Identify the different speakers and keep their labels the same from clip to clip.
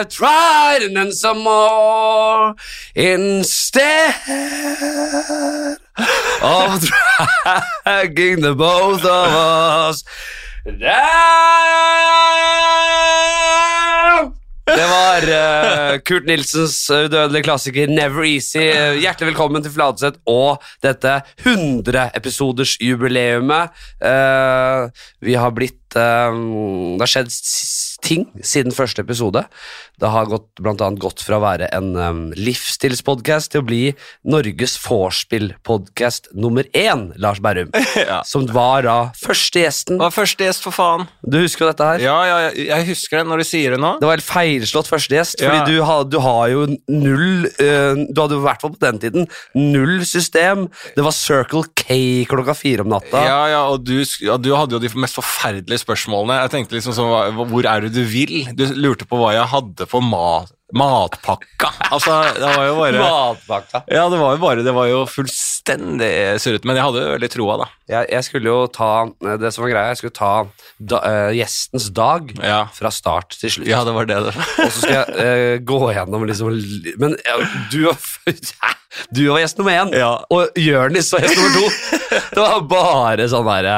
Speaker 1: I tried and then some more instead of dragging the both of us down. Det var eh, Kurt Nilsens eh, udødelige klassiker Never Easy. Eh, Hjertelig velkommen til Fladseth og dette 100-episodersjubileumet. Uh, vi har blitt eh, Det har skjedd s- ting siden første episode. Det har gått, blant annet gått fra å være en um, livsstilspodkast til å bli Norges vorspiel-podkast nummer én, Lars Berrum.
Speaker 2: Ja.
Speaker 1: Som var da første gjesten.
Speaker 2: Det var første gjest, for faen.
Speaker 1: Du husker jo dette her?
Speaker 2: Ja, ja, jeg- jeg husker det når du sier det nå.
Speaker 1: Det var helt feilslått første gjest,
Speaker 2: Ja.
Speaker 1: fordi du, ha, du har jo null eh, Du hadde jo i hvert fall på den tiden null system. Det var Circle K klokka fire om natta.
Speaker 2: Ja, ja, og du, sk- ja, du hadde jo de mest forferdelige spørsmålene. Jeg tenkte liksom sånn, hva- hvor er det du vil? Du lurte på hva jeg hadde for ma- matpakka. Altså, det var jo bare...
Speaker 1: Matpakka.
Speaker 2: Ja, det var jo bare, det var jo fullstendig surret, men jeg hadde jo veldig troa da.
Speaker 1: Jeg, jeg skulle jo ta eh, Det som var greia, jeg skulle ta da, eh, gjestens dag
Speaker 2: Ja.
Speaker 1: fra start til slutt.
Speaker 2: Ja, det var det det var.
Speaker 1: Og så skal jeg eh, gå gjennom liksom li- Men eh, du, var f- du var gjest nummer én,
Speaker 2: Ja.
Speaker 1: og Jørnis var gjest nummer to. Det var bare sånn derre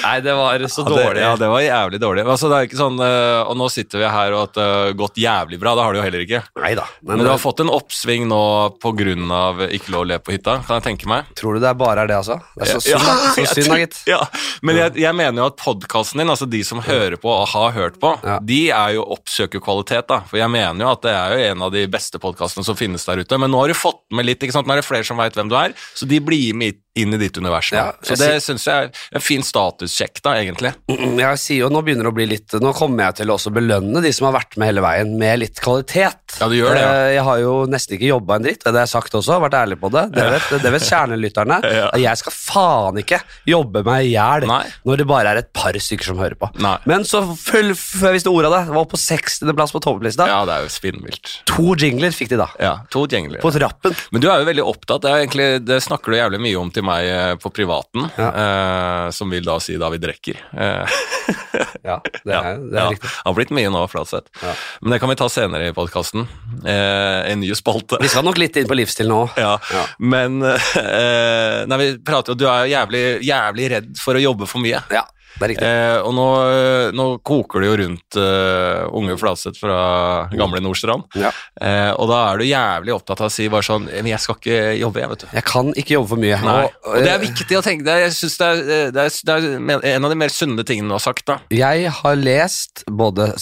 Speaker 1: Nei, det var så
Speaker 2: Ja,
Speaker 1: dårlig.
Speaker 2: Det, ja, det var jævlig dårlig. Altså, det er ikke sånn, eh, og nå sitter vi her og at det har gått jævlig bra, det har det jo heller ikke.
Speaker 1: Nei da.
Speaker 2: Men du har fått en oppsving nå på grunn av ikke lov å le på hytta, kan jeg tenke meg.
Speaker 1: Tror du det er bare er det, altså? Det er så synd, da.
Speaker 2: jeg
Speaker 1: så synd da,
Speaker 2: tror-
Speaker 1: gitt.
Speaker 2: Ja, men jeg, jeg mener jo at podkasten din, altså de som hører på og har hørt på,
Speaker 1: Ja.
Speaker 2: de er jo oppsøker kvalitet, da. For jeg mener jo at det er jo en av de beste podkastene som finnes der ute. Men nå har du fått med litt, ikke sant. Nå er det flere som veit hvem du er, så de blir med inn i ditt univers. nå.
Speaker 1: Ja,
Speaker 2: så
Speaker 1: jeg
Speaker 2: det syns jeg er en fin statussjekk, da, egentlig.
Speaker 1: Mm, Jeg sier jo, Nå begynner det å bli litt Nå kommer jeg til å også belønne de som har vært med hele veien, med litt kvalitet.
Speaker 2: Ja, du gjør det, ja.
Speaker 1: Eh, Jeg har jo nesten ikke jobba en dritt, det har jeg sagt også. Vært ærlig på det. Det vet, det vet kjernelytterne.
Speaker 2: Ja.
Speaker 1: at Jeg skal faen ikke jobbe meg i hjel
Speaker 2: Nei.
Speaker 1: når det bare er et par stykker som hører på.
Speaker 2: Nei.
Speaker 1: Men så full, før jeg visste ordet av det, var på 60. plass på topplista.
Speaker 2: Ja, det er jo spinnvilt.
Speaker 1: To jingler fikk de da.
Speaker 2: Ja, to gjenglige.
Speaker 1: På trappen.
Speaker 2: Men du er jo veldig opptatt, det, er jo egentlig, det snakker du jævlig mye om til meg eh, på privaten, eh, som vil da si da vi drikker. Eh,
Speaker 1: Ja, det er, det er
Speaker 2: ja,
Speaker 1: riktig.
Speaker 2: har blitt mye nå, Flatseth. Men det kan vi ta senere i podkasten. Eh, en ny spalte.
Speaker 1: Vi skal nok litt inn på livsstil nå.
Speaker 2: Ja,
Speaker 1: Ja.
Speaker 2: men eh, Nei, vi prater jo Du er jo jævlig, jævlig redd for å jobbe for mye.
Speaker 1: Ja, det er riktig.
Speaker 2: Eh, og nå, nå koker det jo rundt eh, unge Flatseth fra gamle Nordstrand.
Speaker 1: Ja.
Speaker 2: Eh, og da er du jævlig opptatt av å si bare sånn Men jeg skal ikke jobbe, jeg, vet du.
Speaker 1: Jeg kan ikke jobbe for mye.
Speaker 2: Nei.
Speaker 1: Og, eh,
Speaker 2: Og det er viktig å tenke det er, Jeg synes det er, det, er, det er men- en av de mer sunne tingene du har sagt, da.
Speaker 1: Jeg har lest både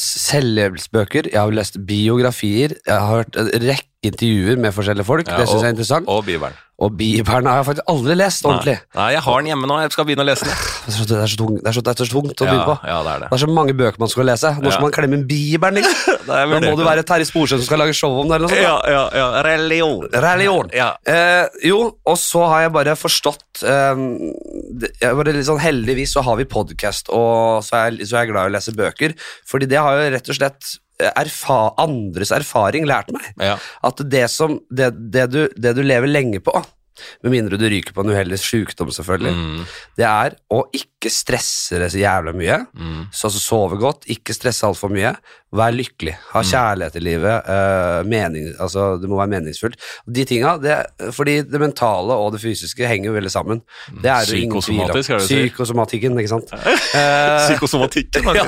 Speaker 1: selvhjelpsbøker, jeg har lest biografier, jeg har hørt en rekke intervjuer med forskjellige folk, det syns jeg er interessant. Og,
Speaker 2: Og Bibelen.
Speaker 1: Bibelen har jeg faktisk aldri lest ordentlig.
Speaker 2: Nei, jeg har den hjemme nå. Jeg skal begynne å lese den.
Speaker 1: Jeg synes Det er så tungt, det er så, det er så tungt å begynne på.
Speaker 2: ja, det er
Speaker 1: Det
Speaker 2: det.
Speaker 1: er så mange bøker man skal lese. Nå skal
Speaker 2: Ja.
Speaker 1: man klemme inn Bibelen, liksom.
Speaker 2: Da
Speaker 1: Da må det være Terje Sporsem som skal lage show om det, eller noe sånt. da.
Speaker 2: Ja, ja, ja. Religion.
Speaker 1: Religion.
Speaker 2: Ja.
Speaker 1: Eh, jo, og så har jeg bare forstått eh, det- jeg bare litt sånn Heldigvis så har vi podkast, og så er, jeg, så er jeg glad i å lese bøker. Fordi det har jo rett og slett eh, erfa, andres erfaring lært meg.
Speaker 2: Ja.
Speaker 1: At det, som, det, det, du, det du lever lenge på, med mindre du ryker på en uheldig sykdom, selvfølgelig,
Speaker 2: Mm,
Speaker 1: det er å ikke stresse det så jævla mye.
Speaker 2: mm.
Speaker 1: Så altså, sove godt, ikke stresse altfor mye, vær lykkelig, ha kjærlighet i livet, eh, mening, altså, det må være meningsfullt. De tinga, det, fordi det mentale og det fysiske henger jo veldig sammen. Det er det jo ingen tvil om.
Speaker 2: Psykosomatisk, er det du sier?
Speaker 1: Psykosomatikken, ikke sant. Eh,
Speaker 2: Psykosomatikken,
Speaker 1: ja,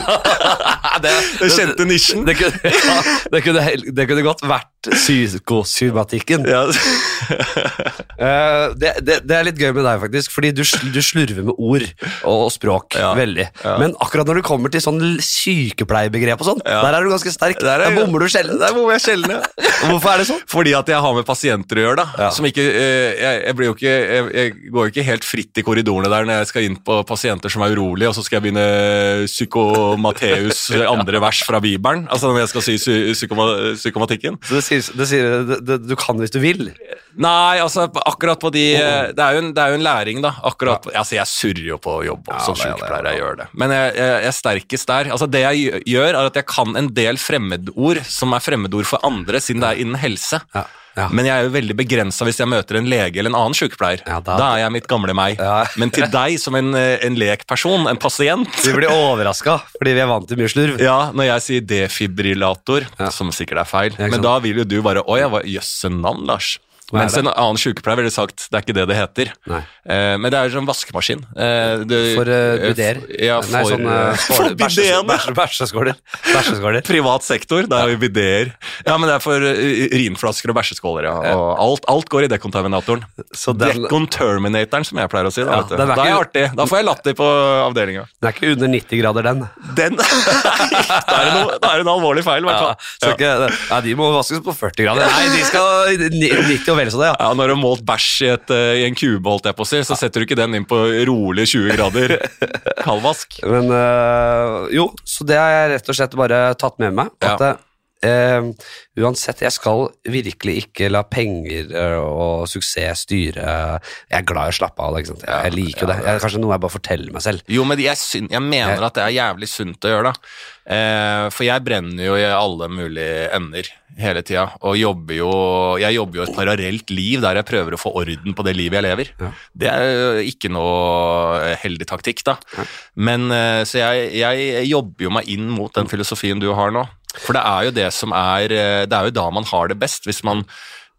Speaker 1: det,
Speaker 2: Den kjente nisjen.
Speaker 1: Det kunne, ja, det kunne, hel- det kunne godt vært psykosomatikken.
Speaker 2: Ja.
Speaker 1: Eh, det, det, det er litt gøy med deg, faktisk, fordi du, sl- du slurver med ord og, og språk
Speaker 2: Ja,
Speaker 1: veldig. Men akkurat når du kommer til sånn l- sykepleierbegrep og sånn, der er du ganske sterk.
Speaker 2: Der
Speaker 1: Der,
Speaker 2: er jeg-
Speaker 1: bommer du sjelden.
Speaker 2: Der bommer jeg sjelden, ja.
Speaker 1: Hvorfor er det sånn?
Speaker 2: Fordi at jeg har med pasienter å gjøre, da.
Speaker 1: Ja.
Speaker 2: Som ikke, eh, jeg, jeg, blir jo ikke jeg, jeg går jo ikke helt fritt i korridorene der når jeg skal inn på pasienter som er urolige, og så skal jeg begynne Psykomateus andre vers fra Bibelen. Altså når jeg skal si psy psykoma psykomatikken.
Speaker 1: Så det sier, det sier, det, det, du kan hvis du vil.
Speaker 2: Nei, altså på- akkurat på de eh, Det er jo en, det er jo en læring, da. Akkurat, på- Altså Jeg surrer jo på jobb også, som
Speaker 1: det er det,
Speaker 2: sykepleier.
Speaker 1: ja.
Speaker 2: Jeg gjør det. Men jeg, jeg, jeg er sterkest der. Altså Det jeg gjø- gjør, er at jeg kan en del fremmedord som er fremmedord for andre, siden det er innen helse.
Speaker 1: Ja. Ja.
Speaker 2: Men jeg er jo veldig begrensa hvis jeg møter en lege eller en annen sykepleier.
Speaker 1: Ja,
Speaker 2: da.
Speaker 1: da-
Speaker 2: er jeg mitt gamle meg.
Speaker 1: Ja.
Speaker 2: Men til deg som en, eh, en lekperson, en pasient
Speaker 1: Vi blir overraska fordi vi er vant til mye slurv.
Speaker 2: ja, Når jeg sier defibrillator,
Speaker 1: Ja.
Speaker 2: som sikkert er feil,
Speaker 1: ikke
Speaker 2: men
Speaker 1: sant.
Speaker 2: da vil jo du bare Å ja, hva- jøsse navn, Lars.
Speaker 1: Hva er
Speaker 2: Mens
Speaker 1: det?
Speaker 2: en annen sykepleier ville sagt det er ikke det det heter.
Speaker 1: Nei.
Speaker 2: Eh, men det er jo sånn vaskemaskin. Eh, det-
Speaker 1: For uh, budeer.
Speaker 2: eh, Ja, for,
Speaker 1: Nei, sånn eh,
Speaker 2: for
Speaker 1: skåler- bæsje-
Speaker 2: bidéene.
Speaker 1: bæsje- Bæsjeskåler. Bæsjeskåler.
Speaker 2: Privat sektor, der har vi bideer. Ja, men det er for eh, urinflasker og bæsjeskåler. Ja. Og alt, alt går i dekontaminatoren.
Speaker 1: Så den,
Speaker 2: Dekonterminatoren, som jeg pleier å si. Da,
Speaker 1: Ja,
Speaker 2: vet du.
Speaker 1: den er
Speaker 2: da er jeg
Speaker 1: ikke-
Speaker 2: artig. Da får jeg latter på avdelinga.
Speaker 1: den er ikke under 90 grader, den.
Speaker 2: Den Da er det noe- da er det en alvorlig feil, i hvert
Speaker 1: Ja,
Speaker 2: fall.
Speaker 1: så ikke, ja, de må vaskes på 40 grader. Nei, de skal i ni- 90 og vel så det, ja.
Speaker 2: Ja, Når du har målt bæsj i, et, eh, i en kube, holdt jeg på å si, så setter du ikke den inn på rolig 20 grader kaldvask.
Speaker 1: Men øh, jo, så det har jeg rett og slett bare tatt med meg. At eh, uansett, jeg skal virkelig ikke la penger øh, og suksess styre Jeg er glad i å slappe av, da, ikke sant. Jeg, jeg liker jo det. Jeg, kanskje noe jeg bare forteller meg selv.
Speaker 2: Jo, men jeg, syn- jeg mener at det er jævlig sunt å gjøre det. Eh, for jeg brenner jo i alle mulige ender hele tida. Og jobber jo, jeg jobber jo et parallelt liv der jeg prøver å få orden på det livet jeg lever.
Speaker 1: Ja.
Speaker 2: Det er jo ikke noe eh, heldig taktikk, da. Men, eh, så jeg, jeg jobber jo meg inn mot den filosofien du har nå. For det er jo det som er eh, Det er jo da man har det best, hvis man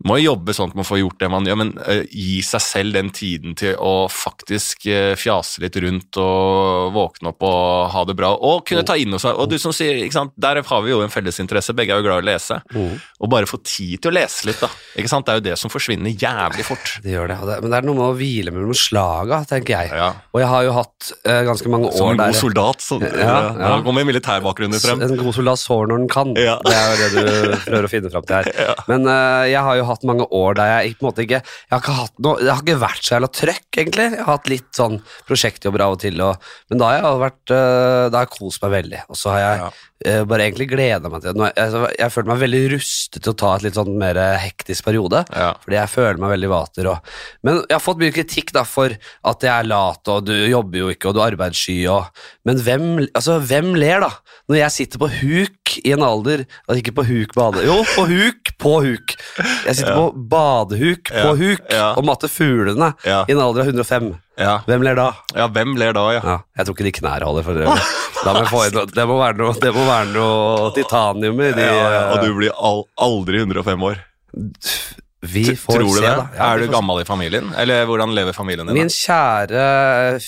Speaker 2: må jobbe sånn at man får gjort det man gjør, men eh, gi seg selv den tiden til å faktisk eh, fjase litt rundt og våkne opp og ha det bra. Og kunne ta inn over seg Og du som sier, ikke sant, der har vi jo en fellesinteresse, begge er jo glad i å lese. Og bare få tid til å lese litt, da. Ikke sant? Det er jo det som forsvinner jævlig fort.
Speaker 1: Det gjør det. og det- Men det er noe med å hvile mellom slaga, tenker jeg.
Speaker 2: Ja.
Speaker 1: Og jeg har jo hatt øh, ganske mange år
Speaker 2: Som en god
Speaker 1: der
Speaker 2: soldat. Så,
Speaker 1: Ja, ja.
Speaker 2: Da kommer militærbakgrunnen frem.
Speaker 1: En god soldat sår når den kan.
Speaker 2: Ja.
Speaker 1: Det er jo det du prøver å finne fram til her. Men eh, jeg har jo hatt mange år der jeg på en måte ikke Jeg har ikke, hatt noe, jeg har ikke vært så jævla trøkk, egentlig. Jeg har hatt litt sånn prosjektjobber av og til, og, men da har jeg vært eh, Da har jeg kost meg veldig. Og så har jeg
Speaker 2: Ja.
Speaker 1: eh, bare egentlig gleda meg til det. Nå er- Jeg, jeg, føler meg veldig rustet til å ta et litt sånn mer hektisk periode.
Speaker 2: Ja.
Speaker 1: Fordi jeg føler meg veldig vater. Og, men jeg har fått mye kritikk da for at jeg er lat, og du jobber jo ikke, og du er arbeidssky. Og, men hvem, altså, hvem ler, da? Når jeg sitter på huk i en alder altså, Ikke på huk bade... Jo, på huk, på huk. Jeg sitter på badehuk på
Speaker 2: Ja,
Speaker 1: huk
Speaker 2: ja.
Speaker 1: og mater fuglene
Speaker 2: Ja.
Speaker 1: i en alder av 105.
Speaker 2: Ja.
Speaker 1: Hvem ler da?
Speaker 2: ja, hvem ler da, ja?
Speaker 1: Ja, jeg tror ikke de knær holder. For det. Da må jeg få inn, noe- det, må være noe, det må være noe titanium i de
Speaker 2: ja, ja. Og du blir al aldri 105 år.
Speaker 1: Vi
Speaker 2: T-
Speaker 1: får
Speaker 2: Tror du
Speaker 1: se,
Speaker 2: det?
Speaker 1: da. Ja, vi
Speaker 2: er du
Speaker 1: får se.
Speaker 2: gammel i familien? Eller hvordan lever familien din?
Speaker 1: Min
Speaker 2: da?
Speaker 1: kjære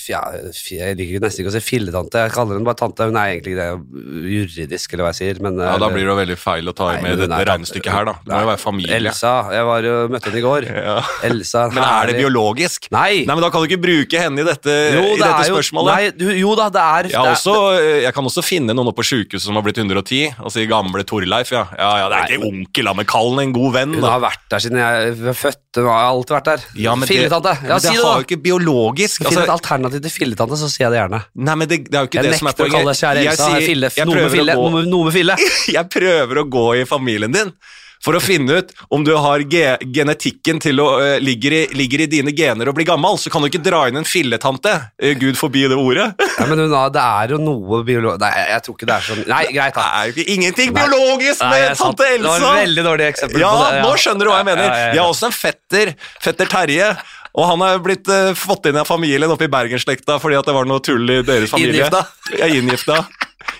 Speaker 1: ja, f- Jeg liker nesten ikke å si filletante. Jeg kaller henne bare tante. Hun er egentlig ikke det juridisk, eller hva jeg sier. Men, eh,
Speaker 2: Ja, Da blir det jo veldig feil å ta
Speaker 1: Nei,
Speaker 2: med
Speaker 1: men
Speaker 2: dette
Speaker 1: nei,
Speaker 2: regnestykket her, da. Det må jo være familie.
Speaker 1: Elsa. Jeg var jo, møtte henne i går.
Speaker 2: Ja.
Speaker 1: Elsa,
Speaker 2: Men er det
Speaker 1: herlig-
Speaker 2: biologisk?
Speaker 1: Nei!
Speaker 2: Nei, men da kan du ikke bruke henne i dette,
Speaker 1: jo,
Speaker 2: i
Speaker 1: er
Speaker 2: dette
Speaker 1: jo,
Speaker 2: spørsmålet.
Speaker 1: Nei, du, jo da, det er,
Speaker 2: jeg, har også, jeg kan også finne noen oppe på sjukehuset som har blitt 110, og si gamle Torleif, ja. Ja, ja, det er ikke onkel, da, men kall han en god venn,
Speaker 1: Hun
Speaker 2: da.
Speaker 1: har vært der siden jeg var født. Hun har alltid vært der.
Speaker 2: Ja, men det-
Speaker 1: filletante!
Speaker 2: men
Speaker 1: Ja,
Speaker 2: det
Speaker 1: si det,
Speaker 2: har
Speaker 1: da!
Speaker 2: jo ikke biologisk
Speaker 1: Finn et
Speaker 2: altså,
Speaker 1: alternativ til filletante, så sier jeg det gjerne.
Speaker 2: Nei, men det, det er jo ikke
Speaker 1: Jeg
Speaker 2: det som er
Speaker 1: nekter å kalle deg kjære
Speaker 2: Jeg
Speaker 1: Elsa
Speaker 2: sier-
Speaker 1: fille.
Speaker 2: jeg
Speaker 1: Noe med
Speaker 2: prøver å
Speaker 1: fille.
Speaker 2: gå-
Speaker 1: Noe med- Noe med fille.
Speaker 2: jeg prøver å gå i familien din for å finne ut om du har ge genetikken til å eh, ligger, i, ligger i dine gener og blir gammel, så kan du ikke dra inn en filletante. Eh, Gud forbi det ordet.
Speaker 1: Ja, men hun har, det er jo noe biolog... Nei, jeg tror ikke det er sånn Nei, greit,
Speaker 2: Det
Speaker 1: da.
Speaker 2: er jo ikke ingenting biologisk
Speaker 1: Nei,
Speaker 2: med
Speaker 1: jeg satt-
Speaker 2: tante Elsa.
Speaker 1: Det var et veldig dårlig eksempel
Speaker 2: ja,
Speaker 1: på det.
Speaker 2: nå skjønner du hva jeg mener.
Speaker 1: Ja, ja, ja.
Speaker 2: Jeg har også en fetter, fetter Terje. Og han har blitt eh, fått inn av familien oppe i Bergenslekta fordi at det var noe tull i deres familie.
Speaker 1: Inngifta.
Speaker 2: Jeg er inngifta.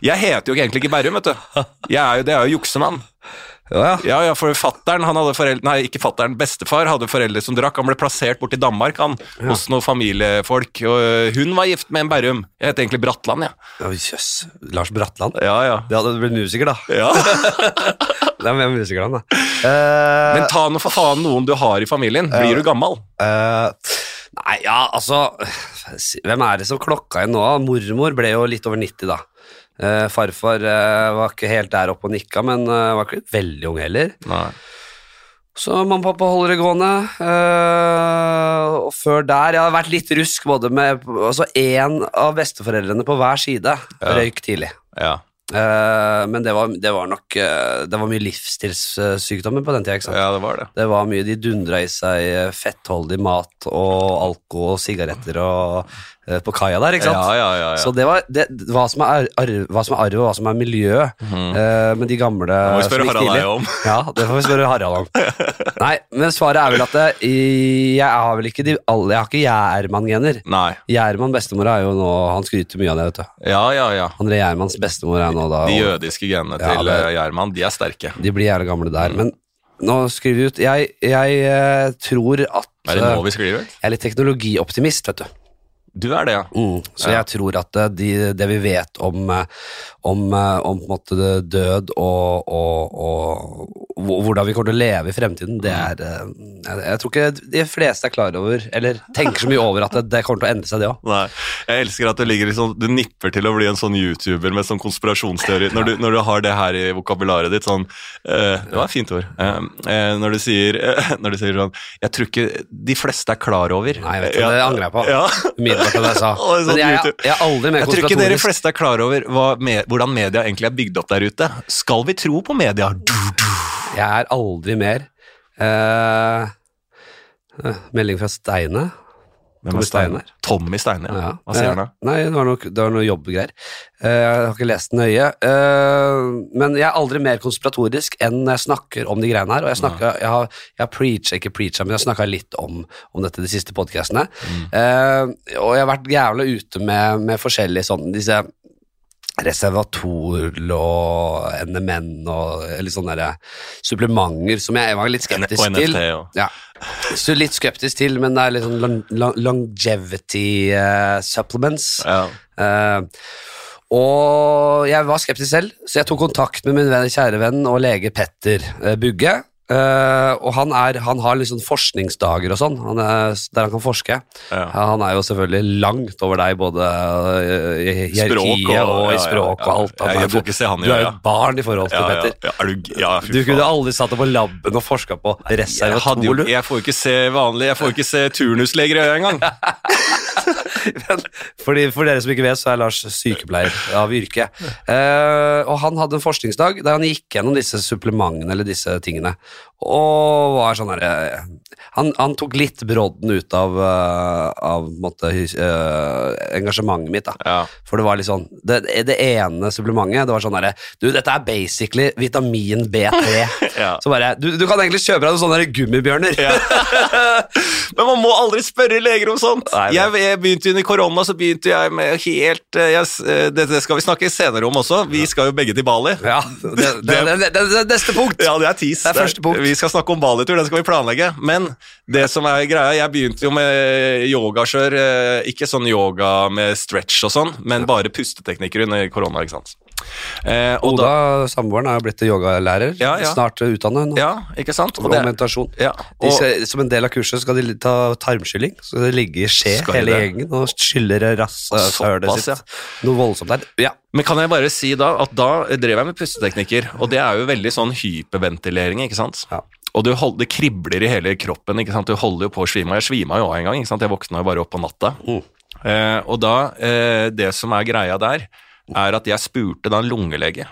Speaker 2: Jeg heter jo egentlig ikke Berrum, vet du. Jeg er jo, det er jo juksemann.
Speaker 1: Ja, ja.
Speaker 2: Ja, ja, for fatteren, han hadde foreldre, nei, ikke fatteren, bestefar hadde foreldre som drakk. Han ble plassert bort i Danmark, han, hos noen familiefolk. Og øh, hun var gift med en Berrum. Jeg heter egentlig Bratland, jeg.
Speaker 1: Å, Jøss. Lars Bratland.
Speaker 2: Ja, ja.
Speaker 1: Det hadde blitt musiker, da.
Speaker 2: ja.
Speaker 1: Det er mer musiker han, da. Eh,
Speaker 2: Men ta nå for faen noen du har i familien. Blir du gammel?
Speaker 1: eh, nei, ja, altså Hvem er det som klokka inn nå? Mormor ble jo litt over 90, da. Eh, farfar eh, var ikke helt der oppe og nikka, men eh, var ikke veldig ung heller.
Speaker 2: Nei.
Speaker 1: Så mamma og pappa holder det gående. Eh, og før der Jeg har vært litt rusk både med Altså én av besteforeldrene på hver side røyk tidlig.
Speaker 2: Ja.
Speaker 1: Eh, men det var, det var nok eh, Det var mye livsstilssykdommer på den tida. Ikke sant?
Speaker 2: ja, det var det.
Speaker 1: Det var mye de dundra i seg eh, fettholdig mat og alkohol og sigaretter og eh, på kaia der, ikke sant?
Speaker 2: Ja, ja, ja, ja.
Speaker 1: Så det var det, hva, som er arv, hva som er arv, og hva som er miljø eh, med de gamle Det
Speaker 2: Mhm. må vi spørre Harald Eie om.
Speaker 1: Ja, det får vi spørre Harald om. Nei, men svaret er vel at det, i- jeg har vel ikke de alle Jeg har ikke Gjerman-gener.
Speaker 2: Nei.
Speaker 1: Gjerman, bestemora, er jo nå Han skryter mye av det, vet du.
Speaker 2: Ja, ja, ja.
Speaker 1: André Gjermans bestemor er nå da
Speaker 2: De jødiske genene
Speaker 1: Ja,
Speaker 2: til
Speaker 1: det-
Speaker 2: eh, Gjerman, de er sterke.
Speaker 1: De blir jævla gamle der. Men nå skriver vi ut Jeg, jeg eh, tror at
Speaker 2: Er
Speaker 1: eh,
Speaker 2: det nå vi skriver ut?
Speaker 1: Jeg er litt teknologioptimist, vet du.
Speaker 2: Du er det, ja.
Speaker 1: Mm. Så jeg tror at eh, de, det vi vet om, eh, om, eh, om på en måte det død og, og, og hvor- hvordan vi kommer til å leve i fremtiden, det er eh, jeg, jeg tror ikke de fleste er klar over, eller tenker så mye over at det, det kommer til å endre seg, det òg.
Speaker 2: Nei, Jeg elsker at du, ligger liksom, du nipper til å bli en sånn YouTuber med sånn konspirasjonsteori. Når du, når du har det her i vokabularet ditt sånn eh, Det var et fint ord. Eh, eh, når, du sier, eh, når du sier sånn Jeg tror ikke de fleste er klar over.
Speaker 1: Nei, vet du, det angrer jeg på.
Speaker 2: Ja.
Speaker 1: Umiddelbart det jeg sa.
Speaker 2: Å, det er sånn
Speaker 1: Men jeg, jeg,
Speaker 2: YouTube.
Speaker 1: jeg er aldri mer
Speaker 2: Jeg tror ikke dere
Speaker 1: konspiratorisk.
Speaker 2: fleste er klar over hva, me- hvordan media egentlig er bygd opp der ute. Skal vi tro på media? Du, du.
Speaker 1: Jeg er aldri mer eh, eh, Melding fra Steine. Tommy Steiner.
Speaker 2: Tommy Steiner, ja.
Speaker 1: Ja.
Speaker 2: Hva sier han da?
Speaker 1: Eh, Nei, det var noe, det var noe jobbgreier. Eh, Jeg har ikke lest den nøye. Eh, Men jeg er aldri mer konspiratorisk enn når jeg snakker om de greiene her. Og jeg, snakker, jeg har, jeg har preacha, ikke preacha, men jeg har snakka litt om, om dette de siste podkastene.
Speaker 2: Mm.
Speaker 1: Og jeg har vært jævla ute med, med forskjellige sånne disse Reservator og NMN og eller sånne der supplementer som jeg var litt skeptisk
Speaker 2: Og NFT
Speaker 1: til.
Speaker 2: og
Speaker 1: Ja. Så litt skeptisk til, men det er litt sånn long, long, longevity eh, supplements.
Speaker 2: ja.
Speaker 1: Eh, og jeg var skeptisk selv, så jeg tok kontakt med min venn, kjære venn og lege Petter eh, Bugge. Eh, og han, er, han har liksom forskningsdager og sånn, han er, der han kan forske.
Speaker 2: Ja.
Speaker 1: Han er jo selvfølgelig langt over deg, både eh, i i hierarkiet og,
Speaker 2: ja,
Speaker 1: i
Speaker 2: ja,
Speaker 1: språk og
Speaker 2: ja.
Speaker 1: alt. Han
Speaker 2: Jeg,
Speaker 1: er-
Speaker 2: jeg får ikke se han
Speaker 1: du
Speaker 2: i
Speaker 1: er jo
Speaker 2: øya.
Speaker 1: et barn i forhold til
Speaker 2: Ja, ja,
Speaker 1: Petter.
Speaker 2: ja, er du, ja, fy
Speaker 1: Du
Speaker 2: faen.
Speaker 1: kunne aldri satt deg på labben og forska på
Speaker 2: Jeg, hadde jo,
Speaker 1: reservatol.
Speaker 2: jeg får jo ikke se vanlig, jeg får ikke se turnusleger i øya engang.
Speaker 1: Men fordi, for dere som ikke vet, så er Lars sykepleier av yrke. Eh, og han hadde en forskningsdag der han gikk gjennom disse supplementene eller disse tingene. Og var sånn her eh, han, han tok litt brodden ut av, eh, av på en måte, hys- eh, engasjementet mitt. da.
Speaker 2: Ja.
Speaker 1: For det var litt sånn Det, det ene supplementet det var sånn herre Du, dette er basically vitamin B3.
Speaker 2: Ja.
Speaker 1: Så bare du, du kan egentlig kjøpe deg noen sånne her gummibjørner.
Speaker 2: Men man må aldri spørre leger om sånt.
Speaker 1: Nei, nei.
Speaker 2: jeg, jeg begynte Under korona så begynte jeg med helt eh, jeg, s- eh, Dette skal vi snakke senere om også. Vi skal jo begge til Bali.
Speaker 1: Ja, det, det, det, det, det, det neste punkt.
Speaker 2: Ja, det er tis.
Speaker 1: Det er første punkt.
Speaker 2: Vi skal snakke om Bali-tur, den skal vi planlegge. Men det som er greia, jeg begynte jo med yogakjør. eh, Ikke sånn yoga med stretch og sånn, men bare pusteteknikker under korona, ikke sant. Eh, og da,
Speaker 1: Oda, samboeren, er jo blitt yogalærer.
Speaker 2: Ja, ja.
Speaker 1: Snart utdanna hun. nå.
Speaker 2: ja, ikke sant? Og
Speaker 1: Og
Speaker 2: det,
Speaker 1: meditasjon.
Speaker 2: ja,
Speaker 1: De
Speaker 2: og,
Speaker 1: skal, som en del av kurset skal de ta tarmskylling. Så skal de ligge i skje
Speaker 2: Skal de
Speaker 1: hele
Speaker 2: det?
Speaker 1: gjengen og skylle rasshølet
Speaker 2: Såpass,
Speaker 1: sitt. Noe voldsomt der. Ja.
Speaker 2: Men kan jeg bare si da at da drev jeg med pusteteknikker, og det er jo veldig sånn hyperventilering, ikke sant?
Speaker 1: Ja.
Speaker 2: Og du hold, det kribler i hele kroppen, ikke sant? Du holder jo på å svime av. Jeg svima jo av en gang, ikke sant? Jeg våkna jo bare opp på natta.
Speaker 1: Mm.
Speaker 2: Eh, og da, eh, det som er greia der, er at jeg spurte da en lungelege.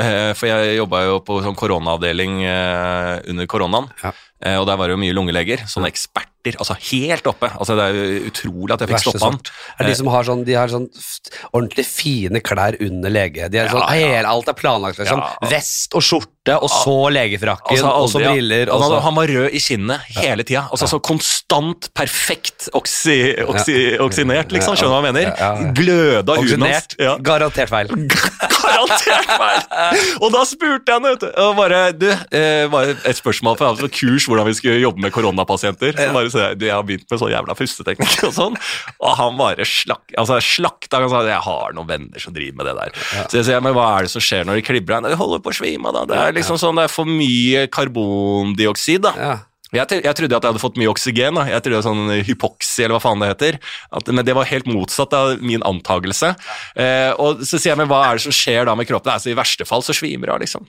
Speaker 2: Eh, for jeg jobba jo på sånn koronaavdeling eh, under koronaen,
Speaker 1: Ja.
Speaker 2: eh, og der var det jo mye lungeleger. Sånne eksperter, altså helt oppe. Altså Det er jo utrolig at jeg fikk
Speaker 1: Verste
Speaker 2: stoppa han. Eh.
Speaker 1: sort. Er de som har sånn, de har sånn f- ordentlig fine klær under lege. De er sånn,
Speaker 2: Ja, ja.
Speaker 1: hele, alt er planlagt, liksom.
Speaker 2: Ja.
Speaker 1: Vest og skjorte, og så legefrakken,
Speaker 2: Altså,
Speaker 1: og så
Speaker 2: aldri, ja.
Speaker 1: briller.
Speaker 2: Og
Speaker 1: Og
Speaker 2: han,
Speaker 1: så.
Speaker 2: han var rød i kinnet hele tida. Altså, så konstant perfekt oksi, oksi, oksinert, liksom. Skjønner du hva jeg mener?
Speaker 1: Ja, ja, ja.
Speaker 2: Gløda huden hans.
Speaker 1: Oksinert.
Speaker 2: Ja.
Speaker 1: Garantert feil.
Speaker 2: Garantert feil! Og da spurte jeg henne, vet du. Og bare, du eh, bare et spørsmål for jeg hadde sånn kurs hvordan vi skulle jobbe med koronapasienter. Så bare så jeg, du, jeg har begynt med sånn jævla pusteteknikk og sånn. Og han bare slak, altså, slakta. Han sa jeg har noen venner som driver med det der. Så jeg sier, men hva er det som skjer når de klibrer? Nei, De holder på å svime av, da. Det er liksom sånn, det er for mye karbondioksid, da.
Speaker 1: Ja.
Speaker 2: Jeg, tro- jeg trodde at jeg hadde fått mye oksygen, da. jeg trodde det var sånn hypoksi eller hva faen det heter. At, men det var helt motsatt av min antagelse. Eh, og så sier jeg, men hva er det som skjer da med kroppen? Altså, I verste fall så svimer det av, liksom.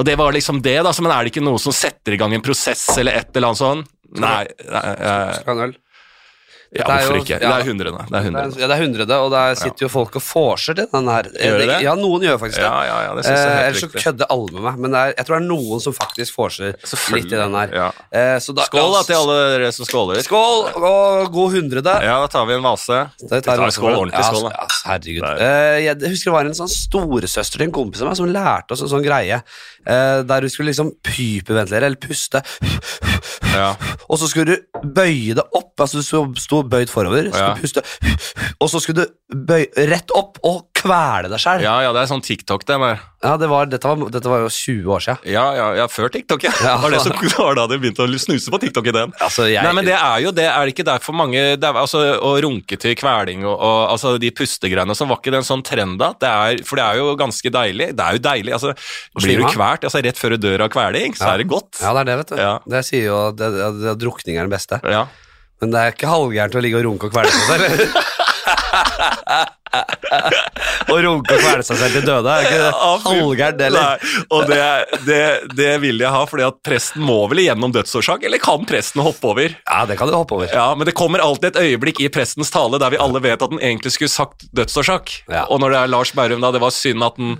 Speaker 2: Og det var liksom det, da. Så, men er det ikke noe som setter i gang en prosess eller et eller annet sånn? Nei. nei, eh,
Speaker 1: Skal ha en øl.
Speaker 2: Ja,
Speaker 1: Det er
Speaker 2: hvorfor
Speaker 1: jo-
Speaker 2: ikke?
Speaker 1: ja.
Speaker 2: Det er hundrene. Det er
Speaker 1: Det er,
Speaker 2: hundrene.
Speaker 1: ja, det er hundrede, og der sitter jo folk og vorser til den her.
Speaker 2: Gjør de det?
Speaker 1: Ja, noen gjør faktisk det.
Speaker 2: Ja, ja, ja, det synes jeg
Speaker 1: Eh, ellers
Speaker 2: er helt
Speaker 1: så
Speaker 2: riktig.
Speaker 1: kødder alle med meg, men det er, jeg tror det er noen som faktisk vorser
Speaker 2: Selvfølgelig.
Speaker 1: litt i den her.
Speaker 2: Ja.
Speaker 1: Eh, så da-
Speaker 2: Skål da til alle dere som skåler.
Speaker 1: Skål og god hundrede.
Speaker 2: Ja, da tar vi en vase.
Speaker 1: Da tar
Speaker 2: Vi tar
Speaker 1: masse
Speaker 2: skål,
Speaker 1: for det.
Speaker 2: ordentlig skål, da.
Speaker 1: Ja, s- herregud.
Speaker 2: Nei.
Speaker 1: Eh, jeg husker det var en sånn storesøster til en kompis av meg som lærte oss en sånn greie eh, der du skulle liksom pypeventilere eller puste,
Speaker 2: Ja.
Speaker 1: og så skulle du bøye det opp. Altså du sto- sto bøyd forover, skulle
Speaker 2: Ja.
Speaker 1: puste, og så skulle du bøye rett opp og kvele deg sjøl. Ja,
Speaker 2: Ja, ja, det er sånn TikTok, det. Med.
Speaker 1: det var, dette, var, dette var jo 20 år sia.
Speaker 2: Ja, ja, ja, før TikTok, ja.
Speaker 1: Ja.
Speaker 2: Det var det som det var da det begynte å snuse på TikTok-ideen.
Speaker 1: Altså, jeg-
Speaker 2: Nei, men det er jo det. Er det ikke derfor mange det er, altså, Å runke til kveling og, og altså, de pustegreiene og sånn, var ikke det en sånn trend da? Det er, for det er jo ganske deilig. Det er jo deilig. Altså, blir du
Speaker 1: slime av?
Speaker 2: kvalt altså, rett før du dør av kveling, så
Speaker 1: Ja.
Speaker 2: er det godt.
Speaker 1: Ja, det er det, vet du.
Speaker 2: Ja.
Speaker 1: Det sier jo at det- det- det- drukning er den beste.
Speaker 2: Ja.
Speaker 1: Men det er ikke halvgærent å ligge og runke og kvele seg selv. eller? Å runke og kvele seg selv til døde, er ikke det
Speaker 2: Ja, fy-
Speaker 1: halvgærent, det, eller?
Speaker 2: Nei, og det, det, det vil jeg ha, fordi at presten må vel igjennom dødsårsak, eller kan presten hoppe over?
Speaker 1: Ja, det kan du hoppe over.
Speaker 2: Ja, men det kommer alltid et øyeblikk i prestens tale der vi alle vet at den egentlig skulle sagt dødsårsak.
Speaker 1: Ja.
Speaker 2: Og når det er Lars Berrum, da, det var synd at den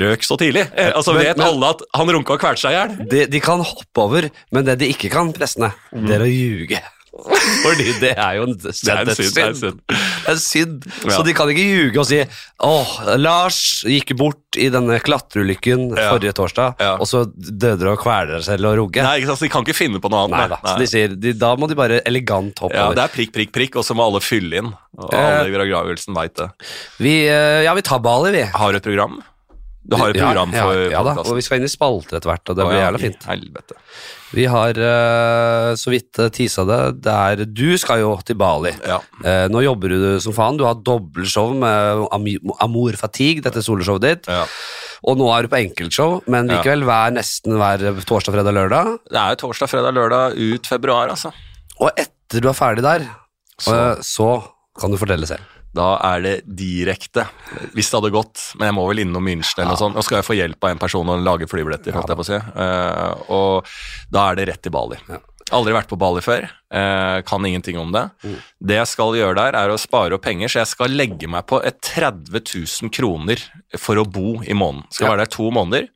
Speaker 2: røk så tidlig. Eh, Altså
Speaker 1: Men-
Speaker 2: vet
Speaker 1: men-
Speaker 2: alle at han runka og kvalte seg i hjel.
Speaker 1: De, de kan hoppe over, men det de ikke kan, prestene, det er å ljuge. Fordi det er jo en, det
Speaker 2: er en synd, Mm. det er en synd.
Speaker 1: Det er en synd.
Speaker 2: Ja.
Speaker 1: Så de kan ikke ljuge og si åh, Lars gikk bort i denne klatreulykken
Speaker 2: Ja.
Speaker 1: forrige torsdag,
Speaker 2: Ja.
Speaker 1: og så døde dere og kvelte dere selv og rugge.
Speaker 2: Nei, ikke sant, så de kan ikke finne på noe
Speaker 1: Nei
Speaker 2: annet.
Speaker 1: da. Så de sier, de, da må de bare elegant hoppe
Speaker 2: Ja,
Speaker 1: over.
Speaker 2: det er prikk, prikk, prikk, og så må alle fylle inn. Og
Speaker 1: Eh.
Speaker 2: alle i begravelsen veit det.
Speaker 1: Vi, eh, ja, vi tar Bali, vi.
Speaker 2: Har du et program? Du har et program
Speaker 1: ja,
Speaker 2: for
Speaker 1: ja, ja da, og
Speaker 2: podcasten.
Speaker 1: vi skal inn i spalter etter hvert, og det
Speaker 2: Å,
Speaker 1: blir
Speaker 2: ja,
Speaker 1: jævla fint.
Speaker 2: i Helvete.
Speaker 1: Vi har eh, så vidt eh, tisa det. det er, du skal jo til Bali.
Speaker 2: Ja.
Speaker 1: Eh, nå jobber du som faen. Du har dobbeltshow med Ami- Amour Fatigue, dette soloshowet ditt.
Speaker 2: Ja.
Speaker 1: Og nå er du på enkeltshow, men
Speaker 2: Ja.
Speaker 1: likevel hver, nesten hver torsdag, fredag, lørdag.
Speaker 2: Det er jo torsdag, fredag, lørdag ut februar, altså.
Speaker 1: Og etter du er ferdig der, så,
Speaker 2: Så.
Speaker 1: så kan du fortelle selv.
Speaker 2: Da er det direkte. Hvis det hadde gått, men jeg må vel innom München eller noe sånt. Nå skal jeg få hjelp av en person å lage flybilletter, holdt jeg på å si. Eh, og da er det rett til Bali. Aldri vært på Bali før, eh, kan ingenting om det. Det jeg skal gjøre der, er å spare opp penger, så jeg skal legge meg på et 30 000 kroner for å bo i måneden. Skal
Speaker 1: Ja.
Speaker 2: være der to måneder.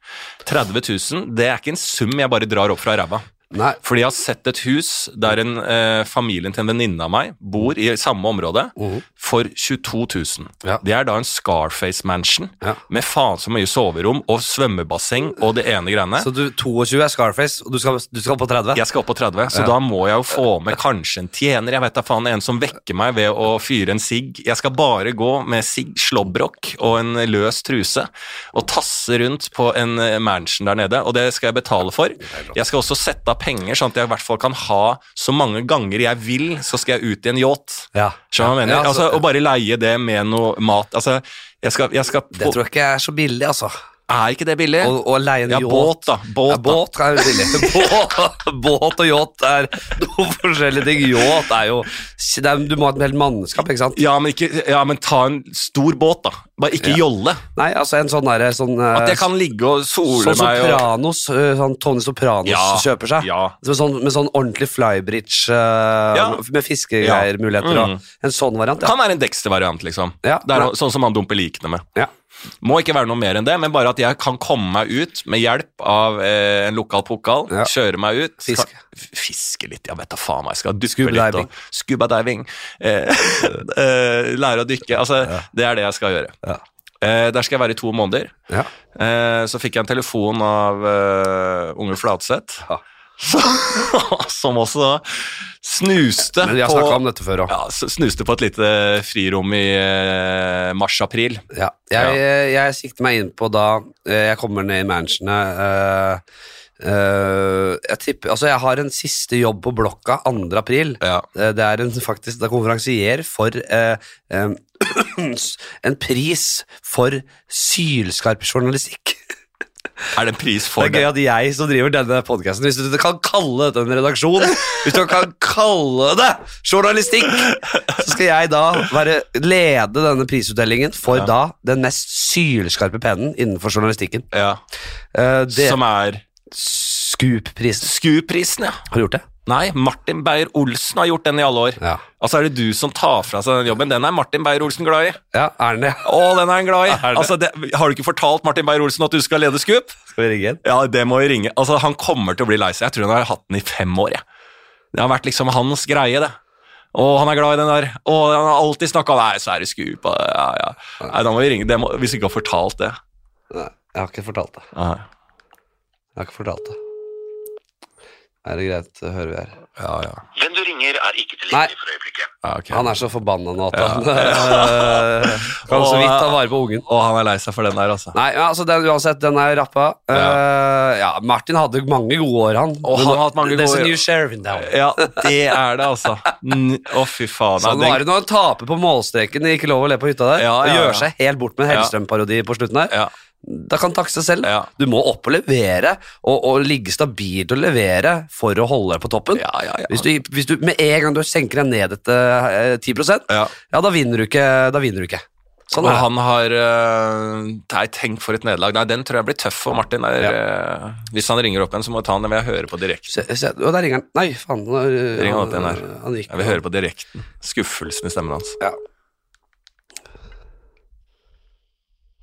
Speaker 2: 30 000, det er ikke en sum jeg bare drar opp fra ræva.
Speaker 1: Nei,
Speaker 2: Fordi jeg har sett et hus der en, eh, familien til en venninne av meg bor i samme område
Speaker 1: Mhm.
Speaker 2: for 22 000.
Speaker 1: Ja.
Speaker 2: Det er da en Scarface Mansion
Speaker 1: Ja.
Speaker 2: med faen så mye soverom og svømmebasseng og det ene greiene.
Speaker 1: Så du 22 er Scarface, og du skal, du skal på 30?
Speaker 2: Jeg skal opp på 30, så da må jeg jo få med kanskje en tjener. Jeg vet da faen, en som vekker meg ved å fyre en sigg. Jeg skal bare gå med sigg, slåbrok og en løs truse og tasse rundt på en eh, mansion der nede, og det skal jeg betale for. Jeg skal også sette av penger, sånn at jeg i hvert fall kan ha så mange ganger jeg vil, så skal jeg ut i en yacht.
Speaker 1: Ja.
Speaker 2: Skjønner du hva jeg
Speaker 1: Ja,
Speaker 2: mener?
Speaker 1: altså,
Speaker 2: Altså, å bare leie det med noe mat. Altså, jeg skal, jeg skal
Speaker 1: det tror jeg ikke er så billig, altså.
Speaker 2: Er ikke det billig?
Speaker 1: Å å leie en
Speaker 2: ja,
Speaker 1: yacht
Speaker 2: båt, da. Båt,
Speaker 1: Ja, båt er jo billig. båt, båt og yacht er noe forskjellige ting. Yacht er jo det er, Du må ha et helt mannskap, ikke sant?
Speaker 2: Ja men, ikke, ja, men ta en stor båt, da. Bare ikke jolle.
Speaker 1: Nei, altså en sånn derre sånn, eh,
Speaker 2: At jeg kan ligge og sole
Speaker 1: Sånn
Speaker 2: meg og
Speaker 1: Sopranos, eh, sånn Tony Sopranos
Speaker 2: Ja,
Speaker 1: kjøper seg.
Speaker 2: ja.
Speaker 1: Med, sånn, med sånn ordentlig flybridge eh,
Speaker 2: Ja.
Speaker 1: med fiskegreier-muligheter
Speaker 2: Ja. Mm.
Speaker 1: og En sånn variant, ja.
Speaker 2: Kan være en Dexter-variant, liksom.
Speaker 1: Ja,
Speaker 2: det er
Speaker 1: ja.
Speaker 2: no- Sånn som han dumper likene med.
Speaker 1: ja.
Speaker 2: Må ikke være noe mer enn det, men bare at jeg kan komme meg ut med hjelp av eh, en lokal pokal,
Speaker 1: Ja.
Speaker 2: kjøre meg ut
Speaker 1: Fiske.
Speaker 2: kan- f- Fiske litt, jeg vet da faen hva jeg skal. Duppe
Speaker 1: Scuba
Speaker 2: litt
Speaker 1: diving.
Speaker 2: og Scuba diving. Eh, eh, lære å dykke. Altså, det er det jeg skal gjøre.
Speaker 1: Ja.
Speaker 2: Eh, der skal jeg være i to måneder.
Speaker 1: ja.
Speaker 2: Eh, så fikk jeg en telefon av eh, Unge Flatseth,
Speaker 1: Ja.
Speaker 2: som- som også snuste
Speaker 1: Men vi har
Speaker 2: på
Speaker 1: snakka om dette før òg.
Speaker 2: ja, s- snuste på et lite frirom i eh, mars-april.
Speaker 1: Ja. Jeg, jeg sikter meg inn på da eh, jeg kommer ned i mansionet eh, eh, Jeg tipper Altså, jeg har en siste jobb på blokka 2. april.
Speaker 2: Ja.
Speaker 1: Eh, Det er en faktisk det er konferansier for eh, eh, en pris for sylskarp journalistikk.
Speaker 2: Er det en pris for
Speaker 1: Det er
Speaker 2: det?
Speaker 1: gøy at jeg som driver denne podkasten Hvis du kan kalle dette en redaksjon, hvis du kan kalle det journalistikk, så skal jeg da være, lede denne prisutdelingen for da den mest sylskarpe pennen innenfor journalistikken.
Speaker 2: Ja.
Speaker 1: Eh, det
Speaker 2: Som er
Speaker 1: Scoop-prisen.
Speaker 2: SKU-prisen, ja.
Speaker 1: Har du gjort det?
Speaker 2: Nei, Martin Beyer-Olsen har gjort den i alle år.
Speaker 1: Ja,
Speaker 2: Altså er det du som tar fra seg den jobben. Den er Martin Beyer-Olsen glad i.
Speaker 1: ja er den det?
Speaker 2: Å, den er han glad i.
Speaker 1: Er det?
Speaker 2: Altså, det, har du ikke fortalt Martin Beyer-Olsen at du skal lede Scoop?
Speaker 1: Skal vi ringe igjen?
Speaker 2: Ja, det må jo ringe. Altså, han kommer til å bli lei seg. Jeg tror han har hatt den i fem år. jeg. Det har vært liksom hans greie, det. Å, han er glad i den der. Å, han har alltid snakka Nei, så er det Scoop. og- Ja, ja. Nei, da må vi ringe. Det må, hvis vi ikke har fortalt det.
Speaker 1: Nei, jeg har ikke fortalt det.
Speaker 2: Nei.
Speaker 1: Jeg har ikke fortalt det. Er det greit, hører vi her.
Speaker 2: Ja, ja.
Speaker 3: Hvem du ringer er ikke
Speaker 1: Nei.
Speaker 3: tilgjengelig for øyeblikket.
Speaker 2: ja ok.
Speaker 1: Han er så forbanna nå at han eh, kan så vidt ta vare på ungen.
Speaker 2: Å, han er lei seg for den der, altså.
Speaker 1: Nei, men altså den, uansett, den er rappa. Eh, ja, Martin hadde mange gode år, han.
Speaker 2: Og han har hatt mange
Speaker 1: There's
Speaker 2: gode
Speaker 1: a
Speaker 2: år.
Speaker 1: new sheriff in town.
Speaker 2: Ja, det er det, altså. N- Å, fy faen.
Speaker 1: Så han
Speaker 2: Nei,
Speaker 1: var jo når han taper på målstreken i Ikke lov å le på hytta der,
Speaker 2: Ja, ja,
Speaker 1: og
Speaker 2: ja.
Speaker 1: gjør seg helt bort med en Hellstrøm-parodi på slutten der,
Speaker 2: ja.
Speaker 1: da kan han takke seg selv.
Speaker 2: Ja.
Speaker 1: Du må opp og levere, og, og ligge stabilt og levere for å holde deg på toppen.
Speaker 2: Ja, ja, ja.
Speaker 1: Hvis du, hvis du med en gang du senker deg ned etter eh, 10 ja.
Speaker 2: ja.
Speaker 1: da vinner du ikke. Da vinner du ikke. Sånn
Speaker 2: og
Speaker 1: er det.
Speaker 2: han har øh, Nei, tenk for et nederlag. Nei, den tror jeg blir tøff for Martin. Der, øh, hvis han ringer opp igjen, så må jeg ta han. Jeg vil høre på direkten.
Speaker 1: Se, se, og der ringer han. Nei, faen. nå, eh,
Speaker 2: Ringer han
Speaker 1: han,
Speaker 2: opp igjen her.
Speaker 1: han gikk.
Speaker 2: Jeg vil høre på direkten. Skuffelsen i stemmen hans.
Speaker 1: Ja.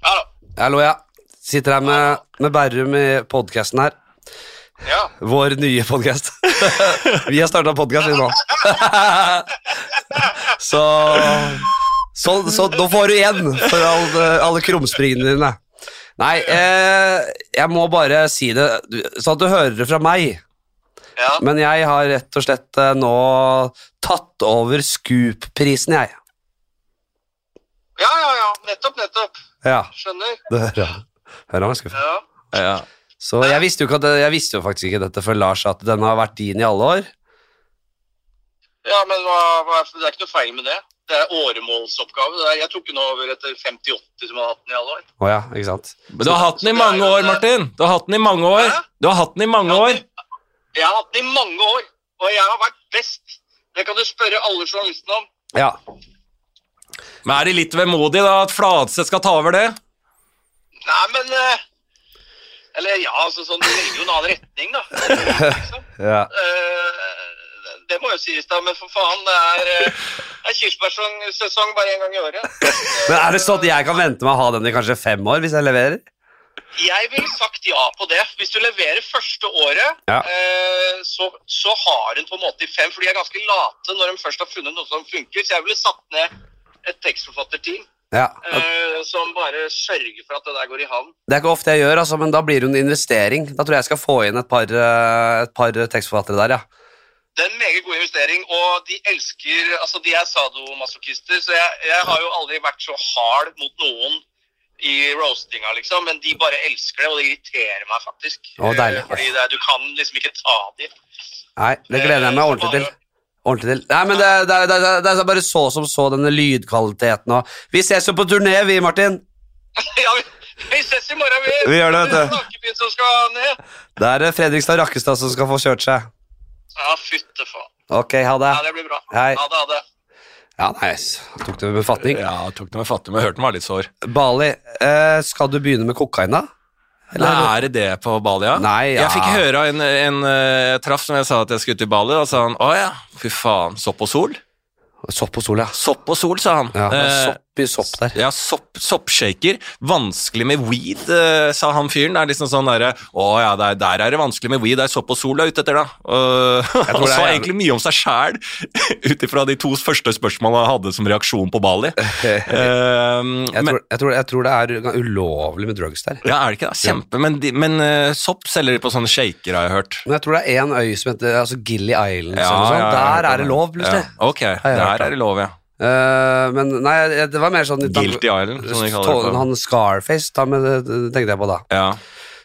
Speaker 3: Hallo.
Speaker 1: Hallo, ja. Sitter her med, med Berrum i podkasten her.
Speaker 3: Ja.
Speaker 1: Vår nye podkast. vi har starta podkast nå. så, så, så nå får du igjen for alle, alle krumspringene dine. Nei, eh, jeg må bare si det du- sånn at du hører det fra meg.
Speaker 3: Ja.
Speaker 1: Men jeg har rett og slett eh, nå tatt over Scoop-prisen, jeg.
Speaker 3: ja, ja, ja. Nettopp, nettopp.
Speaker 1: Ja,
Speaker 3: Skjønner.
Speaker 1: det hører jeg. Hører han er skuffet.
Speaker 3: Ja.
Speaker 2: Ja.
Speaker 1: Så jeg visste, jo ikke at, det- jeg visste jo faktisk ikke dette før Lars sa at den har vært din i alle år.
Speaker 3: Ja, men hva, hva, det er ikke noe feil med det. Det er åremålsoppgave. Det der. Jeg tok den over etter 50-80 som jeg har hatt den i alle år.
Speaker 1: Å ja, ikke sant?
Speaker 2: Men du har hatt den i mange år, Martin! Du har hatt den i mange år!
Speaker 3: Hæ?
Speaker 2: Du har hatt den i mange
Speaker 3: Ja,
Speaker 2: år!
Speaker 3: Jeg har hatt den i mange år, og jeg har vært best. Det kan du spørre alle journalistene om.
Speaker 1: Ja,
Speaker 2: Men er det litt vemodig da at Fladseth skal ta over det?
Speaker 3: Nei, men eh, Eller ja, altså sånn, det legger jo en annen retning, da. Liksom.
Speaker 1: ja.
Speaker 3: Eh, det må jo sies, da, men for faen, det er, eh, det er kirsebærsesong bare én gang i året.
Speaker 1: Men er det sånn at jeg kan vente meg å ha den i kanskje fem år hvis jeg leverer?
Speaker 3: Jeg ville sagt ja på det. Hvis du leverer første året,
Speaker 1: Ja.
Speaker 3: eh, så, så har hun på en måte i fem. For de er ganske late når de først har funnet noe som funker. Så jeg ville satt ned et tekstforfatterteam
Speaker 1: Ja.
Speaker 3: eh, som bare sørger for at det der går i havn.
Speaker 1: Det er ikke ofte jeg gjør, altså, men da blir det jo en investering. Da tror jeg jeg skal få inn et par, eh, et par tekstforfattere der, ja.
Speaker 3: Det er en meget god investering, og de elsker Altså, de er sadomasochister, så jeg, jeg har jo aldri vært så hard mot noen i roastinga, liksom. Men de bare elsker det, og det irriterer meg faktisk.
Speaker 1: Å, deilig.
Speaker 3: Eh, Fordi det, er- du kan liksom ikke ta de.
Speaker 1: Nei, det gleder jeg meg ordentlig til. Ordentlig til. Nei, men det, er- det, er- det, er- det er bare så som så denne lydkvaliteten og Vi ses jo på turné, vi, Martin.
Speaker 3: ja, vi, vi ses i morgen, vi.
Speaker 1: Vi gjør det, vet du.
Speaker 3: Det er snakkebyen som skal ned.
Speaker 1: Det er eh, Fredrikstad Rakkestad som skal få kjørt seg.
Speaker 3: Ja, fytte faen.
Speaker 1: Ok, ha
Speaker 3: Ja,
Speaker 1: det.
Speaker 3: det blir bra.
Speaker 1: Hei.
Speaker 3: Ha det, ha det.
Speaker 1: Ja, nice. Tok det med fatning.
Speaker 2: Ja, tok den med fattig, men jeg hørte den var litt sår.
Speaker 1: Bali, eh, skal du begynne med kokain, da? Eller-
Speaker 2: Nei, er det det på Bali, ja?
Speaker 1: Nei, ja.
Speaker 2: Jeg fikk høre av en, en eh, jeg traff som jeg sa at jeg skulle til Bali, da sa han å ja, fy faen, sopp og sol?
Speaker 1: Sopp og sol, ja.
Speaker 2: Sopp og sol, sa han.
Speaker 1: ja det er
Speaker 2: Eh,
Speaker 1: sopp i sopp der.
Speaker 2: Ja, sopp, soppshaker. Vanskelig med weed, eh, sa han fyren. Det er liksom sånn derre Å ja, der, der er det vanskelig med weed. Det er sopp og sol du er ute etter, da. Uh,
Speaker 1: tror
Speaker 2: han
Speaker 1: det er
Speaker 2: sa
Speaker 1: jævlig-
Speaker 2: egentlig mye om seg sjæl, ut ifra de to første spørsmålene han hadde som reaksjon på Bali. Eh,
Speaker 1: Jeg
Speaker 2: men,
Speaker 1: tror, jeg, tror, jeg tror det er gan- ulovlig med drugs der.
Speaker 2: ja, er det ikke det? Kjempe. Men, de, men eh, sopp selger de på sånne shaker, har jeg hørt.
Speaker 1: Men jeg tror det er en øy som heter altså Gilly Islands eller noe
Speaker 2: Ja,
Speaker 1: sånt.
Speaker 2: ja, jeg har
Speaker 1: sånn? Der
Speaker 2: hørt om
Speaker 1: er det lov, plutselig.
Speaker 2: Ja, ok,
Speaker 1: jeg hørt
Speaker 2: der
Speaker 1: om.
Speaker 2: er det lov, ja.
Speaker 1: Eh, men nei, jeg- det var mer sånn
Speaker 2: Guilty Island, som de kaller det.
Speaker 1: Tålen,
Speaker 2: på.
Speaker 1: han Scarface, da, men det det tenkte jeg på da.
Speaker 2: Ja,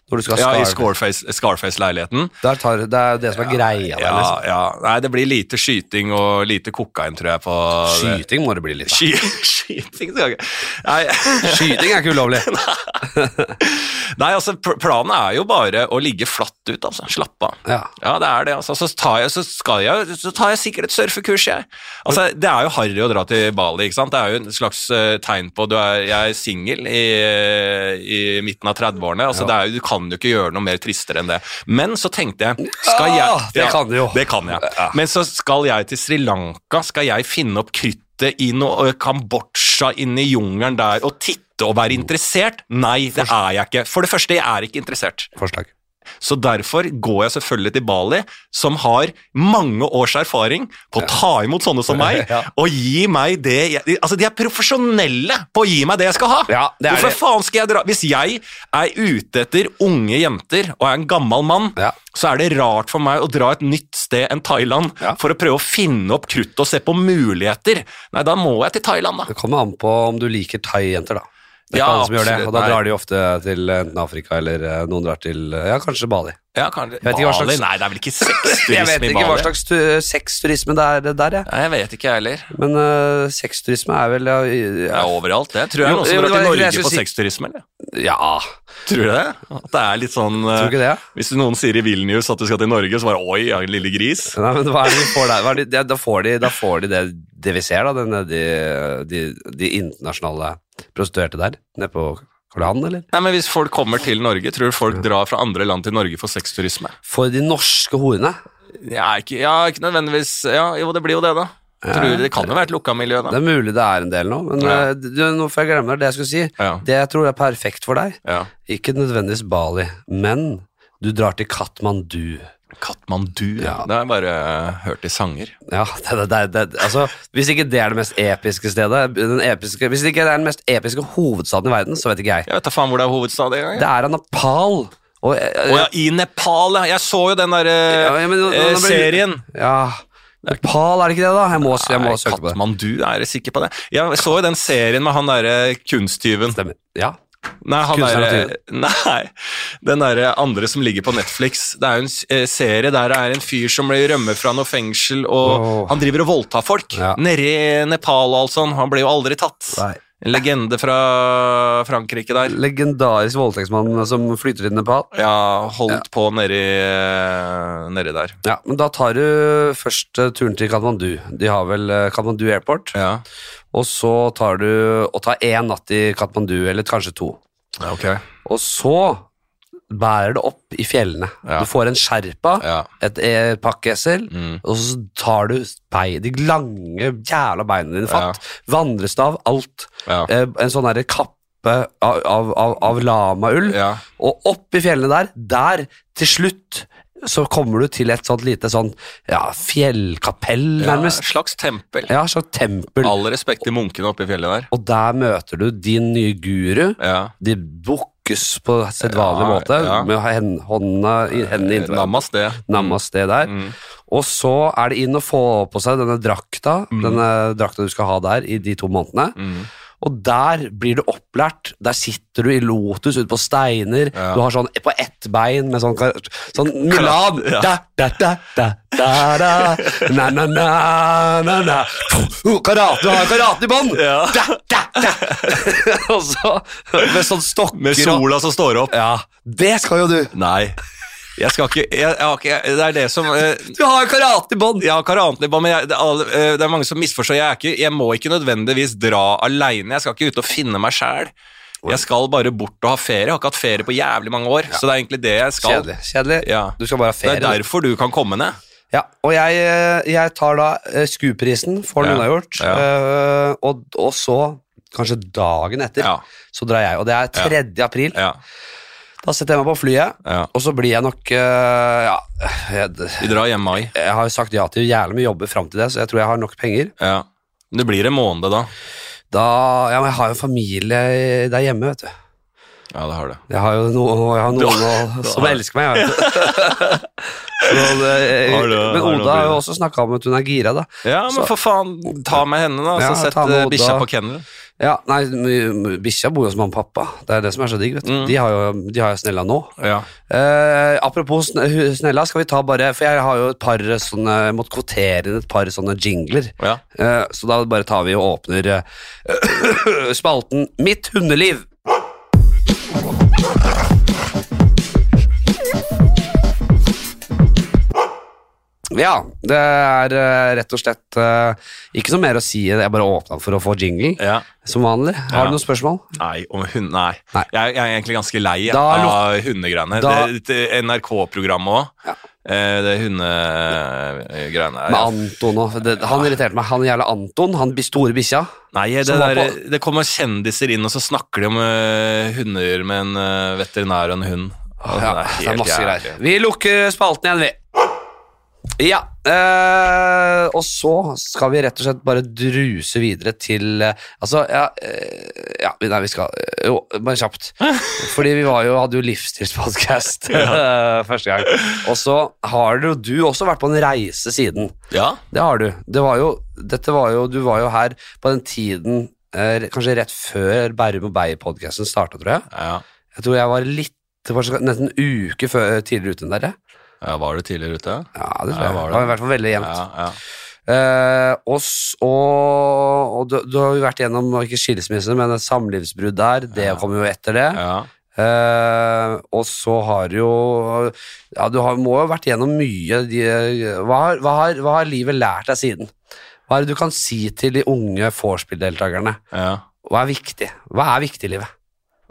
Speaker 1: Når du skal ha
Speaker 2: ja i
Speaker 1: Scarface.
Speaker 2: Scarface- Scarface-leiligheten.
Speaker 1: Der tar, det er jo det som er greia der.
Speaker 2: Ja,
Speaker 1: Liksom.
Speaker 2: ja. Nei, det blir lite skyting og lite kokain, tror jeg, på det.
Speaker 1: Skyting må det bli litt av.
Speaker 2: Sky skyting skal jeg ikke Nei.
Speaker 1: Skyting er ikke ulovlig.
Speaker 2: Nei, altså, pl- planen er jo bare å ligge flatt ut, altså. Slappe av.
Speaker 1: Ja.
Speaker 2: Ja, det er det, altså. Så tar jeg, så skal jeg, så tar jeg sikkert et surfekurs, jeg. Altså, det er jo harry å dra til Bali, ikke sant? Det er jo en slags eh, tegn på du er, jeg er singel i, i midten av 30-årene. Altså, det er jo, du kan kan jo ikke gjøre noe mer tristere enn det. Men så tenkte jeg skal jeg,
Speaker 1: Ah, det kan du jo.
Speaker 2: Det kan jeg. Men så skal jeg til Sri Lanka, skal jeg finne opp kruttet i noe ø, Kambodsja inne i jungelen der og titte og være interessert? Nei, det er jeg ikke. For det første, jeg er ikke interessert.
Speaker 1: Forslag.
Speaker 2: Så derfor går jeg selvfølgelig til Bali, som har mange års erfaring på å ta imot sånne som meg,
Speaker 1: Ja.
Speaker 2: og gi meg det jeg, Altså, de er profesjonelle på å gi meg det jeg skal ha!
Speaker 1: Ja, det er
Speaker 2: Hvorfor
Speaker 1: det.
Speaker 2: faen skal jeg dra Hvis jeg er ute etter unge jenter, og er en gammel mann,
Speaker 1: Ja.
Speaker 2: så er det rart for meg å dra et nytt sted enn Thailand
Speaker 1: Ja.
Speaker 2: for å prøve å finne opp krutt og se på muligheter. Nei, da må jeg til Thailand, da.
Speaker 1: Det kommer an på om du liker thai-jenter, da. Det er
Speaker 2: Ja,
Speaker 1: ikke alle som gjør det,
Speaker 2: absolutt.
Speaker 1: og da
Speaker 2: Nei.
Speaker 1: drar de ofte til eh, enten Afrika eller eh, noen drar til eh, ja, kanskje Bali.
Speaker 2: Ja, kanskje.
Speaker 1: vet ikke hva
Speaker 2: Bali?
Speaker 1: slags-
Speaker 2: Nei, det er vel ikke
Speaker 1: Jeg vet
Speaker 2: sexturisme i
Speaker 1: ikke hva
Speaker 2: Bali?
Speaker 1: slags tu- sexturisme det er det der, jeg.
Speaker 2: Nei, jeg vet ikke, jeg heller.
Speaker 1: Men eh, sexturisme er vel ja, i-
Speaker 2: Det er overalt, det. Tror jeg
Speaker 1: Jo,
Speaker 2: noen som
Speaker 1: jo, det var egentlig det
Speaker 2: drar til
Speaker 1: jeg
Speaker 2: Norge på
Speaker 1: skulle si.
Speaker 2: sexturisme, eller?
Speaker 1: ja,
Speaker 2: Tror du det? At det er litt sånn
Speaker 1: tror du ikke det?
Speaker 2: eh, Hvis noen sier i Vilnius at du skal til Norge, så bare oi, ja, lille gris.
Speaker 1: Nei, men hva er det vi får der? Hva er det, ja, da, får de, da får de det, det vi ser, da, denne, de, de, de internasjonale prostituerte der, nede på Karl Johan, eller?
Speaker 2: Nei, men Hvis folk kommer til Norge, tror du folk drar fra andre land til Norge for sexturisme?
Speaker 1: For de norske horene.
Speaker 2: Ja, ikke, ja, ikke nødvendigvis Ja, jo, det blir jo det, da. Tror du, det kan jo være et lukka miljø,
Speaker 1: Det
Speaker 2: da.
Speaker 1: er mulig det er en del nå, men
Speaker 2: Ja.
Speaker 1: eh, du, nå får jeg glemme det jeg skulle si.
Speaker 2: Ja,
Speaker 1: Det jeg tror er perfekt for deg,
Speaker 2: ja.
Speaker 1: ikke nødvendigvis Bali, men du drar til Katmandu.
Speaker 2: Katmandu, ja.
Speaker 1: Ja.
Speaker 2: Det har jeg bare eh, hørt i sanger.
Speaker 1: Ja, det, det, det, det, altså, hvis ikke det er det mest episke stedet, den episke, hvis ikke det er den mest episke hovedstaden i verden, så vet ikke jeg.
Speaker 2: Jeg vet da faen hvor det er hovedstad engang.
Speaker 1: Det er av Nepal. Og, eh,
Speaker 2: Å ja, i Nepal, ja. Jeg så jo den derre
Speaker 1: Ja, ja, men nå- nå
Speaker 2: eh,
Speaker 1: ble-
Speaker 2: serien.
Speaker 1: Ja, Nepal er det ikke det da? Jeg må, jeg må
Speaker 2: Nei,
Speaker 1: søke på det.
Speaker 2: Katmandu, er jeg sikker på det? Jeg så jo den serien med han derre kunsttyven.
Speaker 1: Stemmer. Ja.
Speaker 2: Nei, han
Speaker 1: Kunstner
Speaker 2: er,
Speaker 1: og
Speaker 2: nei, den derre andre som ligger på Netflix. Det er jo en s- eh, serie der det er en fyr som blir- rømmer fra noe fengsel, og
Speaker 1: Åh.
Speaker 2: han driver og voldtar folk.
Speaker 1: Ja.
Speaker 2: Nede i Nepal og alt sånn. Han ble jo aldri tatt.
Speaker 1: Nei.
Speaker 2: En legende fra Frankrike der.
Speaker 1: Legendarisk voldtektsmann som flyter til Nepal.
Speaker 2: Ja, holdt på nedi nedi der.
Speaker 1: Ja, men da tar du først eh, turen til Kathmandu. De har vel eh, Kathmandu Airport.
Speaker 2: Ja.
Speaker 1: Og så tar du og tar én natt i Kathmandu, eller kanskje to.
Speaker 2: ok.
Speaker 1: Og så bærer det opp i fjellene.
Speaker 2: Ja.
Speaker 1: Du får en sherpa,
Speaker 2: Ja.
Speaker 1: et eh, pakkesel,
Speaker 2: Mm.
Speaker 1: og så tar du bei, de lange jævla beina dine fatt. Vandrestav, alt.
Speaker 2: Ja.
Speaker 1: Eh, en sånn derre kappe av, av, av, av lamaull.
Speaker 2: ja.
Speaker 1: Og opp i fjellene der, der til slutt så kommer du til et sånt lite sånn ja, fjellkapell,
Speaker 2: ja.
Speaker 1: nærmest.
Speaker 2: Slags tempel.
Speaker 1: Ja, sånn tempel.
Speaker 2: All respekt til munkene oppe i fjellet der.
Speaker 1: Og der møter du din nye guru.
Speaker 2: Ja.
Speaker 1: De bukkes på sedvanlig
Speaker 2: Ja,
Speaker 1: måte,
Speaker 2: ja. Eh,
Speaker 1: med hen- hånda, i- hendene inntil hverandre.
Speaker 2: Namaste.
Speaker 1: Namaste der.
Speaker 2: Mm.
Speaker 1: Og så er det inn å få på seg denne drakta, denne drakta du skal ha der i de to månedene.
Speaker 2: Mm.
Speaker 1: Og der blir du opplært. Der sitter du i lotus ute på steiner.
Speaker 2: Ja.
Speaker 1: Du har sånn på ett bein med sånn, kar- sånn Mulan!
Speaker 2: Ja.
Speaker 1: Da, da, da, da, da, da. Na, na, na, na, na. Oh, Karate, du har karate i bånn!
Speaker 2: Ja.
Speaker 1: Da, da, da. Og så med sånn stokker
Speaker 2: Mm. Med
Speaker 1: og
Speaker 2: sola som står opp.
Speaker 1: Ja, det skal jo du!
Speaker 2: Nei. Jeg skal ikke jeg, jeg, har ikke- Det er det som eh,
Speaker 1: Du har jo karate i bånn!
Speaker 2: Jeg har karantenebånd, men jeg, det, er alle- eh, det er mange som misforstår. Jeg, er ikke, jeg må ikke nødvendigvis dra aleine. Jeg skal ikke ut og finne meg sjæl. Jeg skal bare bort og ha ferie. Jeg har ikke hatt ferie på jævlig mange år. Så det er egentlig det jeg skal.
Speaker 1: Kjedelig. kjedelig.
Speaker 2: Ja.
Speaker 1: Du skal bare ha
Speaker 2: Det er
Speaker 1: ferie.
Speaker 2: derfor du kan komme ned.
Speaker 1: Ja, og jeg, eh, jeg tar da eh, SKU-prisen, får den
Speaker 2: Ja,
Speaker 1: unnagjort,
Speaker 2: ja.
Speaker 1: eh, og, og så, kanskje dagen etter,
Speaker 2: Ja,
Speaker 1: så drar jeg, og det er 3. april.
Speaker 2: ja,
Speaker 1: Da setter jeg meg på flyet,
Speaker 2: ja.
Speaker 1: og så blir jeg nok, eh, ja, jeg,
Speaker 2: Vi drar hjemme i mai.
Speaker 1: jeg har jo sagt ja til jævlig mye jobber frem til det, så jeg tror jeg har nok penger.
Speaker 2: Ja. Det blir en måned, da.
Speaker 1: Da, ja, men jeg har jo familie i- der hjemme, vet du.
Speaker 2: Ja, det har det.
Speaker 1: Jeg har jo noen, jeg har noen å- som elsker meg, jeg vet du. Så det-
Speaker 2: Har du-
Speaker 1: men
Speaker 2: har du
Speaker 1: Oda har jo
Speaker 2: noe
Speaker 1: også snakket om at hun er gira da.
Speaker 2: Ja, men
Speaker 1: Så-
Speaker 2: for faen, ta med henne, da.
Speaker 1: Ja,
Speaker 2: Så sett
Speaker 1: ta med
Speaker 2: eh,
Speaker 1: Oda.
Speaker 2: bikkja på kennelen.
Speaker 1: Ja, nei, m- m- bikkja bor jo hos mamma og pappa. Det er det som er så digg, vet du.
Speaker 2: Mm.
Speaker 1: De har jo, de har jo snella nå.
Speaker 2: Ja.
Speaker 1: Eh, apropos sn- hu- snella, skal vi ta bare For jeg har jo et par sånne Jeg måtte kvotere inn et par sånne jingler.
Speaker 2: ja.
Speaker 1: Eh, så da bare tar vi og åpner eh, spalten Mitt hundeliv. Ja, det er eh, rett og slett eh, ikke noe mer å si. Jeg bare åpna for å få jingle,
Speaker 2: Ja.
Speaker 1: som vanlig.
Speaker 2: Ja.
Speaker 1: Har du noen spørsmål?
Speaker 2: Nei, om hund, nei.
Speaker 1: Nei.
Speaker 2: Jeg, jeg er egentlig ganske lei
Speaker 1: Da lo-
Speaker 2: av hundegreiene.
Speaker 1: Da-
Speaker 2: Det, det NRK-programmet òg.
Speaker 1: Ja.
Speaker 2: Det hundegreiene
Speaker 1: Med
Speaker 2: der.
Speaker 1: Anton og det, Han irriterte meg. Han jævla Anton, han bi- store bikkja.
Speaker 2: Nei, det,
Speaker 1: Som var
Speaker 2: der,
Speaker 1: på-
Speaker 2: det kommer kjendiser inn, og så snakker de om eh, hunder med en eh, veterinær og en hund. Og
Speaker 1: Ja,
Speaker 2: helt
Speaker 1: det er masse
Speaker 2: jævlig.
Speaker 1: greier. Vi lukker spalten igjen, vi. Ja. eh, og så skal vi rett og slett bare druse videre til eh, Altså, ja, eh, ja vi- Nei, vi skal eh, Jo, bare kjapt. Fordi vi var jo, hadde jo livsstilspodkast eh, første gang. Og så har du, du også vært på en reise siden.
Speaker 2: Ja,
Speaker 1: Det har du. Det var jo, dette var jo, du var jo her på den tiden eh, Kanskje rett før Bærum og Beyer-podkasten starta, tror jeg.
Speaker 2: ja.
Speaker 1: Jeg tror jeg var litt det var så- nesten en uke før, eh, tidligere ute enn dere.
Speaker 2: ja. Var du tidligere ute?
Speaker 1: Ja, det tror
Speaker 2: Ja,
Speaker 1: jeg.
Speaker 2: var
Speaker 1: Var
Speaker 2: det.
Speaker 1: det. var i hvert fall veldig
Speaker 2: Ja,
Speaker 1: jevnt.
Speaker 2: ja.
Speaker 1: Eh, og s- og, og du, du har jo vært gjennom og ikke skilsmisse, men et samlivsbrudd der. Det
Speaker 2: Ja.
Speaker 1: kom jo etter det.
Speaker 2: ja.
Speaker 1: Eh, og så har jo Ja, du har, må jo ha vært gjennom mye. De, hva, har, hva, har, hva har livet lært deg siden? Hva er det du kan si til de unge vorspiel-deltakerne?
Speaker 2: ja.
Speaker 1: Hva er viktig? Hva er viktig i livet?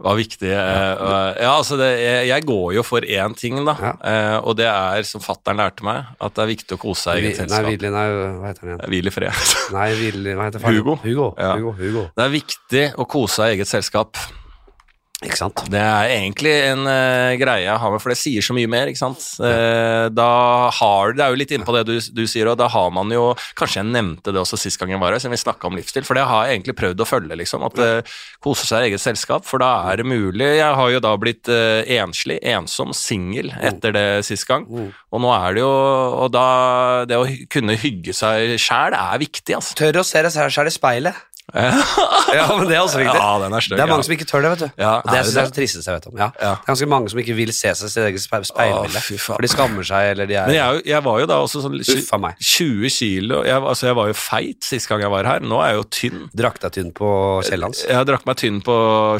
Speaker 2: var viktig. eh, og- Ja, altså det, jeg, jeg går jo for én ting, da. Eh, Og det er, som fattern lærte meg, at det er viktig å kose seg i
Speaker 1: Vi,
Speaker 2: eget
Speaker 1: nei,
Speaker 2: selskap.
Speaker 1: Willy, nei, hva heter han igjen?
Speaker 2: Hvil i fred.
Speaker 1: Nei, Willy, hva heter faren?
Speaker 2: Hugo.
Speaker 1: Hugo,
Speaker 2: Ja.
Speaker 1: Hugo, Hugo.
Speaker 2: Det er viktig å kose seg i eget selskap.
Speaker 1: Ikke sant?
Speaker 2: Det er egentlig en eh, greie jeg har med, for det sier så mye mer, ikke sant. Eh, da har Det er jo litt innpå det du, du sier, og da har man jo Kanskje jeg nevnte det også sist gang jeg var her, siden vi snakka om livsstil, for det har jeg egentlig prøvd å følge, liksom. At eh, kose seg i eget selskap, for da er det mulig. Jeg har jo da blitt eh, enslig, ensom, singel etter det sist gang.
Speaker 1: Mm.
Speaker 2: Og nå er det jo Og da Det å hy- kunne hygge seg sjæl er viktig, altså.
Speaker 1: Tør å se deg selv i speilet. Ja, men det er også viktig.
Speaker 2: Ja, den er stygg.
Speaker 1: det er
Speaker 2: ja.
Speaker 1: mange som ikke tør det, vet du.
Speaker 2: Ja,
Speaker 1: Og det
Speaker 2: er
Speaker 1: synes
Speaker 2: det
Speaker 1: jeg er det tristeste jeg vet om. Ja.
Speaker 2: Ja.
Speaker 1: Det er ganske mange som ikke vil se seg i sitt eget speil- speilbilde.
Speaker 2: Å, fy faen.
Speaker 1: for de skammer seg, eller de er
Speaker 2: Men jeg, er jo- jeg var jo da også sånn
Speaker 1: Uff a meg.
Speaker 2: 20 kilo jeg, var- Altså jeg var jo feit sist gang jeg var her Nå er jeg jo tynn
Speaker 1: Drakk deg tynn på kjellet hans.
Speaker 2: Jeg drakk meg tynn på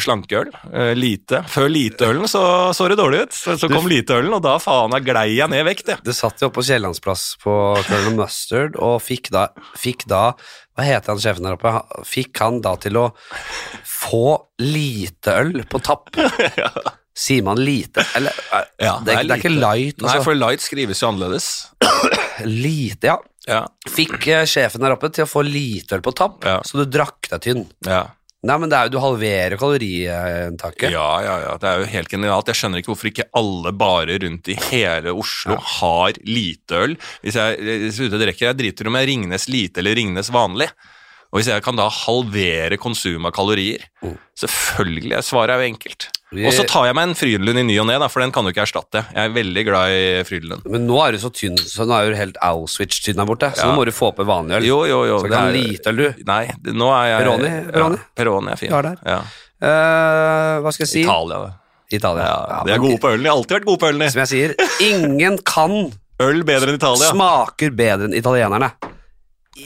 Speaker 2: slankeøl eh, Lite Før liteølen så så det dårlig ut Så, så kom liteølen Og da faen jeg glei jeg ned vekt jeg.
Speaker 1: Du satt jo oppe på Kiellandsplass på Colonel Mustard og fikk da, fikk da Hva heter han sjefen der oppe? Han- Fikk han da til å få lite øl på tapp? Sier man lite? Eller er-
Speaker 2: Ja,
Speaker 1: det, er, det er ikke light,
Speaker 2: Nei,
Speaker 1: altså.
Speaker 2: for light skrives jo annerledes
Speaker 1: Lite, ja.
Speaker 2: Ja,
Speaker 1: Fikk eh, sjefen der oppe til å få lite øl på tapp,
Speaker 2: Ja.
Speaker 1: så du drakk deg tynn.
Speaker 2: ja
Speaker 1: Nei, men det er jo, du halverer kaloriinntaket.
Speaker 2: Ja, ja, ja, det er jo helt genialt. Jeg skjønner ikke hvorfor ikke alle barer rundt i hele Oslo har liteøl. Hvis jeg er ute og drikker, jeg driter om jeg Ringnes lite eller Ringnes vanlig. Og hvis jeg kan da halvere konsum av kalorier
Speaker 1: Mm.
Speaker 2: Selvfølgelig, jeg svaret er jo enkelt.
Speaker 1: Vi-
Speaker 2: Og så tar jeg meg en Frydenlund i ny og ne, da, for den kan du ikke erstatte. Jeg er veldig glad i Frydenlund.
Speaker 1: Men nå er du så tynn, så nå er du helt Auschwitz-tynn der borte, så
Speaker 2: Ja.
Speaker 1: nå må du få opp en vanlig øl.
Speaker 2: Jo, jo, jo.
Speaker 1: så du kan ha
Speaker 2: det er-
Speaker 1: lite øl, du.
Speaker 2: Nei, det- nå er jeg
Speaker 1: Peroni, Peroni?
Speaker 2: Ja, Peroni er fin.
Speaker 1: Ja, det
Speaker 2: Ja.
Speaker 1: Eh, hva skal jeg si?
Speaker 2: Italia, det.
Speaker 1: Italia.
Speaker 2: Ja,
Speaker 1: Ja,
Speaker 2: de er
Speaker 1: men-
Speaker 2: gode på ølen. De har alltid vært gode på ølen. de.
Speaker 1: Som jeg sier, ingen kan
Speaker 2: Øl bedre enn Italia.
Speaker 1: smaker bedre enn italienerne.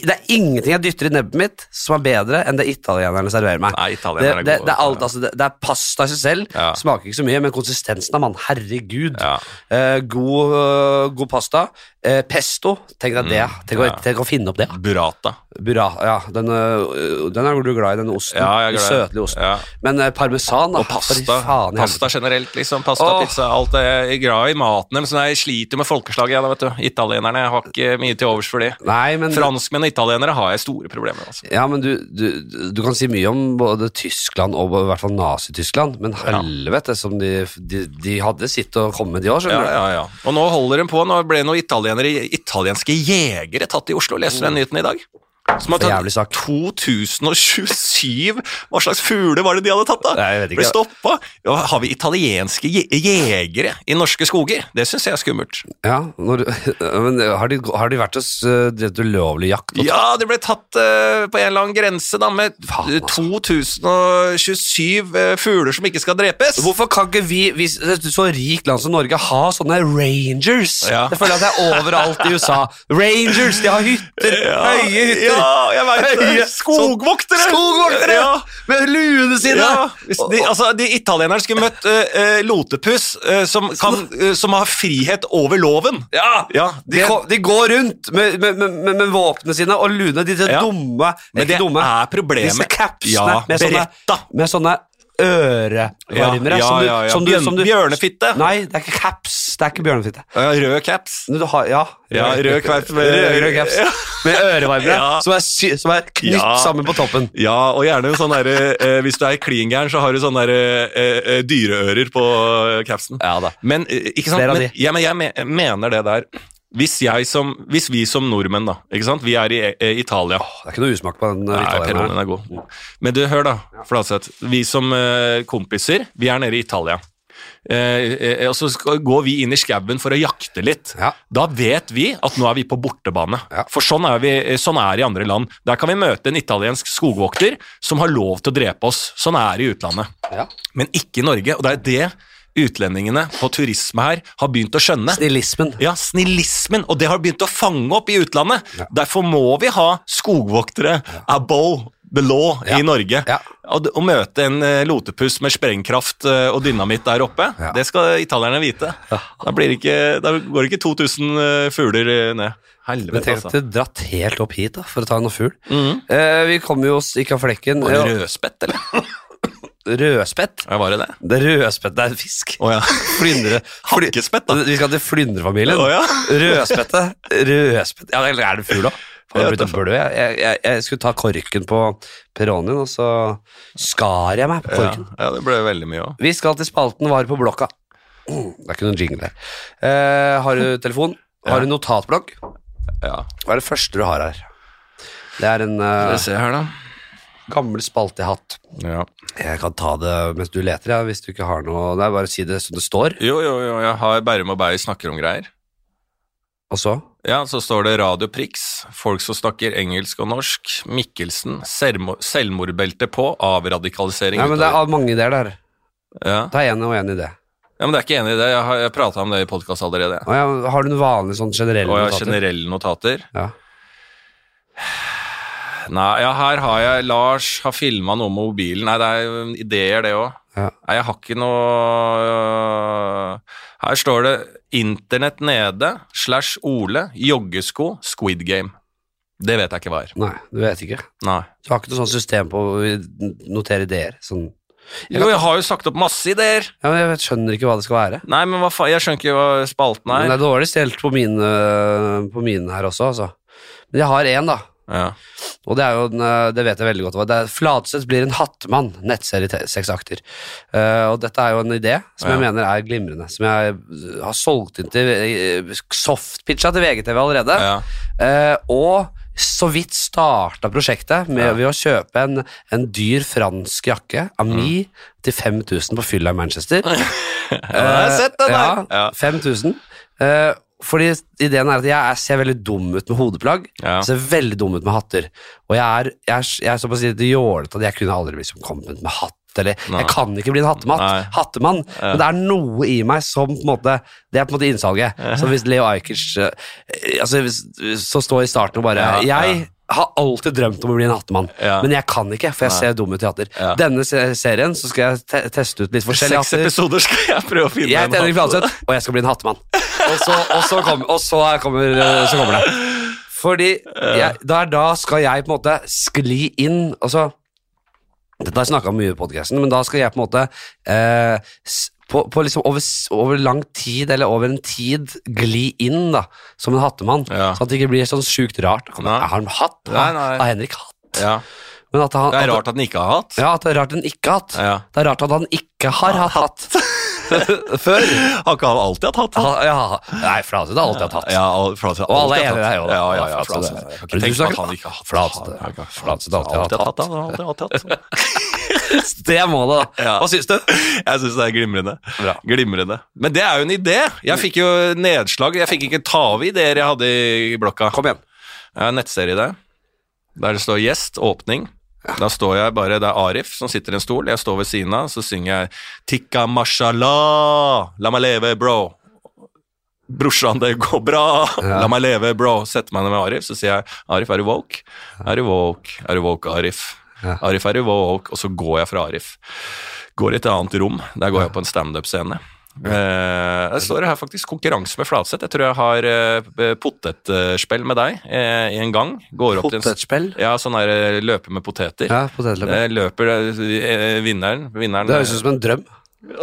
Speaker 1: Det er ingenting jeg dytter i nebbet mitt som er bedre enn det italienerne serverer meg.
Speaker 2: Nei,
Speaker 1: Det,
Speaker 2: italienere
Speaker 1: det,
Speaker 2: gode.
Speaker 1: det, er alt, altså, det, det er pasta i seg selv,
Speaker 2: Ja.
Speaker 1: smaker ikke så mye, men konsistensen av mann, herregud.
Speaker 2: Ja.
Speaker 1: Eh, god, eh, god pasta. Eh, pesto, tenk deg det. Tenk,
Speaker 2: Mm, ja.
Speaker 1: å, tenk å finne opp det.
Speaker 2: Burrata.
Speaker 1: Burra, ja, den, eh, den er du glad i, den osten.
Speaker 2: Ja, jeg
Speaker 1: Den
Speaker 2: er glad i den.
Speaker 1: søtlige osten.
Speaker 2: Ja.
Speaker 1: Men eh, parmesan, da.
Speaker 2: Og pasta.
Speaker 1: for faen i helvete.
Speaker 2: Pasta generelt, liksom. Pasta,
Speaker 1: Åh.
Speaker 2: pizza, alt. Jeg er glad i maten deres. men sånn, Jeg sliter med folkeslaget, jeg, da, vet du. Italienerne jeg har ikke mye til overs for de.
Speaker 1: Nei, men
Speaker 2: Franskmenn og italienere har jeg store problemer med. Altså.
Speaker 1: Ja, men du, du, du kan si mye om både Tyskland og i hvert fall Nazi-Tyskland, men helvete som de, de, de hadde sitt å komme med de år,
Speaker 2: Ja,
Speaker 1: skjønner du.
Speaker 2: ja, ja. Og nå holder de på. Nå ble noen italienere, italienske jegere tatt i Oslo. Leser du den nyheten i dag? Som har
Speaker 1: For
Speaker 2: tatt
Speaker 1: Oh. jævlig sak.
Speaker 2: 2027 Hva slags fugler var det de hadde tatt, da?
Speaker 1: Nei, jeg vet ikke.
Speaker 2: Ble stoppa. Ja, har vi italienske je jegere i norske skoger? Det syns jeg er skummelt.
Speaker 1: Ja, når, men har de, har de vært hos øh, drevet ulovlig jakt? og-
Speaker 2: Ja, det ble tatt eh, på en eller annen grense da, med
Speaker 1: Faen, altså.
Speaker 2: 2027 eh, fugler som ikke skal drepes.
Speaker 1: Hvorfor kan ikke vi, hvis et så rikt land som Norge, ha sånne rangers?
Speaker 2: Ja.
Speaker 1: Jeg føler at det er overalt i USA. Rangers, de har hytter, høye hytter
Speaker 2: ja, Ja, jeg vet
Speaker 1: Høye.
Speaker 2: det. Skogvoktere!
Speaker 1: Skogvoktere!
Speaker 2: Ja.
Speaker 1: Med luene sine!
Speaker 2: Ja, hvis de, altså, de italienerne skulle møtt eh, eh, Lotepus, eh, som, kan, eh, som har frihet over loven.
Speaker 1: Ja!
Speaker 2: Ja,
Speaker 1: De,
Speaker 2: det-
Speaker 1: ko- de går rundt med, med, med, med, med våpnene sine og luene. De er
Speaker 2: Ja.
Speaker 1: dumme.
Speaker 2: Men det
Speaker 1: ikke dumme.
Speaker 2: er problemet.
Speaker 1: Disse capsene
Speaker 2: Ja,
Speaker 1: med, sånne,
Speaker 2: beretta.
Speaker 1: med sånne ørevarmere.
Speaker 2: Ja,
Speaker 1: som du-
Speaker 2: ja, ja, ja.
Speaker 1: som du-
Speaker 2: Bjørn-
Speaker 1: som du-
Speaker 2: bjørnefitte.
Speaker 1: Nei, det er ikke caps. Det er ikke bjørnefitte.
Speaker 2: Ja, Rød caps.
Speaker 1: Men Du har, ja,
Speaker 2: Ja, rød caps med-
Speaker 1: med, rød caps
Speaker 2: Ja.
Speaker 1: med ørevarmere
Speaker 2: Ja.
Speaker 1: som, er sy som er knytt
Speaker 2: Ja.
Speaker 1: sammen på toppen.
Speaker 2: Ja, og gjerne en sånn derre eh, Hvis du er klingæren, så har du sånne derre eh, eh, dyreører på eh, capsen.
Speaker 1: Ja da.
Speaker 2: Men eh, ikke sant?
Speaker 1: Flere av
Speaker 2: Men,
Speaker 1: de.
Speaker 2: ja, men jeg me mener det der hvis, jeg som, hvis vi som nordmenn, da ikke sant? Vi er i eh, Italia.
Speaker 1: Det er ikke noe usmak på den. eh,
Speaker 2: Nei,
Speaker 1: italieneren.
Speaker 2: Peronien er god. Men du, hør da, Flatseth. Vi som eh, kompiser, vi er nede i Italia. Eh, eh, og så skal, går vi inn i skauen for å jakte litt.
Speaker 1: Ja.
Speaker 2: Da vet vi at nå er vi på bortebane.
Speaker 1: Ja.
Speaker 2: For sånn er, vi, eh, sånn er det i andre land. Der kan vi møte en italiensk skogvokter som har lov til å drepe oss. Sånn er det i utlandet.
Speaker 1: Ja.
Speaker 2: Men ikke i Norge. Og det er det utlendingene på turisme her har begynt å skjønne.
Speaker 1: Snillismen.
Speaker 2: Ja, snillismen, og det har begynt å fange opp i utlandet.
Speaker 1: Ja.
Speaker 2: Derfor må vi ha skogvoktere above the law
Speaker 1: Ja.
Speaker 2: i Norge.
Speaker 1: Ja.
Speaker 2: Og, d- å møte en eh, lotepus med sprengkraft eh, og dynamitt der oppe,
Speaker 1: Ja.
Speaker 2: det skal italierne vite. Da, blir det ikke, da går det ikke 2000 eh, fugler eh, ned.
Speaker 1: Men
Speaker 2: Helvete,
Speaker 1: tenk at
Speaker 2: altså.
Speaker 1: du dratt helt opp hit da, for å ta noe fugl.
Speaker 2: Mhm.
Speaker 1: Eh, vi kom jo oss ikke av flekken.
Speaker 2: Var det
Speaker 1: Ja,
Speaker 2: rødspett, eller?
Speaker 1: Rødspett?
Speaker 2: Ja, var det det?
Speaker 1: Det er rødspett, det er en fisk.
Speaker 2: Å ja.
Speaker 1: Flyndre. Fly,
Speaker 2: Hakkespett, da.
Speaker 1: vi skal til flyndrefamilien.
Speaker 2: Å ja.
Speaker 1: Rødspette. Rødspett. Ja, eller er det fugl, da? Faen, Jeg,
Speaker 2: Jeg vet
Speaker 1: ble
Speaker 2: det.
Speaker 1: blød. jeg, jeg, jeg, jeg skulle ta korken på peronien, og så skar jeg meg på
Speaker 2: Ja,
Speaker 1: korken.
Speaker 2: ja, det ble veldig mye òg.
Speaker 1: Vi skal til spalten Vare på blokka. Det er ikke noen jingle her. Eh, har du telefon? Har du notatblokk?
Speaker 2: Ja.
Speaker 1: Hva er det første du har her? Det er en
Speaker 2: Skal
Speaker 1: eh,
Speaker 2: vi se her, da.
Speaker 1: gammel spalte jeg har hatt.
Speaker 2: Ja.
Speaker 1: Jeg kan ta det mens du leter, ja, hvis du ikke har noe. Det er bare å si det som det står,
Speaker 2: Jo, jo, jo, jeg har Bærum og Beyer snakker om greier.
Speaker 1: og så
Speaker 2: Ja, så står det Radio Prix, folk som snakker engelsk og norsk, Mikkelsen, selvmo- selvmordbelte på, avradikalisering
Speaker 1: Nei, men det
Speaker 2: utover.
Speaker 1: er mange ideer der.
Speaker 2: ja.
Speaker 1: Ta en og en idé.
Speaker 2: ja, men det er ikke enig i det, jeg har jeg prata om det i podkast allerede.
Speaker 1: Å ja, har du noen vanlige sånn generelle
Speaker 2: Og jeg har
Speaker 1: notater?
Speaker 2: generelle notater.
Speaker 1: Ja.
Speaker 2: Nei, ja, her har jeg Lars har filma noe med mobilen. Nei, det er jo ideer, det òg.
Speaker 1: Ja.
Speaker 2: Nei, jeg har ikke noe øh, Her står det 'Internett nede' slash Ole, joggesko, Squid Game. Det vet jeg ikke hva er.
Speaker 1: Nei, du vet ikke.
Speaker 2: Nei.
Speaker 1: Du har ikke noe sånt system på å notere ideer? Sånn.
Speaker 2: Jo, jeg har jo sagt opp masse ideer.
Speaker 1: Ja, men jeg vet, skjønner ikke hva det skal være.
Speaker 2: Nei, men hva faen, jeg skjønner ikke hva spalten
Speaker 1: Men det
Speaker 2: er.
Speaker 1: er dårlig stelt på mine, på mine her også, altså. Men jeg har én, da.
Speaker 2: Ja.
Speaker 1: Og det er jo den, eh, det vet jeg veldig godt hva det er. Fladseth blir en hattmann, nettserie til seks akter. Eh, og dette er jo en idé som jeg
Speaker 2: Ja.
Speaker 1: mener er glimrende. Som jeg eh, har solgt inn til eh, softpitcha til VGTV allerede.
Speaker 2: Ja.
Speaker 1: Eh, og så vidt starta prosjektet med,
Speaker 2: Ja.
Speaker 1: ved å kjøpe en, en dyr fransk jakke, Ami, til 5000 på fylla i Manchester.
Speaker 2: Ja, jeg har sett den der.
Speaker 1: Ja,
Speaker 2: Ja.
Speaker 1: 5000. Eh, fordi ideen er at jeg er- ser veldig dum ut med hodeplagg,
Speaker 2: Ja.
Speaker 1: ser veldig dum ut med hatter. Og jeg er, jeg er, jeg er såpass litt jålete at jeg kunne aldri blitt som kommet med hatt. Eller,
Speaker 2: Nei.
Speaker 1: jeg kan ikke bli en hattematt,
Speaker 2: Nei.
Speaker 1: hattemann, men det er noe i meg som på en måte Det er på en måte innsalget. Så hvis Leo Ajkic eh, altså, hvis- Så står i starten og bare
Speaker 2: Ja,
Speaker 1: Jeg har alltid drømt om å bli en hattemann,
Speaker 2: Ja.
Speaker 1: men jeg kan ikke, for jeg ser dum ut i hatter.
Speaker 2: Ja.
Speaker 1: Denne se- serien så skal jeg te teste ut litt forskjellige
Speaker 2: Seks
Speaker 1: hatter.
Speaker 2: episoder skal jeg prøve å finne
Speaker 1: Jeg heter Henrik
Speaker 2: en hatt.
Speaker 1: Fladseth, og jeg skal bli en hattemann. Og så, og så, kom, og så, er- kommer, eh, så kommer det. Fordi jeg, der, da skal jeg på en måte skli inn altså, Dette har jeg snakka om mye i podkasten, men da skal jeg på en måte eh, s- på, på liksom over, s- over lang tid, eller over en tid, gli inn da, som en hattemann.
Speaker 2: Ja.
Speaker 1: Sånn at det ikke blir sånn sjukt rart. Kommer,
Speaker 2: Nei.
Speaker 1: jeg har en hatt.
Speaker 2: Nei, nei.
Speaker 1: Har Henrik hatt?
Speaker 2: Ja.
Speaker 1: Men at han,
Speaker 2: Det er
Speaker 1: at-
Speaker 2: rart at den ikke har hatt.
Speaker 1: Ja, at det er rart den ikke har hatt.
Speaker 2: Ja.
Speaker 1: Det er rart at han ikke har hatt hatt før.
Speaker 2: Har ikke han alltid hatt hatt?
Speaker 1: Ha, ja, nei, Fladseth har alltid hatt hatt.
Speaker 2: Ja, og Flatseth
Speaker 1: Og
Speaker 2: har
Speaker 1: alle er
Speaker 2: alltid
Speaker 1: enige
Speaker 2: hatt.
Speaker 1: der, jo da.
Speaker 2: Ja, ja,
Speaker 1: Ja,
Speaker 2: ja,
Speaker 1: Flatseth.
Speaker 2: Flatseth.
Speaker 1: Men
Speaker 2: Jeg kan
Speaker 1: du
Speaker 2: ikke
Speaker 1: snakker-
Speaker 2: tenke på at han ikke har hatt
Speaker 1: Flatseth.
Speaker 2: hatt. Han har ikke hatt-
Speaker 1: Flatseth har alltid hatt hatt.
Speaker 2: hatt. han har alltid hatt hatt.
Speaker 1: Det må det, da.
Speaker 2: Ja.
Speaker 1: Hva syns du?
Speaker 2: Jeg syns det er glimrende.
Speaker 1: Bra.
Speaker 2: Glimrende. Men det er jo en idé! Jeg fikk jo nedslag. Jeg fikk ikke ta av ideer jeg hadde i blokka.
Speaker 1: Kom igjen.
Speaker 2: Jeg har en nettserie der, der det står 'gjest', åpning. Da står jeg bare, Det er Arif som sitter i en stol, jeg står ved siden av, så synger jeg 'Tikka mashallah, la meg leve, bro'. 'Brorsan, det går bra! La meg leve, bro!' Setter meg ned med Arif, så sier jeg 'Arif, er du woke?' 'Er du woke? Er du woke, Arif?'
Speaker 1: Ja.
Speaker 2: 'Arif, er du woke?' Og så går jeg fra Arif. Går i et annet rom. Der går jeg på en standup-scene. Eh, jeg står her faktisk konkurranse med Flatseth. Jeg tror jeg har eh, potetspill med deg eh, en gang. Går opp til en
Speaker 1: Potetspill?
Speaker 2: ja, sånn der eh, løpe med poteter.
Speaker 1: Ja, potetløp.
Speaker 2: Eh, Løper eh, vinneren, vinneren eh,
Speaker 1: Det høres ut som en drøm.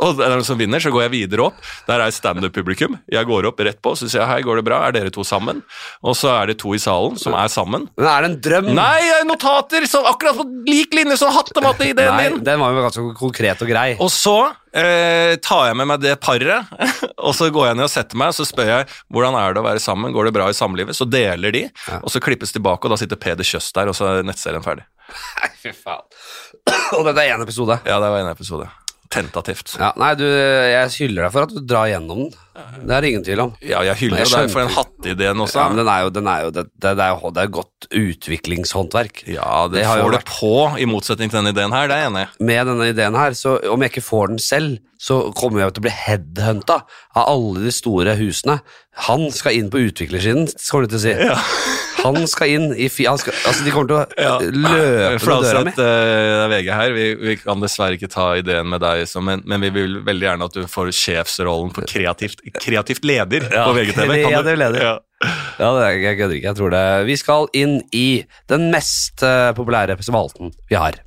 Speaker 2: og er det noen som vinner, så går jeg videre opp. Der er standup-publikum. Jeg går opp rett på, så sier jeg hei, går det bra, er dere to sammen? Og så er det to i salen som er sammen.
Speaker 1: Men er det en drøm?
Speaker 2: Nei, jeg har notater! Så akkurat på lik linje som hattematte-ideen
Speaker 1: Nei,
Speaker 2: din!
Speaker 1: den var jo ganske konkret og grei.
Speaker 2: Og så eh, tar jeg med meg det paret, og så går jeg ned og setter meg, og så spør jeg hvordan er det å være sammen, går det bra i samlivet? Så deler de, og så klippes tilbake, og da sitter Peder Kjøs der, og så er nettserien ferdig.
Speaker 1: Nei, fy faen. Og dette er én episode.
Speaker 2: Ja, det var en episode. Tentativt.
Speaker 1: Ja, nei, du, jeg hyller deg for at du drar gjennom den. Det er det ingen tvil om.
Speaker 2: Ja, jeg hyller
Speaker 1: Jeg
Speaker 2: jo deg for
Speaker 1: skjønte
Speaker 2: den hatteideen også.
Speaker 1: Ja, men den er jo, den er jo, det, det, det er jo det er godt utviklingshåndverk.
Speaker 2: Ja, det,
Speaker 1: Det har jo
Speaker 2: får det på, i motsetning til den ideen her, det er jeg enig i.
Speaker 1: Med denne ideen her, så om jeg ikke får den selv, så kommer jeg til å bli headhunta av alle de store husene. Han skal inn på utviklersiden, kommer de til å si. Han skal inn i fi... Han skal, altså, de kommer til å løpe på døra mi.
Speaker 2: Fladseth, eh, det er VG her, vi, vi kan dessverre ikke ta ideen med deg, så, men, men vi vil veldig gjerne at du får sjefsrollen på kreativt, kreativt leder på VGTV. Kan du-
Speaker 1: kreativ leder.
Speaker 2: Ja.
Speaker 1: Ja, det er, jeg kødder ikke. Jeg tror det. Vi skal inn i den mest eh, populære spalten vi har.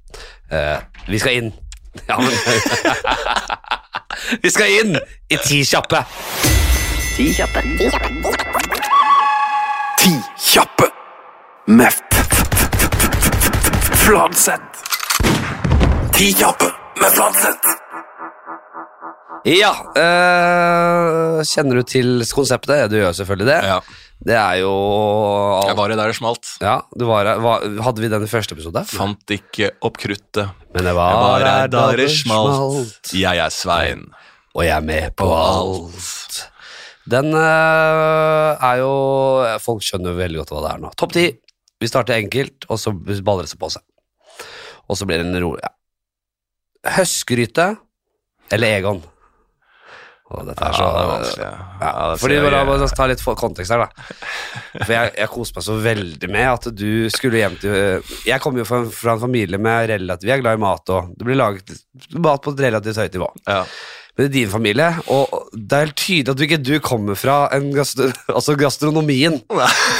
Speaker 1: Eh, vi skal inn Ja, men Vi skal inn i Ti kjappe.
Speaker 4: Ti kjappe.
Speaker 5: Ti kjappe med f- f- f- f- f- f- Fladseth. Ti kjappe med Fladseth.
Speaker 1: Ja. eh, kjenner du til konseptet? Du gjør selvfølgelig det.
Speaker 2: Ja.
Speaker 1: Det er jo
Speaker 2: Jeg var i der det smalt.
Speaker 1: Ja, du var, var, Hadde vi den i første episode?
Speaker 2: Fant ikke opp kruttet.
Speaker 1: Men det
Speaker 2: Jeg
Speaker 1: var,
Speaker 2: var
Speaker 1: her
Speaker 2: i der det smalt. Jeg er Svein.
Speaker 1: Og jeg er med på alt. Den eh, er jo Folk skjønner jo veldig godt hva det er nå. Topp ti. Vi starter enkelt, og så baller det seg på seg. Og så blir det en rolig ja. Høstgryte eller Egon? Å, dette er så
Speaker 2: Ja, det er vanskelig.
Speaker 1: ja,
Speaker 2: Ja, det
Speaker 1: fordi
Speaker 2: ser
Speaker 1: bare,
Speaker 2: jeg-
Speaker 1: bare ta litt for- kontekst her, da. For jeg, jeg koste meg så veldig med at du skulle hjem til eh, Jeg kommer jo fra, fra en familie med relativt Vi er glad i mat, og det blir laget mat på et relativt høyt nivå.
Speaker 2: Ja.
Speaker 1: Men i din familie, og det er helt tydelig at du ikke du kommer fra en gastro, altså gastronomien.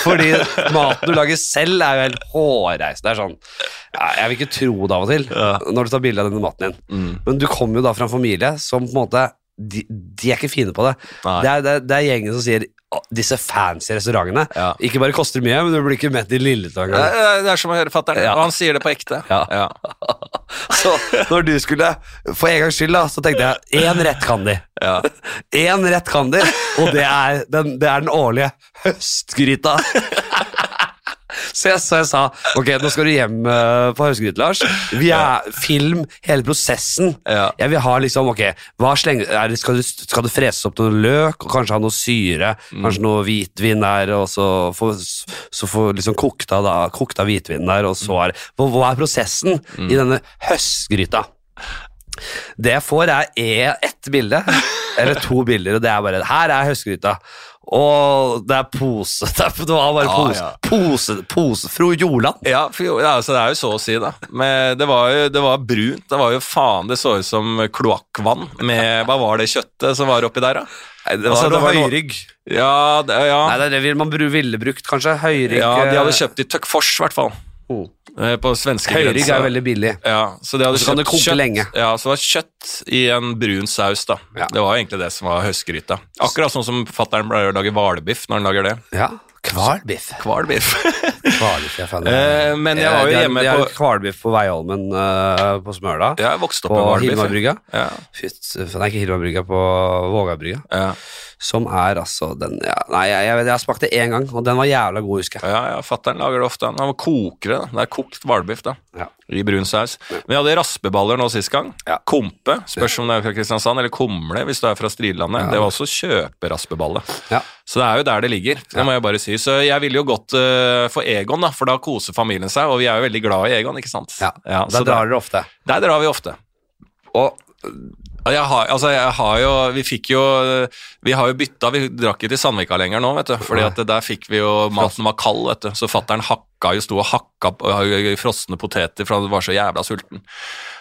Speaker 1: Fordi maten du lager selv, er jo helt hårreisende. Det er sånn ja, Jeg vil ikke tro det av og til når du tar bilde av denne maten din.
Speaker 2: mm.
Speaker 1: Men du kommer jo da fra en familie som på en måte De, de er ikke fine på det.
Speaker 2: Nei.
Speaker 1: Det er, det, er- det er gjengen som sier «Å, disse fancy restaurantene
Speaker 2: Ja.
Speaker 1: ikke bare koster mye, men du blir ikke mett i lilletåa engang.
Speaker 2: Det er- Eh, det er som å høre fatter'n, og han sier det på ekte.
Speaker 1: Ja. Så når du skulle, for en gangs skyld, da, så tenkte jeg én rett kan de.
Speaker 2: Ja.
Speaker 1: Én rett kan de, og det er den, det er den årlige høstgryta. Så jeg, så jeg sa ok, nå skal du hjem eh, på høstgryte, Lars. Vi er film hele prosessen.
Speaker 2: Ja.
Speaker 1: Jeg vil ha liksom, ok, hva slenger, er, det- skal, du, skal det freses opp noe løk, og kanskje ha noe syre, kanskje noe hvitvin der, og så få, så få liksom kokt av, da, kokt av hvitvin der, og så er Hva, hva er prosessen i denne høstgryta? Det jeg får, er e- ett bilde, eller to bilder, og det er bare Her er høstgryta. Og det er pose. Det, er, det var bare
Speaker 2: Ja,
Speaker 1: pose.
Speaker 2: ja.
Speaker 1: Pose, pose. Fru Joland.
Speaker 2: Ja, for, jo- ja, altså det er jo så å si, da. Men det var jo det var brunt. Det var jo faen, det så ut som kloakkvann med Hva var det kjøttet som var oppi der, da?
Speaker 1: Det
Speaker 2: Altså, det var noe- Ja, det,
Speaker 1: Nei,
Speaker 2: ja.
Speaker 1: det er det vil- man bru- ville brukt, kanskje. Høyrygg.
Speaker 2: ja de hadde kjøpt i Tøkkfors, i hvert fall.
Speaker 1: Mm.
Speaker 2: Eh, På svenske
Speaker 1: Høyrygg er jo veldig billig.
Speaker 2: ja, så de hadde
Speaker 1: Og så kan det
Speaker 2: kjøpt
Speaker 1: koke
Speaker 2: kjøtt,
Speaker 1: lenge.
Speaker 2: Ja, så det var kjøtt i en brun saus, da.
Speaker 1: Ja.
Speaker 2: Det var jo egentlig det som var høstgryta. Akkurat sånn som fatter'n pleier å lage hvalbiff når han lager det.
Speaker 1: Ja. Kvalbiff.
Speaker 2: Hvalbiff.
Speaker 1: Kvalbiff, jeg fant
Speaker 2: Eh, men jeg var jo hjemme
Speaker 1: på
Speaker 2: på-
Speaker 1: Kvalbiff på Veiholmen eh, på Smøla.
Speaker 2: jeg vokste opp
Speaker 1: På
Speaker 2: med hvalbiff. jeg.
Speaker 1: Hilmarbrygga.
Speaker 2: Ja,
Speaker 1: Fytt, Nei, ikke Hilmarbrygga, på Vågabrygga.
Speaker 2: ja.
Speaker 1: Som er altså den ja, Nei, jeg, jeg, vet- jeg har smakt det én gang, og den var jævla god, husker jeg.
Speaker 2: Ja, ja, fatteren lager det ofte. Han var kokere. da. Det er kokt hvalbiff da,
Speaker 1: Ja.
Speaker 2: i brun saus. Vi hadde raspeballer nå sist gang.
Speaker 1: Ja.
Speaker 2: Kompe, spørs om det er fra Kristiansand, eller kumle hvis du er fra Stridlandet.
Speaker 1: Ja.
Speaker 2: Det var også kjøperaspeballe.
Speaker 1: Ja.
Speaker 2: Så det er jo der det ligger. Det må jeg bare si. Så jeg ville jo gått eh, for Egon, da, for da koser familien seg, og vi er jo veldig glad i Egon, ikke sant?
Speaker 1: Ja.
Speaker 2: Ja,
Speaker 1: Der
Speaker 2: så
Speaker 1: drar dere ofte.
Speaker 2: der, der drar vi ofte.
Speaker 1: Og
Speaker 2: Ja, Jeg har, altså jeg har jo, vi fikk jo Vi har jo bytta, vi drakk ikke til Sandvika lenger nå, vet du. Fordi at der fikk vi jo Maten var kald, vet du. Så fattern hakka jo, sto og hakka på- øh, frosne poteter for han var så jævla sulten.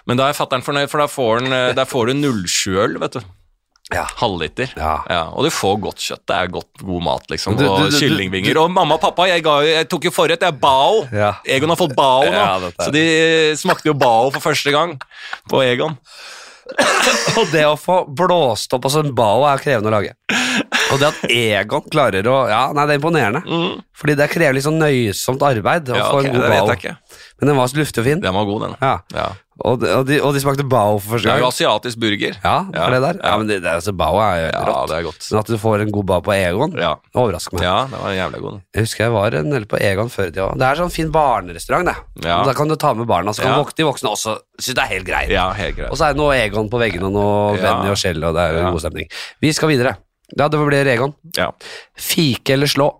Speaker 2: Men da er fattern fornøyd, for da får, han, øh, der får du 07-øl, vet du.
Speaker 1: Ja.
Speaker 2: Halvliter.
Speaker 1: Ja.
Speaker 2: og du får godt kjøtt. Det er godt, god mat, liksom.
Speaker 1: Du- du-
Speaker 2: og
Speaker 1: du- du-
Speaker 2: kyllingvinger. Og mamma og pappa, jeg, ga, jo- jeg tok jo forrett. Jeg er bao.
Speaker 1: Ja.
Speaker 2: Egon har fått bao nå.
Speaker 1: Ja, dette er-
Speaker 2: så de eh, smakte jo bao for første gang på Egon.
Speaker 1: Og det å få blåst opp altså en bao er krevende å lage. Og det at Egon klarer å Ja, nei, det er imponerende. Fordi det krever litt sånn nøysomt arbeid å
Speaker 2: Ja,
Speaker 1: få
Speaker 2: ok,
Speaker 1: en god
Speaker 2: det vet
Speaker 1: bao.
Speaker 2: jeg ikke.
Speaker 1: Men den var så luftig og fin.
Speaker 2: Den var god, den.
Speaker 1: Ja.
Speaker 2: Ja.
Speaker 1: Og, de, og, de, og de smakte bao for
Speaker 2: Det
Speaker 1: første
Speaker 2: er jo
Speaker 1: gang.
Speaker 2: asiatisk burger.
Speaker 1: Ja, for det der. Ja, men det, det, altså, bao er jo
Speaker 2: Ja,
Speaker 1: rått.
Speaker 2: det er godt.
Speaker 1: Men at du får en god bao på Egon,
Speaker 2: Ja.
Speaker 1: overrasker meg.
Speaker 2: Ja, det var jævla god. den.
Speaker 1: Jeg husker jeg var en del på Egon før i tida. Det er sånn fin barnerestaurant, det.
Speaker 2: Ja.
Speaker 1: Og Da kan du ta med barna, så kan
Speaker 2: Ja.
Speaker 1: vok- de voksne også synes det er helt greit.
Speaker 2: Ja, helt
Speaker 1: Og
Speaker 2: greit.
Speaker 1: så er det noe Egon på veggene og noe
Speaker 2: Ja.
Speaker 1: Benny og Shell, og det er jo
Speaker 2: Ja.
Speaker 1: en god stemning. Vi skal videre. Ja, det blir Egon.
Speaker 2: Ja.
Speaker 1: Fike eller slå?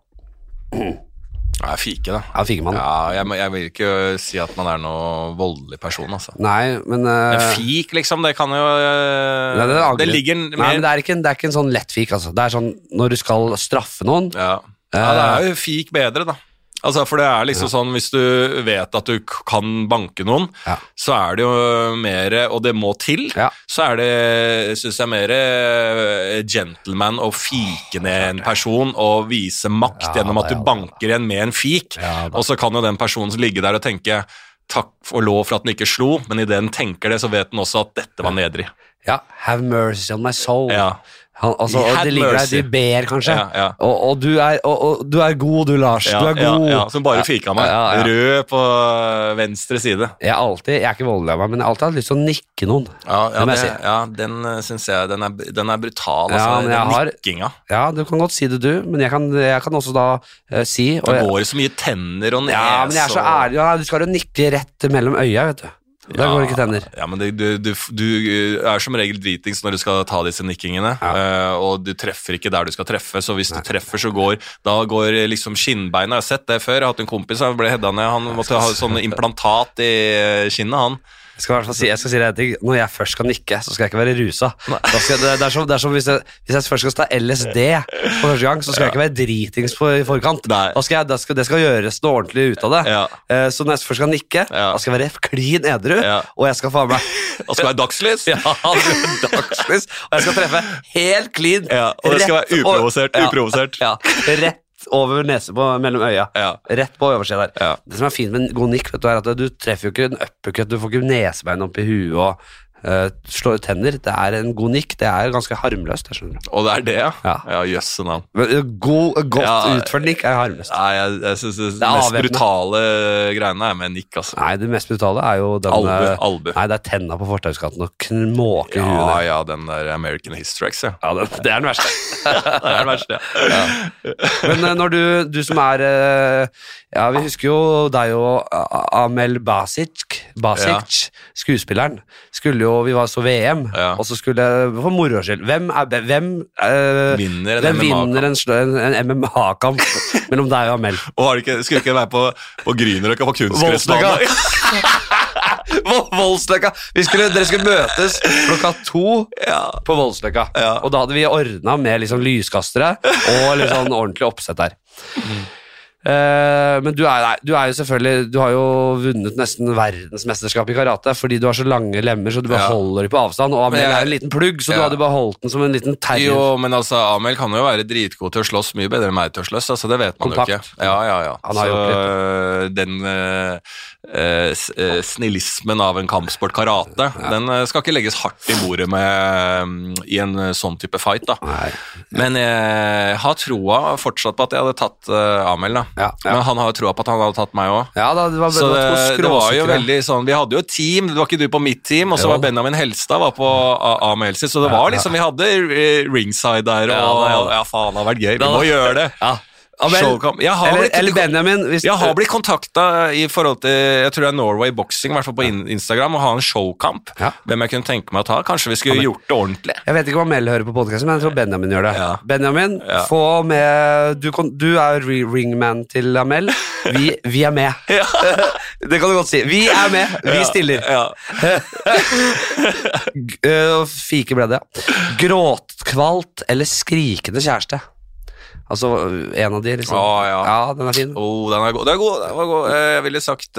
Speaker 2: Ja, fike, da.
Speaker 1: Ja, fikemann.
Speaker 2: Ja, jeg, må- jeg vil ikke si at man er noe voldelig person, altså.
Speaker 1: Nei, men
Speaker 2: Men
Speaker 1: eh,
Speaker 2: fik, liksom, det kan jo eh,
Speaker 1: nei, er
Speaker 2: Det
Speaker 1: aggressiv.
Speaker 2: ligger
Speaker 1: Nei,
Speaker 2: mer
Speaker 1: men det er, ikke, en- det er ikke en sånn lett fik, altså. Det er sånn når du skal straffe noen.
Speaker 2: Ja. ja, det er jo fik bedre, da. Altså, for det er liksom sånn, Hvis du vet at du k- kan banke noen,
Speaker 1: Ja.
Speaker 2: så er det jo mer Og det må til,
Speaker 1: Ja.
Speaker 2: så er det, syns jeg, mer eh, gentleman å fike ned en person og vise makt
Speaker 1: Ja,
Speaker 2: gjennom at
Speaker 1: da,
Speaker 2: du
Speaker 1: ja, da.
Speaker 2: banker en med en fik.
Speaker 1: Ja, da.
Speaker 2: og så kan jo den personen ligge der og tenke Takk og lov for at den ikke slo, men idet den tenker det, så vet den også at dette var nedrig.
Speaker 1: Ja, have mercy on my soul.
Speaker 2: Ja.
Speaker 1: Han, altså, og
Speaker 2: Have
Speaker 1: det ligger der,
Speaker 2: mercy.
Speaker 1: de ber kanskje.
Speaker 2: Ja, ja.
Speaker 1: Og, og, du er, og, og du er god, du, Lars.
Speaker 2: Ja,
Speaker 1: du er god.
Speaker 2: Ja, ja, som bare fika meg.
Speaker 1: Ja, ja.
Speaker 2: Rød på venstre side.
Speaker 1: Jeg, er alltid, jeg er ikke voldelig av meg, men jeg har alltid hatt lyst til å nikke noen.
Speaker 2: Ja, ja,
Speaker 1: Det må jeg
Speaker 2: det,
Speaker 1: si.
Speaker 2: ja den eh, syns jeg Den er, den er brutal,
Speaker 1: Ja,
Speaker 2: altså.
Speaker 1: men
Speaker 2: den
Speaker 1: jeg har-
Speaker 2: nikkinga.
Speaker 1: Ja, du kan godt si det, du, men jeg kan, jeg kan også da eh, si og
Speaker 2: Det
Speaker 1: jeg,
Speaker 2: går jo så mye tenner og nes
Speaker 1: Ja, men jeg er så
Speaker 2: og-
Speaker 1: ærlig. Ja, du skal jo nikke rett mellom øya, vet du. Da går det ikke tenner.
Speaker 2: Ja, men det, du, du, du eh, er som regel dritings når du skal ta disse nikkingene, eh, og du treffer ikke der du skal treffe, så hvis du treffer, så går Da går eh, liksom skinnbeina Jeg har sett det før. Jeg har hatt en kompis som ble hedda ned. Han måtte ha sånn implantat i eh, kinnet, han.
Speaker 1: Jeg skal, i hvert fall si, jeg skal si deg en ting. Når jeg først skal nikke, så skal jeg ikke være rusa. Da skal, jeg- det, det er som, det er som hvis, jeg, hvis jeg først skal ta LSD for første gang, så skal jeg ikke være dritings på, i forkant.
Speaker 2: Nei.
Speaker 1: Da skal jeg, da skal, det skal gjøres noe ordentlig ut av det.
Speaker 2: Ja.
Speaker 1: Eh, så når jeg først skal nikke,
Speaker 2: Ja.
Speaker 1: da skal jeg være klin edru,
Speaker 2: Ja.
Speaker 1: og jeg skal faen meg
Speaker 2: Da skal det være dagslys!
Speaker 1: Ja, dagslys, og jeg skal treffe helt klin.
Speaker 2: Ja, og det skal
Speaker 1: rett
Speaker 2: være uprovosert,
Speaker 1: over-
Speaker 2: uprovosert.
Speaker 1: Ja, ja, rett over nese på, mellom øya.
Speaker 2: Ja.
Speaker 1: Rett på øversida der.
Speaker 2: Ja.
Speaker 1: Det som er fint med en god nikk, vet du, er at du treffer jo ikke en uppercut, du får ikke nesebein opp i huet og eh, slår ut tenner. Det er en god nikk, det er ganske harmløst, jeg skjønner.
Speaker 2: Og det er det, ja.
Speaker 1: Ja.
Speaker 2: Ja, jøsse navn.
Speaker 1: Men eh, god, godt
Speaker 2: Ja,
Speaker 1: utført nikk er harmløst.
Speaker 2: Nei, jeg, jeg syns det,
Speaker 1: Det er
Speaker 2: mest
Speaker 1: avvæpnet.
Speaker 2: brutale greiene er med nikk, altså.
Speaker 1: Nei, det mest brutale er jo den
Speaker 2: Albu,
Speaker 1: eh,
Speaker 2: albu.
Speaker 1: Nei, det er tenna på fortauskanten og knåke i huet.
Speaker 2: Ja,
Speaker 1: der.
Speaker 2: ja, den der American Historex, ja.
Speaker 1: Ja, det, det er den verste.
Speaker 2: Det er det verste, ja.
Speaker 1: Men eh, når du, du som er eh, Ja, vi husker jo deg og A- Amel Basic, Basic skuespilleren. Skulle jo, Vi var så VM,
Speaker 2: Ja.
Speaker 1: og så skulle For moro skyld. Hvem, er, be- hvem, eh,
Speaker 2: Vinner en
Speaker 1: hvem
Speaker 2: MMA-kamp?
Speaker 1: vinner en, sl- en, en MMA-kamp mellom deg og Amel?
Speaker 2: Og har det ikke, skulle ikke være på, på Grünerløkka på kunstgressbanen?
Speaker 1: Voldsløkka! Vo- Voldsløkka! Vi skulle, dere skulle møtes klokka to på Voldsløkka. Og da hadde vi ordna med liksom lyskastere og litt sånn ordentlig oppsett der. Eh, men du er, nei, du er jo selvfølgelig Du har jo vunnet nesten verdensmesterskap i karate fordi du har så lange lemmer, så du
Speaker 2: Ja.
Speaker 1: beholder dem på avstand. Og Amel
Speaker 2: Men jeg-
Speaker 1: er jo en liten plugg, så du
Speaker 2: Ja.
Speaker 1: hadde beholdt den som en liten terrier.
Speaker 2: Jo, men altså, Amel kan jo være dritgod til å slåss, mye bedre enn meg til å slåss, altså, det vet man
Speaker 1: Kontakt.
Speaker 2: jo ikke. Ja, ja, ja.
Speaker 1: Han har
Speaker 2: Så
Speaker 1: gjort
Speaker 2: øh, den øh, øh, s- øh, snillismen av en kampsport karate, den øh, skal ikke legges hardt i bordet med øh, i en øh, sånn type fight, da.
Speaker 1: Nei.
Speaker 2: Men jeg har troa fortsatt på at jeg hadde tatt øh, Amel, da.
Speaker 1: Ja, ja.
Speaker 2: Men han har jo troa på at han hadde tatt meg òg.
Speaker 1: Ja, da, det var, det,
Speaker 2: Så
Speaker 1: var
Speaker 2: det,
Speaker 1: to
Speaker 2: det var jo
Speaker 1: skråsikre.
Speaker 2: veldig sånn Vi hadde jo et team, det var ikke du på mitt team, og så
Speaker 1: Jo.
Speaker 2: var Benjamin Helstad var på A- AMLC, så det var liksom Vi hadde eh, ringside der,
Speaker 1: Ja,
Speaker 2: og
Speaker 1: det hadde-
Speaker 2: ja, faen, det hadde vært gøy. Vi
Speaker 1: Det
Speaker 2: må
Speaker 1: hadde-
Speaker 2: gjøre det.
Speaker 1: Ja. Abel,
Speaker 2: Showkamp. Jeg har vel
Speaker 1: eller,
Speaker 2: ikke-
Speaker 1: eller Benjamin. Hvis,
Speaker 2: Jeg har blitt kontakta i forhold til jeg tror det er Norway Boxing, i hvert fall på in- Instagram, og ha en showkamp.
Speaker 1: Ja.
Speaker 2: Hvem jeg kunne tenke meg å ta. Kanskje vi skulle gjort det ordentlig.
Speaker 1: Jeg vet ikke hva Mel hører på podkasten, men jeg tror Benjamin gjør det.
Speaker 2: Ja.
Speaker 1: Benjamin,
Speaker 2: Ja.
Speaker 1: få med Du, kan, du er re- ringman til Amel. Vi, vi er med. Det kan du godt si. Vi er med. Vi stiller.
Speaker 2: Ja.
Speaker 1: G- øh, Fike ble det, ja. Gråtkvalt eller skrikende kjæreste? Altså øh, en av de, liksom.
Speaker 2: Å, ja.
Speaker 1: den er fin.
Speaker 2: Oh, den er god. Den er god. Den var god. Eh, Jeg ville sagt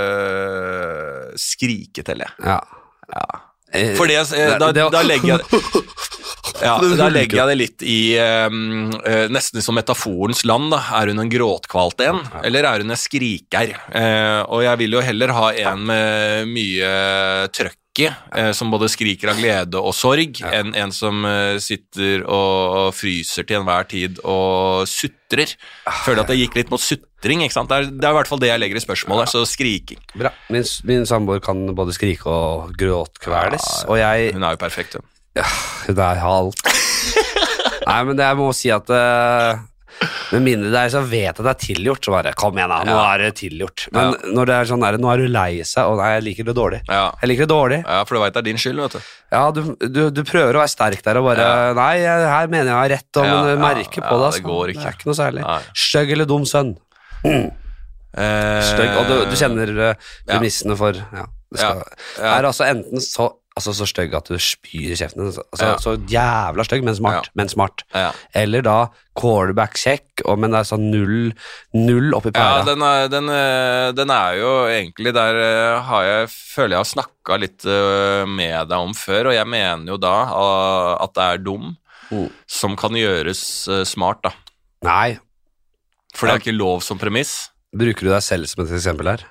Speaker 2: eh, skrike til, jeg.
Speaker 1: Ja. Eh,
Speaker 2: For det, eh,
Speaker 1: det-
Speaker 2: da,
Speaker 1: det var-
Speaker 2: da legger jeg det ja, Da legger jeg det litt i eh, eh, Nesten som metaforens land, da. Er hun en gråtkvalt en, eller er hun en skriker? Eh, og jeg vil jo heller ha en med mye trøkk. i, eh, Som både skriker av glede og sorg, enn en som eh, sitter og fryser til enhver tid og sutrer.
Speaker 1: Ah,
Speaker 2: Føler at det gikk litt mot sutring. ikke sant? Det er, det er i hvert fall det jeg legger i spørsmålet. Så skriking.
Speaker 1: Bra. Min, s- min samboer kan både skrike og gråtkveles, og jeg
Speaker 2: Hun er jo perfekt, hun.
Speaker 1: Hun er halvt. Nei, men det, jeg må si at eh, med mindre det er så vet jeg at det er tilgjort, så bare kom igjen, da. Nå
Speaker 2: Ja.
Speaker 1: er det tilgjort. Men når det er sånn der, nå er du lei seg, og nei, jeg liker det dårlig.
Speaker 2: Ja.
Speaker 1: Jeg liker det dårlig.
Speaker 2: Ja, for du veit det er din skyld, vet du.
Speaker 1: Ja, du, du, du prøver å være sterk der og bare
Speaker 2: Ja.
Speaker 1: Nei, jeg, her mener jeg jeg har rett, og,
Speaker 2: Ja,
Speaker 1: men
Speaker 2: ja,
Speaker 1: merker på
Speaker 2: ja,
Speaker 1: det.
Speaker 2: det
Speaker 1: Altså.
Speaker 2: går ikke.
Speaker 1: det er ikke noe særlig.
Speaker 2: Nei.
Speaker 1: Stygg eller dum sønn.
Speaker 2: Eh,
Speaker 1: Stygg. Og du, du kjenner eh,
Speaker 2: ja.
Speaker 1: premissene for Ja. Det skal,
Speaker 2: Ja, ja.
Speaker 1: Er altså enten så Altså så stygg at du spyr i kjeften. Altså,
Speaker 2: Ja.
Speaker 1: Så jævla stygg, men smart.
Speaker 2: Ja.
Speaker 1: Men smart.
Speaker 2: Ja,
Speaker 1: Eller da callback-sjekk, og- men det er sånn null, null oppi
Speaker 2: ja
Speaker 1: pæra.
Speaker 2: den, er, den, eh, den er jo egentlig Der eh, har jeg, føler jeg har snakka litt eh, med deg om før, og jeg mener jo da ah, at det er dum
Speaker 1: Mm.
Speaker 2: som kan gjøres eh, smart, da.
Speaker 1: Nei,
Speaker 2: For det er ikke lov som premiss.
Speaker 1: bruker du deg selv som et eksempel her?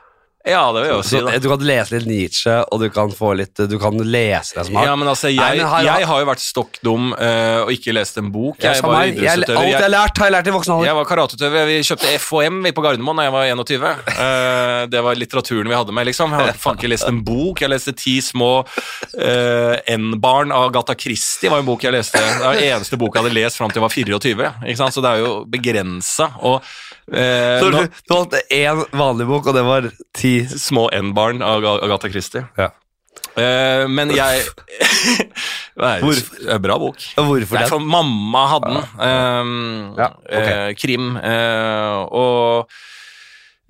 Speaker 2: Ja, det vil jeg jo si,
Speaker 1: Så,
Speaker 2: da.
Speaker 1: du kan lese litt Nietzsche, og du kan få litt Du kan lese deg smart.
Speaker 2: Ja, men altså, jeg,
Speaker 1: Nei, men har-
Speaker 2: jeg har jo vært stokk dum eh, og ikke lest en bok.
Speaker 1: jeg,
Speaker 2: Jeg
Speaker 1: samme
Speaker 2: var
Speaker 1: her. jeg, alt
Speaker 2: idrettsutøver.
Speaker 1: jeg har
Speaker 2: Jeg,
Speaker 1: lært, har jeg lært i voksen alder.
Speaker 2: jeg var karateutøver. Vi kjøpte FHM vi på Gardermoen da jeg var 21. Eh, det var litteraturen vi hadde med, liksom. Jeg hadde faen ikke lest en bok. Jeg leste Ti små eh, N-barn av Gata Christie, var en bok jeg leste. Det var den eneste boka jeg hadde lest fram til jeg var 24. Ikke sant? Så det er jo begrensa. Og eh,
Speaker 1: Så
Speaker 2: nå,
Speaker 1: du, du holdt én vanlig bok, og det var ti
Speaker 2: små N-barn av Ga- Agatha Christie.
Speaker 1: Ja.
Speaker 2: Eh, men jeg Det er en bra bok.
Speaker 1: Og Hvorfor
Speaker 2: det er
Speaker 1: den?
Speaker 2: for mamma hadde den. Ehm,
Speaker 1: Ja, ok.
Speaker 2: eh, krim. eh, og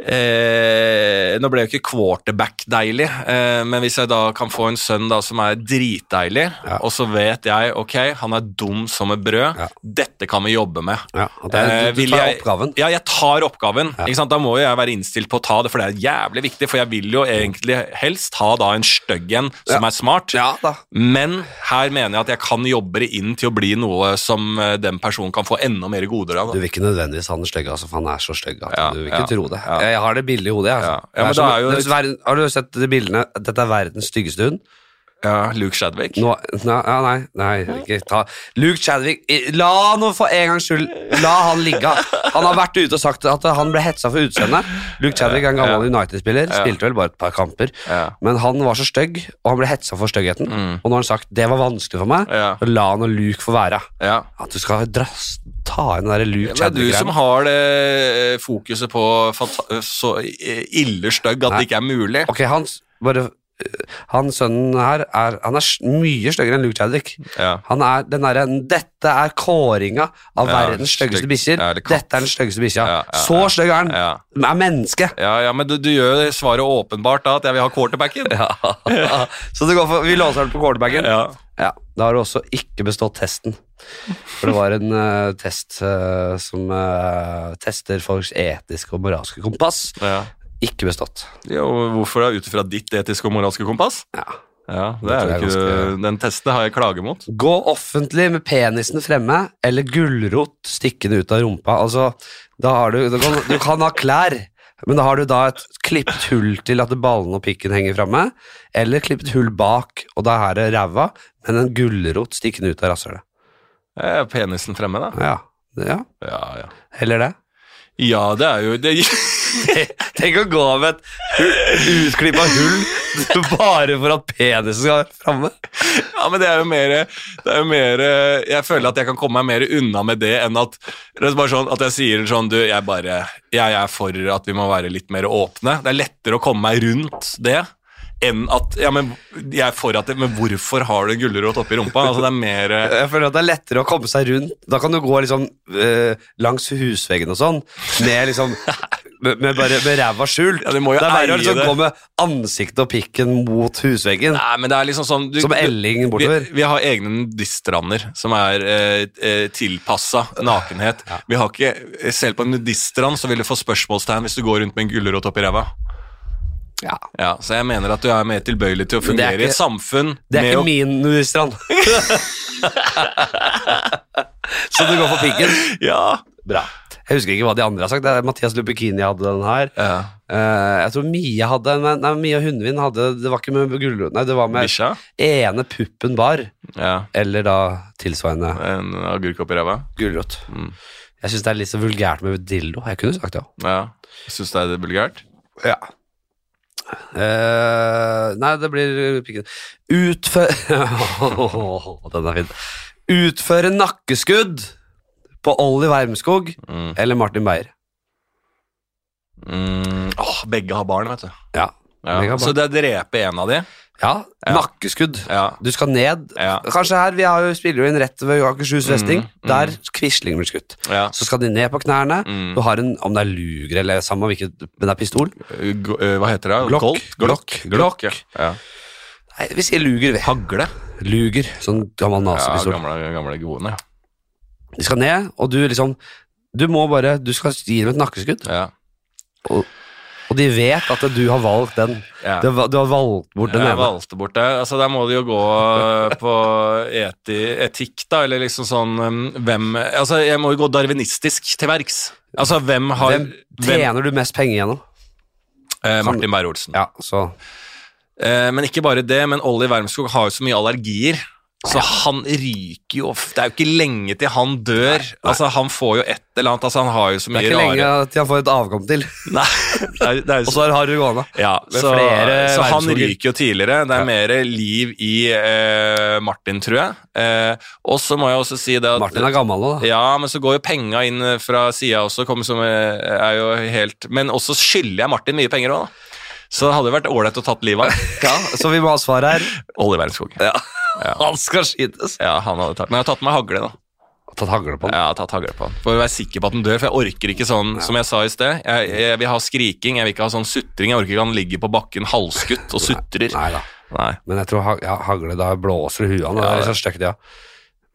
Speaker 2: eh, Nå ble jo ikke quarterback deilig, eh, men hvis jeg da kan få en sønn da som er dritdeilig,
Speaker 1: Ja.
Speaker 2: og så vet jeg ok, han er dum som et brød,
Speaker 1: Ja.
Speaker 2: dette kan vi jobbe med.
Speaker 1: Ja, og det er,
Speaker 2: Eh,
Speaker 1: du,
Speaker 2: vil
Speaker 1: du tar
Speaker 2: jeg-
Speaker 1: oppgaven.
Speaker 2: Ja, jeg tar oppgaven. Ikke sant? Da må jo jeg være innstilt på å ta det, for det er jævlig viktig. For jeg vil jo egentlig helst ha da en stygg en som er smart.
Speaker 1: Ja da.
Speaker 2: Men her mener jeg at jeg kan jobbe det inn til å bli noe som eh, den personen kan få enda mer goder av.
Speaker 1: Du
Speaker 2: da.
Speaker 1: vil ikke nødvendigvis ha den stygge, altså, for han er så stygg at
Speaker 2: Ja,
Speaker 1: du vil ikke
Speaker 2: ja,
Speaker 1: tro det.
Speaker 2: ja.
Speaker 1: Jeg har det bildet i hodet, jeg. Altså.
Speaker 2: Ja. Ja,
Speaker 1: det
Speaker 2: men
Speaker 1: er som,
Speaker 2: da er jo-
Speaker 1: det er verden- har du sett de bildene? Dette er verdens styggeste hund.
Speaker 2: Ja, Luke Shadwick.
Speaker 1: Nå, nei, ja, nei, nei, ikke ta Luke Chadwick, i- la han nå for en gangs skyld La han ligge. Han har vært ute og sagt at han ble hetsa for utseendet. Luke Chadwick er en gammel United-spiller, spilte vel bare et par kamper.
Speaker 2: Ja. Mm.
Speaker 1: Men han var så stygg, og han ble hetsa for styggheten. Og nå har han sagt det var vanskelig for meg,
Speaker 2: Ja.
Speaker 1: så la han og Luke få være.
Speaker 2: Ja.
Speaker 1: At du skal drass, ta inn den der Luke
Speaker 2: Det er du som
Speaker 1: Chadwick-greia.
Speaker 2: har det eh, fokuset på fanta- så eh, ille stygg at
Speaker 1: Nei.
Speaker 2: det ikke er mulig.
Speaker 1: Ok, han s- bare øh, han sønnen her er, han er s- mye styggere enn Luke Chadwick.
Speaker 2: Ja.
Speaker 1: Han er den derre Dette er kåringa av
Speaker 2: Ja,
Speaker 1: verdens styggeste
Speaker 2: stygg-
Speaker 1: bikkjer.
Speaker 2: ja, eller katt.
Speaker 1: Dette er den styggeste bikkja.
Speaker 2: Ja, ja,
Speaker 1: Så
Speaker 2: ja.
Speaker 1: stygg er den.
Speaker 2: Ja.
Speaker 1: Den Er menneske.
Speaker 2: Ja, ja, men du, du gjør jo svaret åpenbart da, at jeg vil ha quarterbacken.
Speaker 1: Så det går for, vi låser den på quarterbacken. Ja.
Speaker 2: Ja.
Speaker 1: Da har du også ikke bestått testen. For det var en eh, test eh, som eh, tester folks etiske og moralske kompass.
Speaker 2: Ja.
Speaker 1: Ikke bestått.
Speaker 2: Ja, og hvorfor da? Ut ifra ditt etiske og moralske kompass?
Speaker 1: Ja.
Speaker 2: Ja, det
Speaker 1: Det
Speaker 2: er
Speaker 1: tror
Speaker 2: jo
Speaker 1: jeg
Speaker 2: ikke
Speaker 1: ganske-
Speaker 2: Den testen har jeg klage mot.
Speaker 1: Gå offentlig med penisen fremme eller gulrot stikkende ut av rumpa. Altså, da har du, du, kan, du kan ha klær, men da har du da et klippet hull til at ballen og pikken henger fremme, eller klippet hull bak, og da er det ræva, men en gulrot stikkende ut av rasshølet.
Speaker 2: Eh, penisen fremme, da.
Speaker 1: Ja, det- ja,
Speaker 2: Ja, ja.
Speaker 1: heller det.
Speaker 2: Ja, det er jo det,
Speaker 1: Tenk å gå med et utklippa hull Bare for at penisen skal være framme?
Speaker 2: Ja, men det er jo mer Det er jo mer Jeg føler at jeg kan komme meg mer unna med det enn at det er bare sånn, At jeg sier sånn Du, jeg bare Jeg er for at vi må være litt mer åpne. Det er lettere å komme meg rundt det enn at Ja, men jeg er for at det Men hvorfor har du en gulrot oppi rumpa? Altså, det er mer
Speaker 1: Jeg føler at det er lettere å komme seg rundt. Da kan du gå liksom eh, langs husveggen og sånn, med liksom Med, med bare med ræva skjult.
Speaker 2: Ja, du må jo
Speaker 1: det er verre å
Speaker 2: eie
Speaker 1: liksom
Speaker 2: det.
Speaker 1: gå med ansiktet og pikken mot husveggen,
Speaker 2: Nei, men det er liksom sånn du,
Speaker 1: som Elling
Speaker 2: vi,
Speaker 1: bortover.
Speaker 2: vi har egne nudiststrender som er eh, eh, tilpassa nakenhet. Vi har ikke, eh, Selv på en nudiststrand så vil du få spørsmålstegn hvis du går rundt med en gulrot oppi ræva.
Speaker 1: Ja.
Speaker 2: Ja, så jeg mener at du er mer tilbøyelig til
Speaker 1: Men
Speaker 2: å
Speaker 1: det er
Speaker 2: fungere i
Speaker 1: ikke-
Speaker 2: et samfunn
Speaker 1: Det er
Speaker 2: med
Speaker 1: ikke
Speaker 2: å-
Speaker 1: min nudiststrand. Så du går for pikken?
Speaker 2: Ja.
Speaker 1: Bra. Jeg husker ikke hva de andre har sagt. Det er Mathias Lubekini hadde den her.
Speaker 2: ja.
Speaker 1: Eh, jeg tror Mia hadde en, men- Nei, Mia Hundvin hadde Det var ikke med gulrot, nei, det var med
Speaker 2: Eh, Bikkja?
Speaker 1: ene puppen bar.
Speaker 2: Ja.
Speaker 1: Eller da tilsvarende
Speaker 2: En agurk oppi ræva?
Speaker 1: gulrot.
Speaker 2: Mm.
Speaker 1: Jeg syns det er litt så vulgært med dildo. Jeg kunne sagt det òg.
Speaker 2: Ja. Syns du det er vulgært?
Speaker 1: Ja. Eh, nei, det blir pikken. Utføre Den er fin. Utføre nakkeskudd på Olli Wermskog
Speaker 2: Mm.
Speaker 1: eller Martin Beyer.
Speaker 2: Mm. Åh, begge har barn, vet du.
Speaker 1: Ja.
Speaker 2: Ja.
Speaker 1: Begge har barn.
Speaker 2: Så det er drepe en av de?
Speaker 1: ja.
Speaker 2: Ja.
Speaker 1: Nakkeskudd.
Speaker 2: Ja.
Speaker 1: Du skal ned.
Speaker 2: Ja.
Speaker 1: Kanskje her, Vi har jo, spiller jo inn rett ved Akershus festning.
Speaker 2: Mm, mm.
Speaker 1: Der Quisling blir skutt.
Speaker 2: ja.
Speaker 1: Så skal de ned på knærne.
Speaker 2: Mm.
Speaker 1: Du har en, om det er luger eller samme hvilket, men det er pistol.
Speaker 2: G- eh, Hva heter det?
Speaker 1: Glock.
Speaker 2: Colt? Glock.
Speaker 1: Glock.
Speaker 2: ja. Ja.
Speaker 1: Nei, vi sier luger, vi.
Speaker 2: Hagle.
Speaker 1: Luger. Sånn gammel
Speaker 2: Ja,
Speaker 1: nazipistol.
Speaker 2: gamle, gamle godene. ja.
Speaker 1: De skal ned, og du liksom Du må bare Du skal gi dem et nakkeskudd,
Speaker 2: Ja.
Speaker 1: og de vet at du har valgt den.
Speaker 2: Ja.
Speaker 1: Du har, du har valgt bort den
Speaker 2: Jeg
Speaker 1: ene.
Speaker 2: valgte bort det. Altså, der må det jo gå eh, på eti, etikk, da, eller liksom sånn um, hvem Altså, jeg må jo gå darwinistisk til verks. Altså, hvem har
Speaker 1: Hvem tjener du mest penger gjennom?
Speaker 2: eh, Martin Beyer-Olsen.
Speaker 1: Ja, så
Speaker 2: Eh, men ikke bare det, men Olli Wermskog har jo så mye allergier. Så han ryker jo Det er jo ikke lenge til han dør. Altså, han får jo et eller annet. Altså, han har jo så
Speaker 1: Det
Speaker 2: mye
Speaker 1: er ikke lenge
Speaker 2: rare
Speaker 1: til han får et avkom til,
Speaker 2: Nei, det er, det er
Speaker 1: og så har du gående.
Speaker 2: ja,
Speaker 1: med
Speaker 2: så,
Speaker 1: flere
Speaker 2: så han
Speaker 1: Wermskoger.
Speaker 2: ryker jo tidligere. Det er
Speaker 1: Ja.
Speaker 2: mer liv i eh, Martin, tror jeg. Eh, og så må jeg også si det at
Speaker 1: Martin er gammel nå, da.
Speaker 2: Ja, men så går jo penga inn eh, fra sida også, kommer som eh, er jo helt Men også skylder jeg Martin mye penger òg, da. Så det hadde jo vært ålreit å tatt livet av
Speaker 1: Ja, så vi må ha svar her.
Speaker 2: Olli Wermskog.
Speaker 1: Ja.
Speaker 2: Ja.
Speaker 1: Han skal skytes.
Speaker 2: Ja, han hadde tatt Men jeg har tatt med hagle, da.
Speaker 1: Tatt hagle på
Speaker 2: Ja,
Speaker 1: den.
Speaker 2: jeg har tatt hagle på han For å være sikker på at han dør, for jeg orker ikke sånn som jeg sa i sted. Jeg, jeg vil ha skriking, jeg vil ikke ha sånn sutring. Jeg orker ikke at han ligger på bakken halvskutt og sutrer.
Speaker 1: Nei da.
Speaker 2: Nei.
Speaker 1: Men jeg tror ha- ja, hagle da blåser i huet han. og Det
Speaker 2: Ja,
Speaker 1: er
Speaker 2: det-
Speaker 1: litt sånn stygt, ja.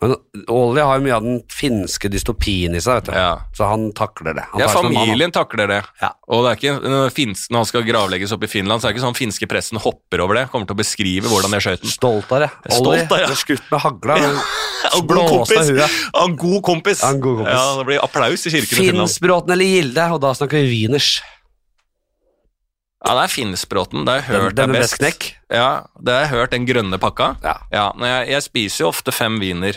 Speaker 1: Men Olli har jo mye av den finske dystopien i seg, vet du.
Speaker 2: Ja.
Speaker 1: Så han takler det. Han
Speaker 2: Ja,
Speaker 1: tar det som en mann, han.
Speaker 2: familien takler det.
Speaker 1: Ja.
Speaker 2: Og det er ikke, når, finsk, når han skal gravlegges opp i Finland, så er det ikke sånn finske pressen hopper over det. Kommer til å beskrive hvordan jeg skjøt den.
Speaker 1: Stolt av det.
Speaker 2: er stolt av det, ja.
Speaker 1: ble skutt med hagla. men
Speaker 2: En god
Speaker 1: Blåst av
Speaker 2: kompis!
Speaker 1: huet.
Speaker 2: En god kompis!
Speaker 1: En god kompis.
Speaker 2: Ja, Det blir applaus i kirken i Finland.
Speaker 1: Finnsbråten eller Gilde, og da snakker vi wieners.
Speaker 2: Ja, det er Finnsbråten. Det har jeg
Speaker 1: Den-
Speaker 2: hørt
Speaker 1: den med
Speaker 2: er best.
Speaker 1: best knekk.
Speaker 2: Ja, det har jeg hørt. Den grønne pakka.
Speaker 1: Ja.
Speaker 2: Ja, men jeg, jeg spiser jo ofte fem viner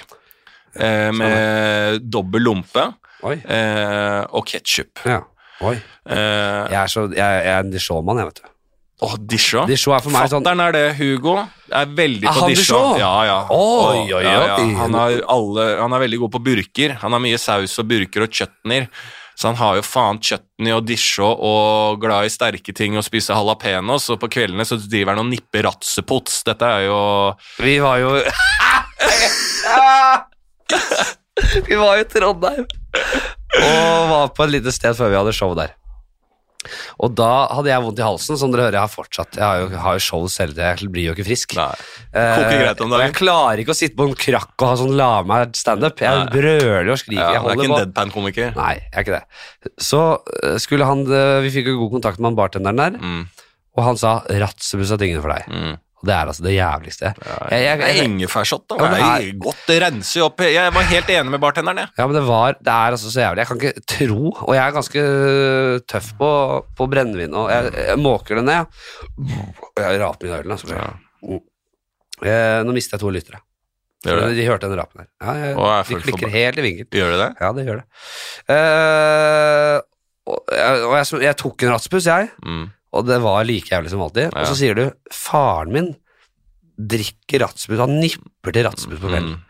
Speaker 1: Sånn,
Speaker 2: eh, med dobbel lompe
Speaker 1: Oi.
Speaker 2: eh, og ketsjup.
Speaker 1: Ja. Oi.
Speaker 2: Eh,
Speaker 1: Jeg er, så, jeg, jeg er en Dijon-mann, jeg, vet du.
Speaker 2: og Disho.
Speaker 1: Dijon er for meg sånn
Speaker 2: Fatteren er det, Hugo. Er veldig
Speaker 1: Er
Speaker 2: på
Speaker 1: han
Speaker 2: Disho.
Speaker 1: Dijon?
Speaker 2: Ja, ja.
Speaker 1: Oi,
Speaker 2: Og-
Speaker 1: oi, oi.
Speaker 2: Ja, ja. Han, er alle, han er veldig god på burker. Han har mye saus og burker og chutneyer. Så han har jo faen chutney og Disho og glad i sterke ting og spise jalapeños. Og på kveldene så driver han og nipper ratsepots. Dette er jo
Speaker 1: Vi var jo Vi var jo i Trondheim og var på et lite sted før vi hadde show der. Og da hadde jeg vondt i halsen, som dere hører jeg har fortsatt. Jeg har jo, har jo show selv, jeg blir jo ikke frisk.
Speaker 2: Nei.
Speaker 1: Eh,
Speaker 2: Koker greit om dagen.
Speaker 1: og Jeg klarer ikke å sitte på en krakk og ha sånn la meg standup. Jeg
Speaker 2: Nei.
Speaker 1: brøler og skriker.
Speaker 2: Ja,
Speaker 1: jeg
Speaker 2: han er
Speaker 1: holder
Speaker 2: ikke
Speaker 1: på.
Speaker 2: en deadpan-komiker.
Speaker 1: Nei, jeg er ikke det. Så eh, skulle han eh, Vi fikk jo god kontakt med han bartenderen der,
Speaker 2: Mm,
Speaker 1: og han sa 'Ratsebuss er tingene for deg'.
Speaker 2: mm.
Speaker 1: Og det er altså det jævligste. Jeg, jeg,
Speaker 2: Det er
Speaker 1: jeg,
Speaker 2: Ingefærshot, da.
Speaker 1: Ja, men
Speaker 2: Det er godt, det renser jo opp. Jeg var helt enig med bartenderen, jeg.
Speaker 1: ja, men det var Det er altså så jævlig. Jeg kan ikke tro Og jeg er ganske tøff på, på brennevin, og jeg, jeg måker det ned. Og jeg raper mine øl, altså. Mm. Eh, nå mister jeg to lyttere.
Speaker 2: Gjør du det?
Speaker 1: De hørte den rapen her. Ja, jeg,
Speaker 2: Å, jeg er
Speaker 1: de
Speaker 2: fullt
Speaker 1: klikker
Speaker 2: forbanna.
Speaker 1: helt i vinkel.
Speaker 2: Gjør du det?
Speaker 1: Ja, det gjør det. Eh, og og jeg, og jeg, jeg tok en ratspuss, jeg.
Speaker 2: Mm.
Speaker 1: og det var like jævlig som alltid. Og
Speaker 2: Ja.
Speaker 1: så sier du 'faren min drikker ratsmus', han nipper til ratsmus på kvelden.
Speaker 2: Mm.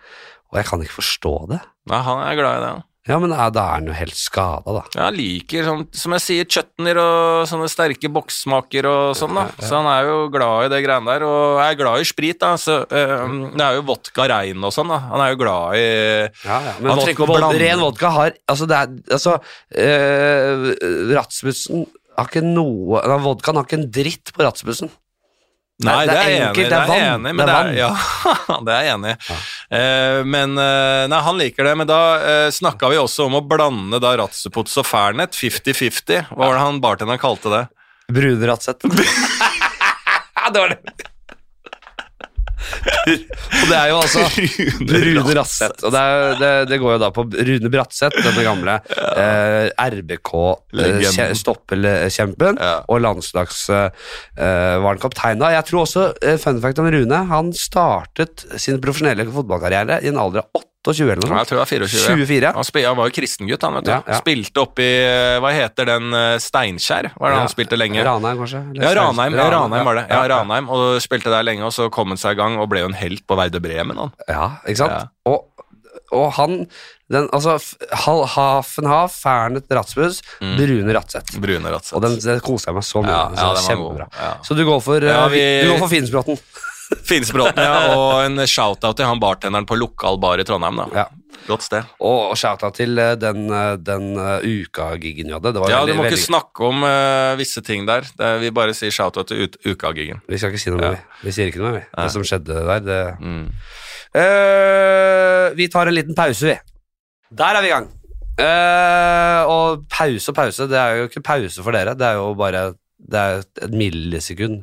Speaker 1: Og jeg kan ikke forstå det.
Speaker 2: Nei, han er glad i det. han.
Speaker 1: Ja, men eh, da da er han jo helt skada, da.
Speaker 2: Ja, han liker, som, som jeg sier, chutneyer og sånne sterke boksmaker og sånn, da. Så han er jo glad i det greiene der, og er glad i sprit, da. Så, eh, det er jo vodka rein og sånn, da. Han er jo glad i
Speaker 1: Ja, ja. Men
Speaker 2: Han
Speaker 1: vodka,
Speaker 2: trenger ikke å blande.
Speaker 1: ren vodka har Altså, det er, altså eh, Ratsmussen har ikke noe nei, Vodkaen har ikke en dritt på Ratsmussen.
Speaker 2: Nei, det er jeg enig,
Speaker 1: enkelt,
Speaker 2: det er
Speaker 1: det er
Speaker 2: jeg
Speaker 1: vann,
Speaker 2: enig, men
Speaker 1: det
Speaker 2: det
Speaker 1: er
Speaker 2: er, ja, det er jeg enig. i. Eh, men eh, nei, han liker det, men da uh, snakka vi også om å blande da Ratsepots og Fernet, 50-50. Hva var det han bartenderen kalte det?
Speaker 1: Brune Ratsett. det var det. Og det er jo altså Rune Ratseth. Og det, er, det, det går jo da på Rune Bratseth, denne gamle eh,
Speaker 2: Legenden.
Speaker 1: RBK-stoppelkjempen.
Speaker 2: Ja.
Speaker 1: eh, Og landslags eh, var han kaptein da. Jeg tror også, eh, fun fact om Rune, han startet sin profesjonelle fotballkarriere i en alder av 28 eller
Speaker 2: Ja,
Speaker 1: noe.
Speaker 2: jeg tror jeg var 24.
Speaker 1: 24.
Speaker 2: Han, spil, han var jo kristengutt, han, vet du.
Speaker 1: Ja, ja.
Speaker 2: Spilte opp i, eh, hva heter den, eh, Steinkjer? Var det
Speaker 1: Ja.
Speaker 2: han spilte lenge?
Speaker 1: Ranheim, kanskje? Eller
Speaker 2: Ja,
Speaker 1: Steins-
Speaker 2: Ranheim, ja, Ranheim var det. Ja, Ranheim, og spilte der lenge, og så kom han seg i gang og ble jo en helt på vei til Bremen. Han.
Speaker 1: Ja, ikke sant? Og, og han den, Altså, Hafenhaf, Fernet Ratsmus,
Speaker 2: Mm.
Speaker 1: Brune Ratseth.
Speaker 2: Brune
Speaker 1: Og
Speaker 2: Ratseth.
Speaker 1: den, den koser jeg meg så mye
Speaker 2: Ja,
Speaker 1: med.
Speaker 2: ja,
Speaker 1: så det er
Speaker 2: den var god.
Speaker 1: Kjempebra.
Speaker 2: Ja.
Speaker 1: Så du går for, eh,
Speaker 2: Ja, vi-
Speaker 1: du går for Finsbråten?
Speaker 2: Finnsbråten, ja, og en shout-out til han bartenderen på lokal bar i Trondheim, da.
Speaker 1: Ja.
Speaker 2: Godt sted.
Speaker 1: Og shout-out til eh, den, eh, den eh, uka-giggen vi hadde. Det var
Speaker 2: Ja, du
Speaker 1: veldig,
Speaker 2: må ikke
Speaker 1: veldig-
Speaker 2: snakke om eh, visse ting der. Det, er- vi bare sier shout-out til ut- ukagigen.
Speaker 1: Vi skal ikke si noe mer. vi. Vi sier ikke noe mer. vi. Det som skjedde der, det
Speaker 2: Mm.
Speaker 1: Eh, Vi tar en liten pause, vi. Der er vi i gang. Eh, og pause og pause, det er jo ikke pause for dere. Det er jo bare det er et millisekund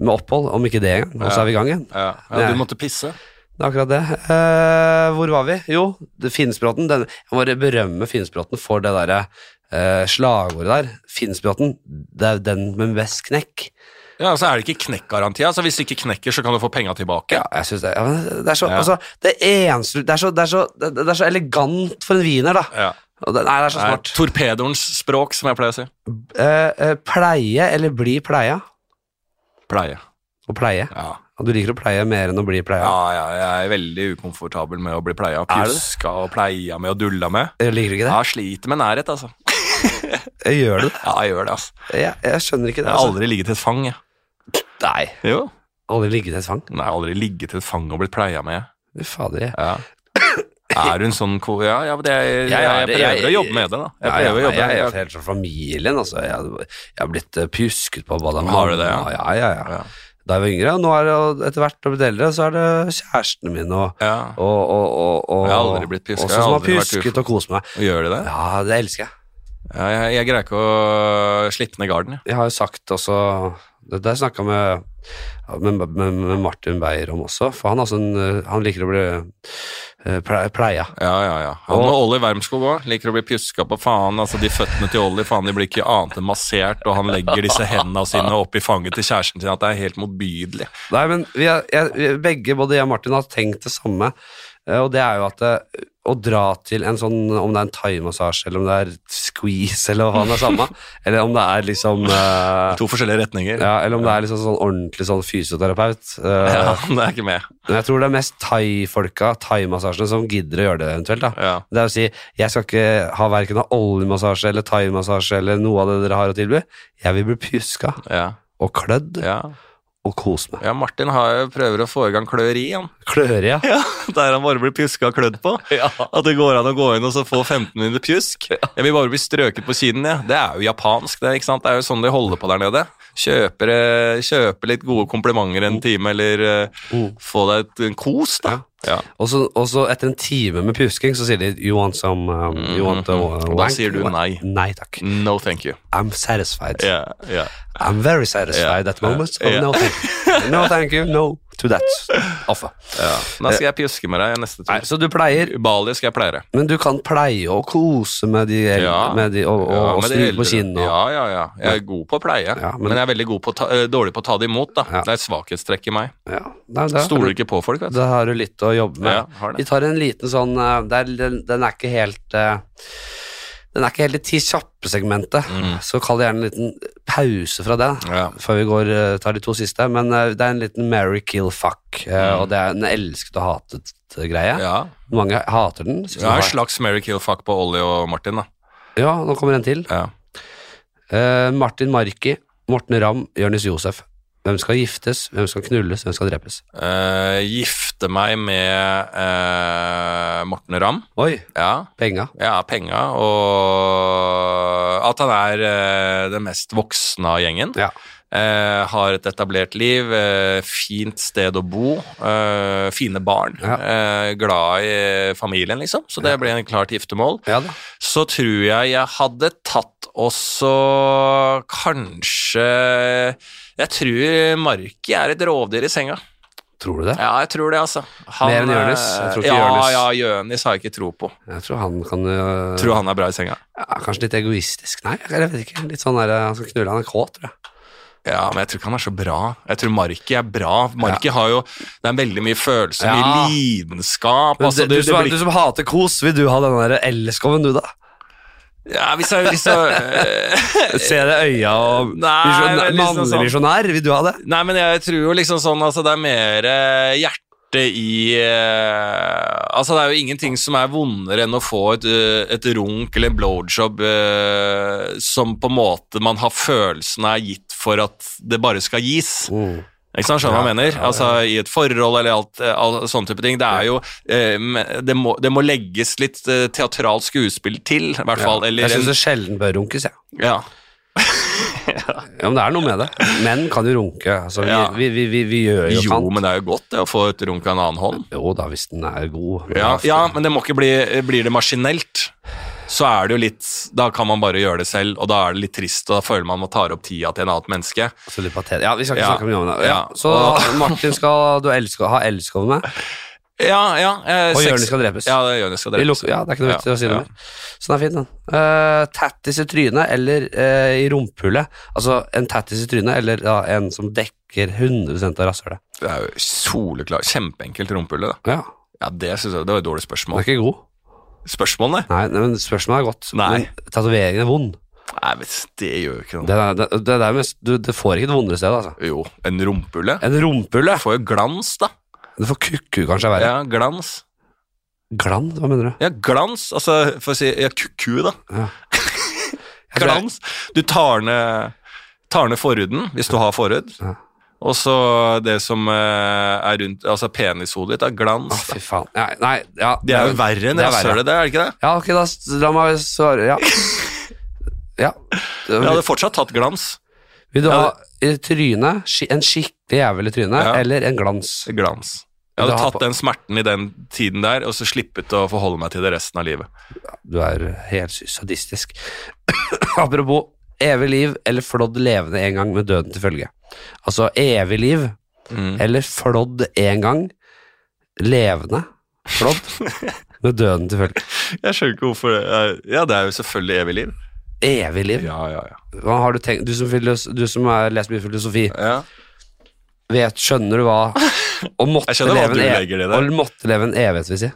Speaker 1: med opphold, om ikke det engang. Og så
Speaker 2: Ja.
Speaker 1: er vi i gang igjen.
Speaker 2: Ja,
Speaker 1: Det
Speaker 2: ja,
Speaker 1: er-
Speaker 2: du måtte pisse.
Speaker 1: Det er akkurat det. Eh, hvor var vi? Jo, det Finnsbråten. den- Jeg må bare berømme Finnsbråten for det derre eh, slagordet der. Finnsbråten, det er den med best knekk.
Speaker 2: Ja, så er det ikke knekkgaranti. Altså, hvis du ikke knekker, så kan du få penga tilbake.
Speaker 1: Ja, jeg synes det, ja, men det er så,
Speaker 2: Ja.
Speaker 1: altså, det eneste det er, så, det, er så, det, det er så elegant for en wiener, da.
Speaker 2: Ja.
Speaker 1: Og det, nei, det er så
Speaker 2: Det er
Speaker 1: smart.
Speaker 2: torpedoens språk, som jeg pleier å si.
Speaker 1: Eh, eh, pleie eller bli pleia?
Speaker 2: Pleie.
Speaker 1: Å pleie.
Speaker 2: Ja.
Speaker 1: Og du liker å pleie mer enn å bli pleia.
Speaker 2: Ja, ja, jeg er veldig ukomfortabel med å bli pleia.
Speaker 1: Er du det?
Speaker 2: Pjuska og pleia med og dulla med.
Speaker 1: Jeg Liker du ikke det?
Speaker 2: Jeg sliter med nærhet, altså.
Speaker 1: Jeg gjør det.
Speaker 2: Ja, jeg gjør det, altså.
Speaker 1: Jeg, jeg skjønner ikke
Speaker 2: Jeg
Speaker 1: det.
Speaker 2: har
Speaker 1: Altså.
Speaker 2: aldri ligget i et fang, jeg.
Speaker 1: Nei.
Speaker 2: Jo.
Speaker 1: Aldri ligget i et fang.
Speaker 2: Nei, jeg har aldri ligget i et fang og blitt pleia med.
Speaker 1: Fy Fader, jeg.
Speaker 2: Ja. Er du en sånn ko... Ja, ja, men det, jeg, jeg, jeg prøver å jobbe med det, da. Jeg
Speaker 1: Nei,
Speaker 2: prøver å
Speaker 1: nei,
Speaker 2: jobbe
Speaker 1: jeg er
Speaker 2: med det.
Speaker 1: helt fra familien, altså. Jeg, jeg har blitt eh, pjusket på av
Speaker 2: Har du det, ja?
Speaker 1: Ja, ja, ja.
Speaker 2: Ja.
Speaker 1: Da jeg var yngre, og nå er det jo etter hvert å blitt eldre, så er det kjærestene mine og,
Speaker 2: Ja.
Speaker 1: og, og, og, og
Speaker 2: Jeg har aldri blitt pjuska,
Speaker 1: Også
Speaker 2: jeg har
Speaker 1: som har
Speaker 2: aldri vært ufo.
Speaker 1: pjusket og kost meg.
Speaker 2: Gjør du det?
Speaker 1: Ja, det elsker jeg.
Speaker 2: Ja, jeg, jeg greier ikke å slippe ned garden, jeg.
Speaker 1: Jeg har jo sagt også Det har jeg snakka med, med, med, med Martin Beyer om også, for han, er også en, eh, han liker å bli eh, ple- pleia.
Speaker 2: Ja, ja, ja. Han og Olli Wermskog òg. Liker å bli pjuska på faen. Altså, de føttene til Olli faen, de blir ikke annet enn massert, og han legger disse hendene sine opp i fanget til kjæresten sin. At det er helt motbydelig.
Speaker 1: Nei, men vi er, jeg, vi- begge, både jeg og Martin, har tenkt det samme. eh, Og det er jo at eh, å dra til en sånn, om det er en thaimassasje, eller om det er squeeze, eller hva faen det er samme, eller om det er liksom eh,
Speaker 2: To forskjellige retninger.
Speaker 1: ja, Eller om det er liksom sånn ordentlig sånn fysioterapeut. eh,
Speaker 2: Ja, det er ikke med.
Speaker 1: Men jeg tror det er mest thai-folka, thai-massasjene, som gidder å gjøre det eventuelt. da.
Speaker 2: Ja.
Speaker 1: Det er å si, jeg skal ikke ha verken av oljemassasje eller thai-massasje eller noe av det dere har å tilby. Jeg vil bli pjuska
Speaker 2: Ja,
Speaker 1: og klødd
Speaker 2: ja.
Speaker 1: og kose meg.
Speaker 2: ja Martin har, prøver å få i gang kløeri, han.
Speaker 1: Kløre, ja.
Speaker 2: Ja, der han bare blir pjuska og klødd på. At det går an å gå inn og så få 15 minutter pjusk. Jeg vil bare bli strøket på kinnet. jeg. Det er jo japansk, det. ikke sant? Det er jo sånn de holder på der nede. Kjøper, eh, kjøper litt gode komplimenter en time, eller eh,
Speaker 1: Mm.
Speaker 2: få deg et, en kos, da. Ja.
Speaker 1: Og så, og så etter en time med pjusking, så sier de you want some um, you want a
Speaker 2: Mhm. Og da
Speaker 1: wank?"
Speaker 2: sier du nei.
Speaker 1: Nei takk.
Speaker 2: No thank you.
Speaker 1: I'm satisfied.
Speaker 2: Ja, ja.
Speaker 1: I'm very satisfied
Speaker 2: Ja.
Speaker 1: at the moment. Oh,
Speaker 2: Ja.
Speaker 1: no, thank you. no thank you. No to that offer.
Speaker 2: Da skal jeg pjuske med deg neste
Speaker 1: Nei,
Speaker 2: tur.
Speaker 1: så du pleier
Speaker 2: I Bali skal jeg pleie det.
Speaker 1: Men du kan pleie og kose med de, eldre,
Speaker 2: Ja.
Speaker 1: med de og, og,
Speaker 2: Ja,
Speaker 1: og
Speaker 2: men det
Speaker 1: snu på
Speaker 2: gjelder-
Speaker 1: kinnet. Og,
Speaker 2: Ja, ja, ja. Jeg er god på å pleie,
Speaker 1: Ja, men-
Speaker 2: men, jeg er veldig god på å ta, eh, dårlig på å ta det imot. da.
Speaker 1: Ja.
Speaker 2: Det er et svakhetstrekk i meg.
Speaker 1: ja. Nei, da-
Speaker 2: Stoler ikke på folk, vet du.
Speaker 1: Da har du litt å jobbe med.
Speaker 2: Ja, har det.
Speaker 1: Vi tar en liten sånn eh, det er, den, den er
Speaker 2: Mm.
Speaker 1: ikke helt eh, Den er ikke helt i ti kjappe-segmentet, så kall det gjerne en liten pause fra det da,
Speaker 2: Ja.
Speaker 1: før vi går, eh, tar de to siste. Men eh, det er en liten marry, kill, fuck. eh, Og det er en elsket og hatet eh, greie.
Speaker 2: Ja.
Speaker 1: Mange hater den. synes
Speaker 2: Det er
Speaker 1: den
Speaker 2: en
Speaker 1: var-
Speaker 2: slags Mary Kill Fuck på Ollie og Martin, da.
Speaker 1: ja, nå kommer en til.
Speaker 2: Ja.
Speaker 1: Eh, Martin Marki, Morten Ramm, Jonis Josef. Hvem skal giftes, hvem skal knulles, hvem skal drepes?
Speaker 2: Eh, gifte meg med eh, Morten Ramm.
Speaker 1: Oi,
Speaker 2: Ja.
Speaker 1: penga.
Speaker 2: Ja, penga og at han er eh, den mest voksne av gjengen.
Speaker 1: Ja.
Speaker 2: Eh, har et etablert liv, eh, fint sted å bo, eh, fine barn.
Speaker 1: Ja.
Speaker 2: Eh, glad i familien, liksom. Så det ble en klart giftermål.
Speaker 1: Ja da.
Speaker 2: Så tror jeg jeg hadde tatt også kanskje Jeg tror Marki er et rovdyr i senga.
Speaker 1: Tror du det?
Speaker 2: Ja, jeg tror det, altså. Han, eh,
Speaker 1: Mer enn Jonis? Jeg tror ikke
Speaker 2: ja,
Speaker 1: Jonis-
Speaker 2: Ja, Jonis har jeg ikke tro på.
Speaker 1: Jeg tror han kan eh,
Speaker 2: Tror han er bra i senga.
Speaker 1: ja, Kanskje litt egoistisk. Nei, jeg vet ikke. Litt sånn der, eh, Han skal knulle, han er kåt, tror jeg.
Speaker 2: Ja, men jeg tror ikke han er så bra. Jeg tror Marki er bra. Marki har jo Det er veldig mye følelse,
Speaker 1: Ja.
Speaker 2: mye lidenskap.
Speaker 1: Men
Speaker 2: Altså,
Speaker 1: du,
Speaker 2: det,
Speaker 1: du,
Speaker 2: det
Speaker 1: som,
Speaker 2: blir,
Speaker 1: du som hater kos, vil du ha den der elskoven, du, da?
Speaker 2: ja, hvis jeg, hvis jeg
Speaker 1: Se det i øya og
Speaker 2: Nei,
Speaker 1: visjon-
Speaker 2: men liksom
Speaker 1: Mannlig
Speaker 2: sånn.
Speaker 1: visjonær, vil du ha det?
Speaker 2: Nei, men jeg tror jo liksom sånn Altså, det er mer eh, hjerte i eh, Altså, det er jo ingenting som er vondere enn å få et, eh, et runk eller en blowjob eh, som på en måte man har følelsen er gitt for at det bare skal gis. Ikke sant, skjønner du hva jeg mener? Altså, I et forhold eller alt, all sånn type ting. Det er jo eh, men det, må, det må legges litt eh, teatralt skuespill til, i hvert fall.
Speaker 1: Jeg
Speaker 2: Eller
Speaker 1: syns
Speaker 2: en,
Speaker 1: det sjelden bør runkes, jeg.
Speaker 2: ja.
Speaker 1: Ja, men det er noe med det. Menn kan jo runke. Altså, vi,
Speaker 2: Ja.
Speaker 1: vi, vi, vi, vi gjør jo,
Speaker 2: Jo,
Speaker 1: sant.
Speaker 2: men det er jo godt det, å få et runk av en annen hånd.
Speaker 1: Jo da, hvis den er god.
Speaker 2: Ja, ja men det må ikke bli Blir det maskinelt, så er det jo litt Da kan man bare gjøre det selv, og da er det litt trist, og da føler man man tar opp tida til et annet menneske.
Speaker 1: Så litt patet. Ja, vi skal ikke
Speaker 2: Ja.
Speaker 1: snakke mye om det. Ja.
Speaker 2: Ja.
Speaker 1: Så
Speaker 2: Og-
Speaker 1: Martin skal du elsker, ha elskov med.
Speaker 2: Ja, ja. eh,
Speaker 1: Og
Speaker 2: sex-
Speaker 1: Jonis skal drepes.
Speaker 2: Ja, det er Jonis skal
Speaker 1: Vi
Speaker 2: drepes.
Speaker 1: lukker, ja, det er ikke noe vits i å si
Speaker 2: Ja,
Speaker 1: det
Speaker 2: ja.
Speaker 1: mer. Så den er fin, den. Eh, tattis i trynet eller eh, i rumpehullet. Altså en tattis i trynet eller ja, en som dekker 100 av rasshølet.
Speaker 2: Det er jo soleklar. Kjempeenkelt rumpehulle, da.
Speaker 1: Ja,
Speaker 2: Ja, det synes jeg det var et dårlig
Speaker 1: den er
Speaker 2: spørsmål.
Speaker 1: ikke god.
Speaker 2: Spørsmålet?
Speaker 1: Nei, nei men spørsmålet er godt.
Speaker 2: Nei.
Speaker 1: Men tatoveringen er vond.
Speaker 2: Nei, men det gjør jo ikke noe.
Speaker 1: Det, er- det, det, er mest, du, det får ikke det vondere stedet, altså.
Speaker 2: Jo, en rumpehulle.
Speaker 1: En rumpehulle.
Speaker 2: Jeg får jo glans, da.
Speaker 1: Du får kukku kanskje er verre.
Speaker 2: Ja, glans.
Speaker 1: Glans, hva mener du?
Speaker 2: Ja, glans. Altså, for å si ja, kukku, da.
Speaker 1: Ja.
Speaker 2: glans. Du tar ned, tar ned forhuden, hvis du har forhud.
Speaker 1: Ja.
Speaker 2: Og så det som eh, er rundt Altså penishodet ditt, er
Speaker 1: Å,
Speaker 2: glans.
Speaker 1: fy Ah, faen. Nei, nei ja.
Speaker 2: Det er jo verre enn
Speaker 1: det er verre.
Speaker 2: rasshølet, det, er det ikke det?
Speaker 1: Ja, ok, da s- la meg svare. Ja. ja.
Speaker 2: Jeg hadde fortsatt tatt glans.
Speaker 1: Vil du
Speaker 2: Ja,
Speaker 1: ha i trynet, ski- en skikkelig jævel i trynet,
Speaker 2: Ja.
Speaker 1: eller en glans?
Speaker 2: Glans.
Speaker 1: Men
Speaker 2: Jeg
Speaker 1: det
Speaker 2: hadde
Speaker 1: har
Speaker 2: tatt
Speaker 1: på-
Speaker 2: den smerten i den tiden der, og så slippet å forholde meg til det resten av livet.
Speaker 1: Du er helt sadistisk. Apropos evig liv eller flådd levende en gang med døden til følge. Altså evig liv
Speaker 2: Mm.
Speaker 1: eller flådd en gang levende flådd med døden til følge.
Speaker 2: Jeg skjønner ikke hvorfor det er Ja, det er jo selvfølgelig evig liv.
Speaker 1: Evig liv?
Speaker 2: Ja, ja, ja.
Speaker 1: Hva har du tenkt Du som, filos, du som har lest mye filosofi,
Speaker 2: ja.
Speaker 1: vet, skjønner du hva å måtte,
Speaker 2: Jeg skjønner hva
Speaker 1: leve,
Speaker 2: du
Speaker 1: en ev-
Speaker 2: legger i det.
Speaker 1: å måtte leve en evighet, vil si?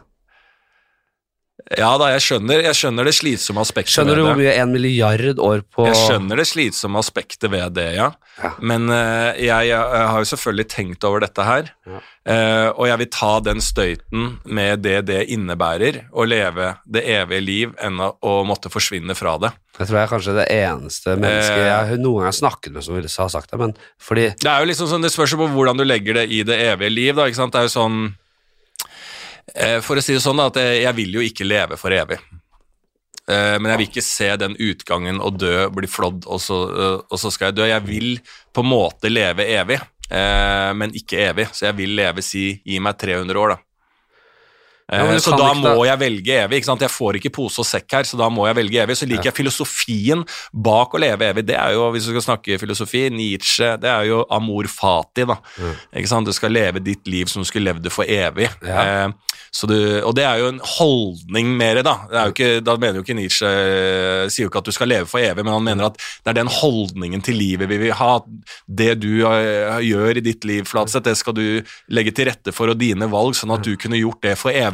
Speaker 2: Ja da, jeg skjønner, jeg skjønner det slitsomme aspektet
Speaker 1: Skjønner du
Speaker 2: ved
Speaker 1: hvor
Speaker 2: det.
Speaker 1: mye en milliard år på
Speaker 2: Jeg skjønner det slitsomme aspektet ved det, ja.
Speaker 1: Ja.
Speaker 2: Men eh, jeg, jeg har jo selvfølgelig tenkt over dette her. Eh, og jeg vil ta den støyten med det det innebærer å leve det evige liv enn å, å måtte forsvinne fra det.
Speaker 1: Jeg tror jeg er kanskje det
Speaker 2: Eh.
Speaker 1: eneste mennesket jeg noen gang har snakket med som ville ha sagt det, men fordi
Speaker 2: Det er jo liksom sånn, det spørs jo på hvordan du legger det i det evige liv, da, ikke sant? Det er jo sånn eh, For å si det sånn, da, at jeg, jeg vil jo ikke leve for evig. Eh, Men jeg vil ikke se den utgangen og dø, bli flådd, og, så, eh, og så skal jeg dø. Jeg vil på en måte leve evig, eh, men ikke evig. Så jeg vil leve, si, gi meg 300 år, da. Eh,
Speaker 1: Ja, men du
Speaker 2: så
Speaker 1: kan
Speaker 2: da
Speaker 1: ikke
Speaker 2: må
Speaker 1: da-
Speaker 2: jeg velge evig. ikke sant? Jeg får ikke pose og sekk her, så da må jeg velge evig. Så liker jeg filosofien bak å leve evig. Det er jo, hvis du skal snakke filosofi, Nietzsche, det er jo amor fati, da. Ikke sant? Du skal leve ditt liv som du skulle levd det for evig.
Speaker 1: Ja.
Speaker 2: Eh, så du, og det er jo en holdning mer, da. Det er jo ikke, da mener jo ikke Nietzsche eh, sier jo ikke at du skal leve for evig, men han mener at det er den holdningen til livet vi vil ha. at Det du eh, gjør i ditt liv, Flatseth, det skal du legge til rette for, og dine valg, sånn at du kunne gjort det for evig.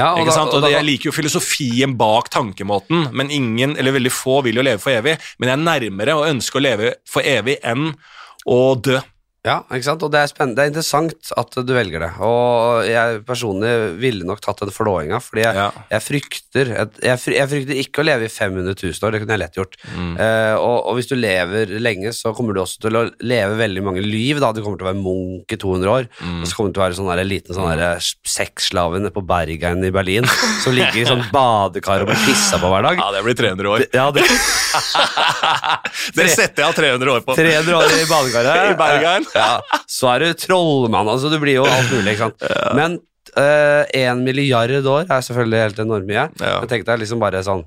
Speaker 1: Ja, og
Speaker 2: ikke
Speaker 1: da-
Speaker 2: sant?
Speaker 1: og
Speaker 2: Og
Speaker 1: da-
Speaker 2: det- jeg liker jo filosofien bak tankemåten, men ingen, eller veldig få, vil jo leve for evig. Men jeg er nærmere å ønske å leve for evig enn å dø.
Speaker 1: Ja, ikke sant? Og det er spennende, det er interessant at du velger det. Og jeg personlig ville nok tatt den flåinga, fordi jeg,
Speaker 2: Ja.
Speaker 1: jeg frykter et, jeg, fry- jeg frykter ikke å leve i 500 000 år, det kunne jeg lett gjort.
Speaker 2: Mm.
Speaker 1: Eh, og, og hvis du lever lenge, så kommer du også til å leve veldig mange liv. Da. Du kommer til å være munk i 200 år, og
Speaker 2: Mm.
Speaker 1: så kommer du til å være sånn der, liten sånn der sexslave nede på Bergen i Berlin, som ligger i sånn badekar og blir pissa på hver dag.
Speaker 2: Ja, det blir 300 år.
Speaker 1: Ja, det,
Speaker 2: Det setter jeg av 300 år på.
Speaker 1: 300 år i badekaret.
Speaker 2: I Bergen.
Speaker 1: Ja, så er du trollmann, altså du blir jo alt mulig, ikke sant. Men én milliard år er selvfølgelig helt enormt mye.
Speaker 2: Ja.
Speaker 1: Men tenk deg liksom bare sånn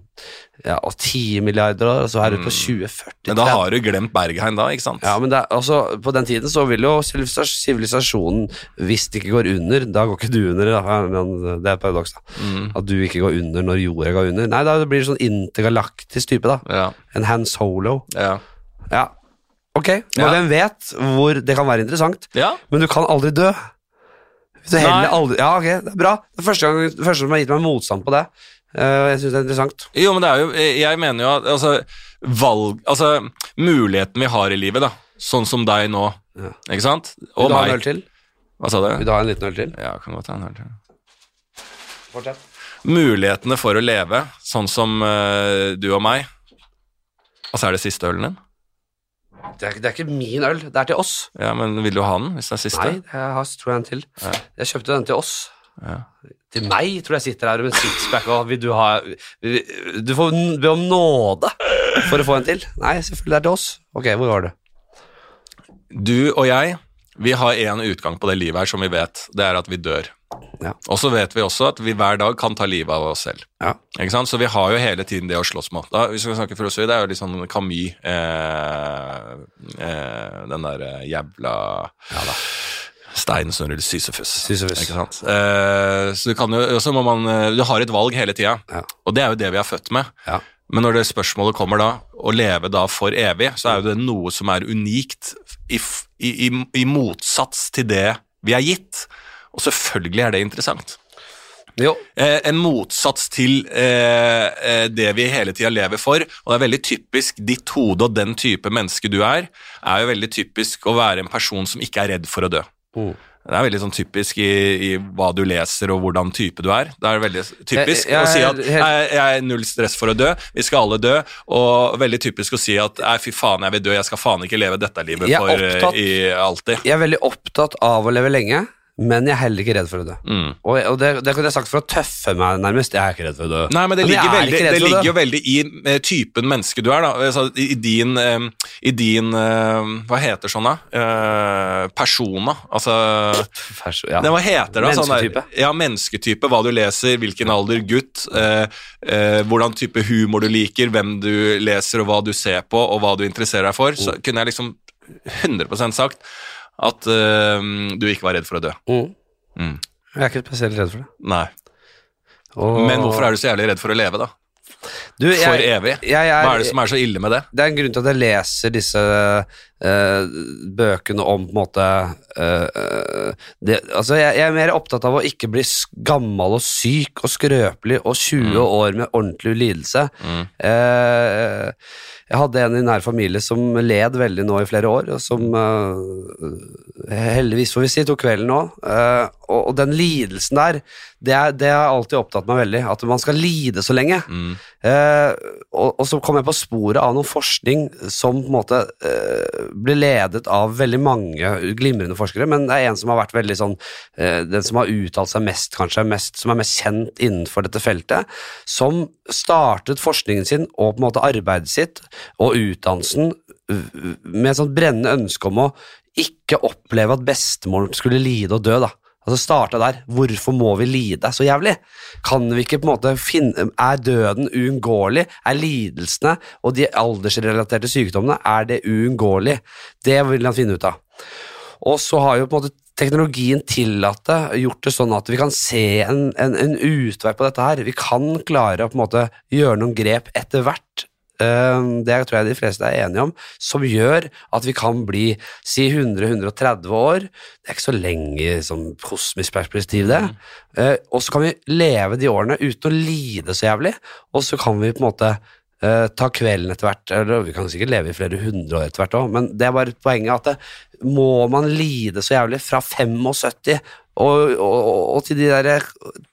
Speaker 1: ja, Og ti milliarder år, og så er du på 2040.
Speaker 2: Mm. Men da har du glemt Bergheim, da, ikke sant?
Speaker 1: ja, men det er, altså, På den tiden så vil jo sivilisas- sivilisasjonen, hvis det ikke går under Da går ikke du under, da. Men det er paradoks, da.
Speaker 2: Mm.
Speaker 1: At du ikke går under når jorda går under. Nei, da blir du sånn intergalaktisk type, da.
Speaker 2: Ja,
Speaker 1: En Han Solo.
Speaker 2: ja.
Speaker 1: Ja. Ok, men
Speaker 2: Ja.
Speaker 1: hvem vet hvor det kan være interessant?
Speaker 2: ja.
Speaker 1: Men du kan aldri dø. Hvis du heller
Speaker 2: Nei.
Speaker 1: aldri Ja, ok, det er bra. Det er første gang det første som har gitt meg motstand på det. Eh, jeg syns det er interessant.
Speaker 2: Jo, men det er jo Jeg mener jo at altså, valg Altså, muligheten vi har i livet, da. Sånn som deg nå,
Speaker 1: Ja.
Speaker 2: ikke sant?
Speaker 1: Vil
Speaker 2: Og
Speaker 1: du ha en
Speaker 2: meg.
Speaker 1: øl til?
Speaker 2: Hva sa
Speaker 1: Vil
Speaker 2: du?
Speaker 1: du ha en liten øl til?
Speaker 2: Ja, kan godt ta en øl til.
Speaker 1: Fortsett.
Speaker 2: Mulighetene for å leve, sånn som eh, du og meg. Og så er det siste ølen din.
Speaker 1: Det er, ikke- det er ikke min øl, det er til oss.
Speaker 2: Ja, men vil du ha den hvis det er siste?
Speaker 1: Nei, jeg har, tror jeg en til.
Speaker 2: Ja.
Speaker 1: Jeg kjøpte den til oss.
Speaker 2: Ja.
Speaker 1: Til meg, tror jeg sitter her med en sixpack og vil du ha Du får n- be om nåde for å få en til. Nei, selvfølgelig, det er til oss. Ok, hvor var du?
Speaker 2: Du og jeg, vi har én utgang på det livet her som vi vet. Det er at vi dør.
Speaker 1: Ja.
Speaker 2: Og så vet vi også at vi hver dag kan ta livet av oss selv.
Speaker 1: Ja.
Speaker 2: Ikke sant? Så vi har jo hele tiden det å slåss mot. Da, hvis vi skal snakke filosofi, det er jo litt sånn Camus, eh, eh, den derre jævla Steinen som rullet Sisyfus.
Speaker 1: Sisyfus.
Speaker 2: Ikke sant? Eh, så du kan jo, og så må man, eh, du har et valg hele tida,
Speaker 1: Ja.
Speaker 2: og det er jo det vi er født med.
Speaker 1: Ja.
Speaker 2: Men når det spørsmålet kommer da, å leve da for evig, så er jo det noe som er unikt i, f- i, i, i motsats til det vi er gitt. Og selvfølgelig er det interessant.
Speaker 1: Jo,
Speaker 2: Eh, en motsats til eh, eh, det vi hele tida lever for, og det er veldig typisk ditt hode og den type menneske du er, er jo veldig typisk å være en person som ikke er redd for å dø.
Speaker 1: Mm.
Speaker 2: Det er veldig sånn typisk i, i hva du leser og hvordan type du er. Det er veldig
Speaker 1: Jeg-
Speaker 2: typisk
Speaker 1: jeg-
Speaker 2: å si at
Speaker 1: helt-
Speaker 2: jeg, jeg er null stress for å dø, vi skal alle dø, og veldig typisk å si at nei, fy faen, jeg vil dø, jeg skal faen ikke leve dette livet
Speaker 1: Jeg er
Speaker 2: for eh,
Speaker 1: opptatt-
Speaker 2: i, alltid.
Speaker 1: jeg er veldig opptatt av å leve lenge, men jeg er heller ikke redd for å dø.
Speaker 2: Mm.
Speaker 1: Og, og det, det kunne jeg sagt for å tøffe meg nærmest. Jeg er ikke redd for å dø.
Speaker 2: Nei, men det ligger,
Speaker 1: jeg er
Speaker 2: veldig,
Speaker 1: ikke redd
Speaker 2: det
Speaker 1: for å dø.
Speaker 2: ligger jo veldig i eh, typen menneske du er, da. Altså, I i din, eh, i din eh, Hva heter sånn, da? Eh, Persona. Altså
Speaker 1: Fers- ja.
Speaker 2: Nei, hva heter det? Sånn der-
Speaker 1: Mennesketype.
Speaker 2: ja, mennesketype. Hva du leser, hvilken alder, gutt. Eh, eh, hvordan type humor du liker, hvem du leser, og hva du ser på, og hva du interesserer deg for.
Speaker 1: Oh.
Speaker 2: Så kunne jeg liksom 100 sagt at eh, du ikke var redd for å dø.
Speaker 1: Mm.
Speaker 2: Mm.
Speaker 1: Jeg er ikke spesielt redd for det.
Speaker 2: Nei. Men hvorfor er du så jævlig redd for å leve, da?
Speaker 1: du jeg,
Speaker 2: For evig?
Speaker 1: Jeg, er-
Speaker 2: Hva er det som er så ille med det?
Speaker 1: det er en grunn til at jeg leser disse eh, bøkene om på en måte eh, eh, det, altså jeg, jeg er mer opptatt av å ikke bli s- gammel og syk og skrøpelig og 20 år med ordentlig lidelse. Eh, jeg hadde en i nær familie som led veldig nå i flere år, og som eh, heldigvis får vi si tok kvelden nå. Eh, og, og den lidelsen der, det, er, det har alltid opptatt meg veldig. At man skal lide så lenge. Eh, og, og så kom jeg på sporet av noen forskning som på en måte eh, ble ledet av veldig mange glimrende forskere, men det er en som har vært veldig sånn eh, Den som har uttalt seg mest, kanskje, er mest, som er mest kjent innenfor dette feltet, som startet forskningen sin og på en måte arbeidet sitt og utdannelsen eh, med et sånt brennende ønske om å ikke oppleve at bestemoren skulle lide og dø, da. Altså starta der. Hvorfor må vi lide så jævlig? Kan vi ikke på en måte finne Er døden uunngåelig? Er lidelsene og de aldersrelaterte sykdommene er det uunngåelig? Det vil han finne ut av. Og så har jo på en måte teknologien tillatt det, gjort det sånn at vi kan se en, en, en utvei på dette her. Vi kan klare å på en måte gjøre noen grep etter hvert eh, det tror jeg de fleste er enige om, som gjør at vi kan bli si 100-130 år. Det er ikke så lenge som kosmisk perspektiv, det. Eh, og så kan vi leve de årene uten å lide så jævlig, og så kan vi på en måte eh, ta kvelden etter hvert, eller vi kan sikkert leve i flere hundre år etter hvert òg, men det er bare poenget at det, må man lide så jævlig fra 75 og, og, og til de der eh,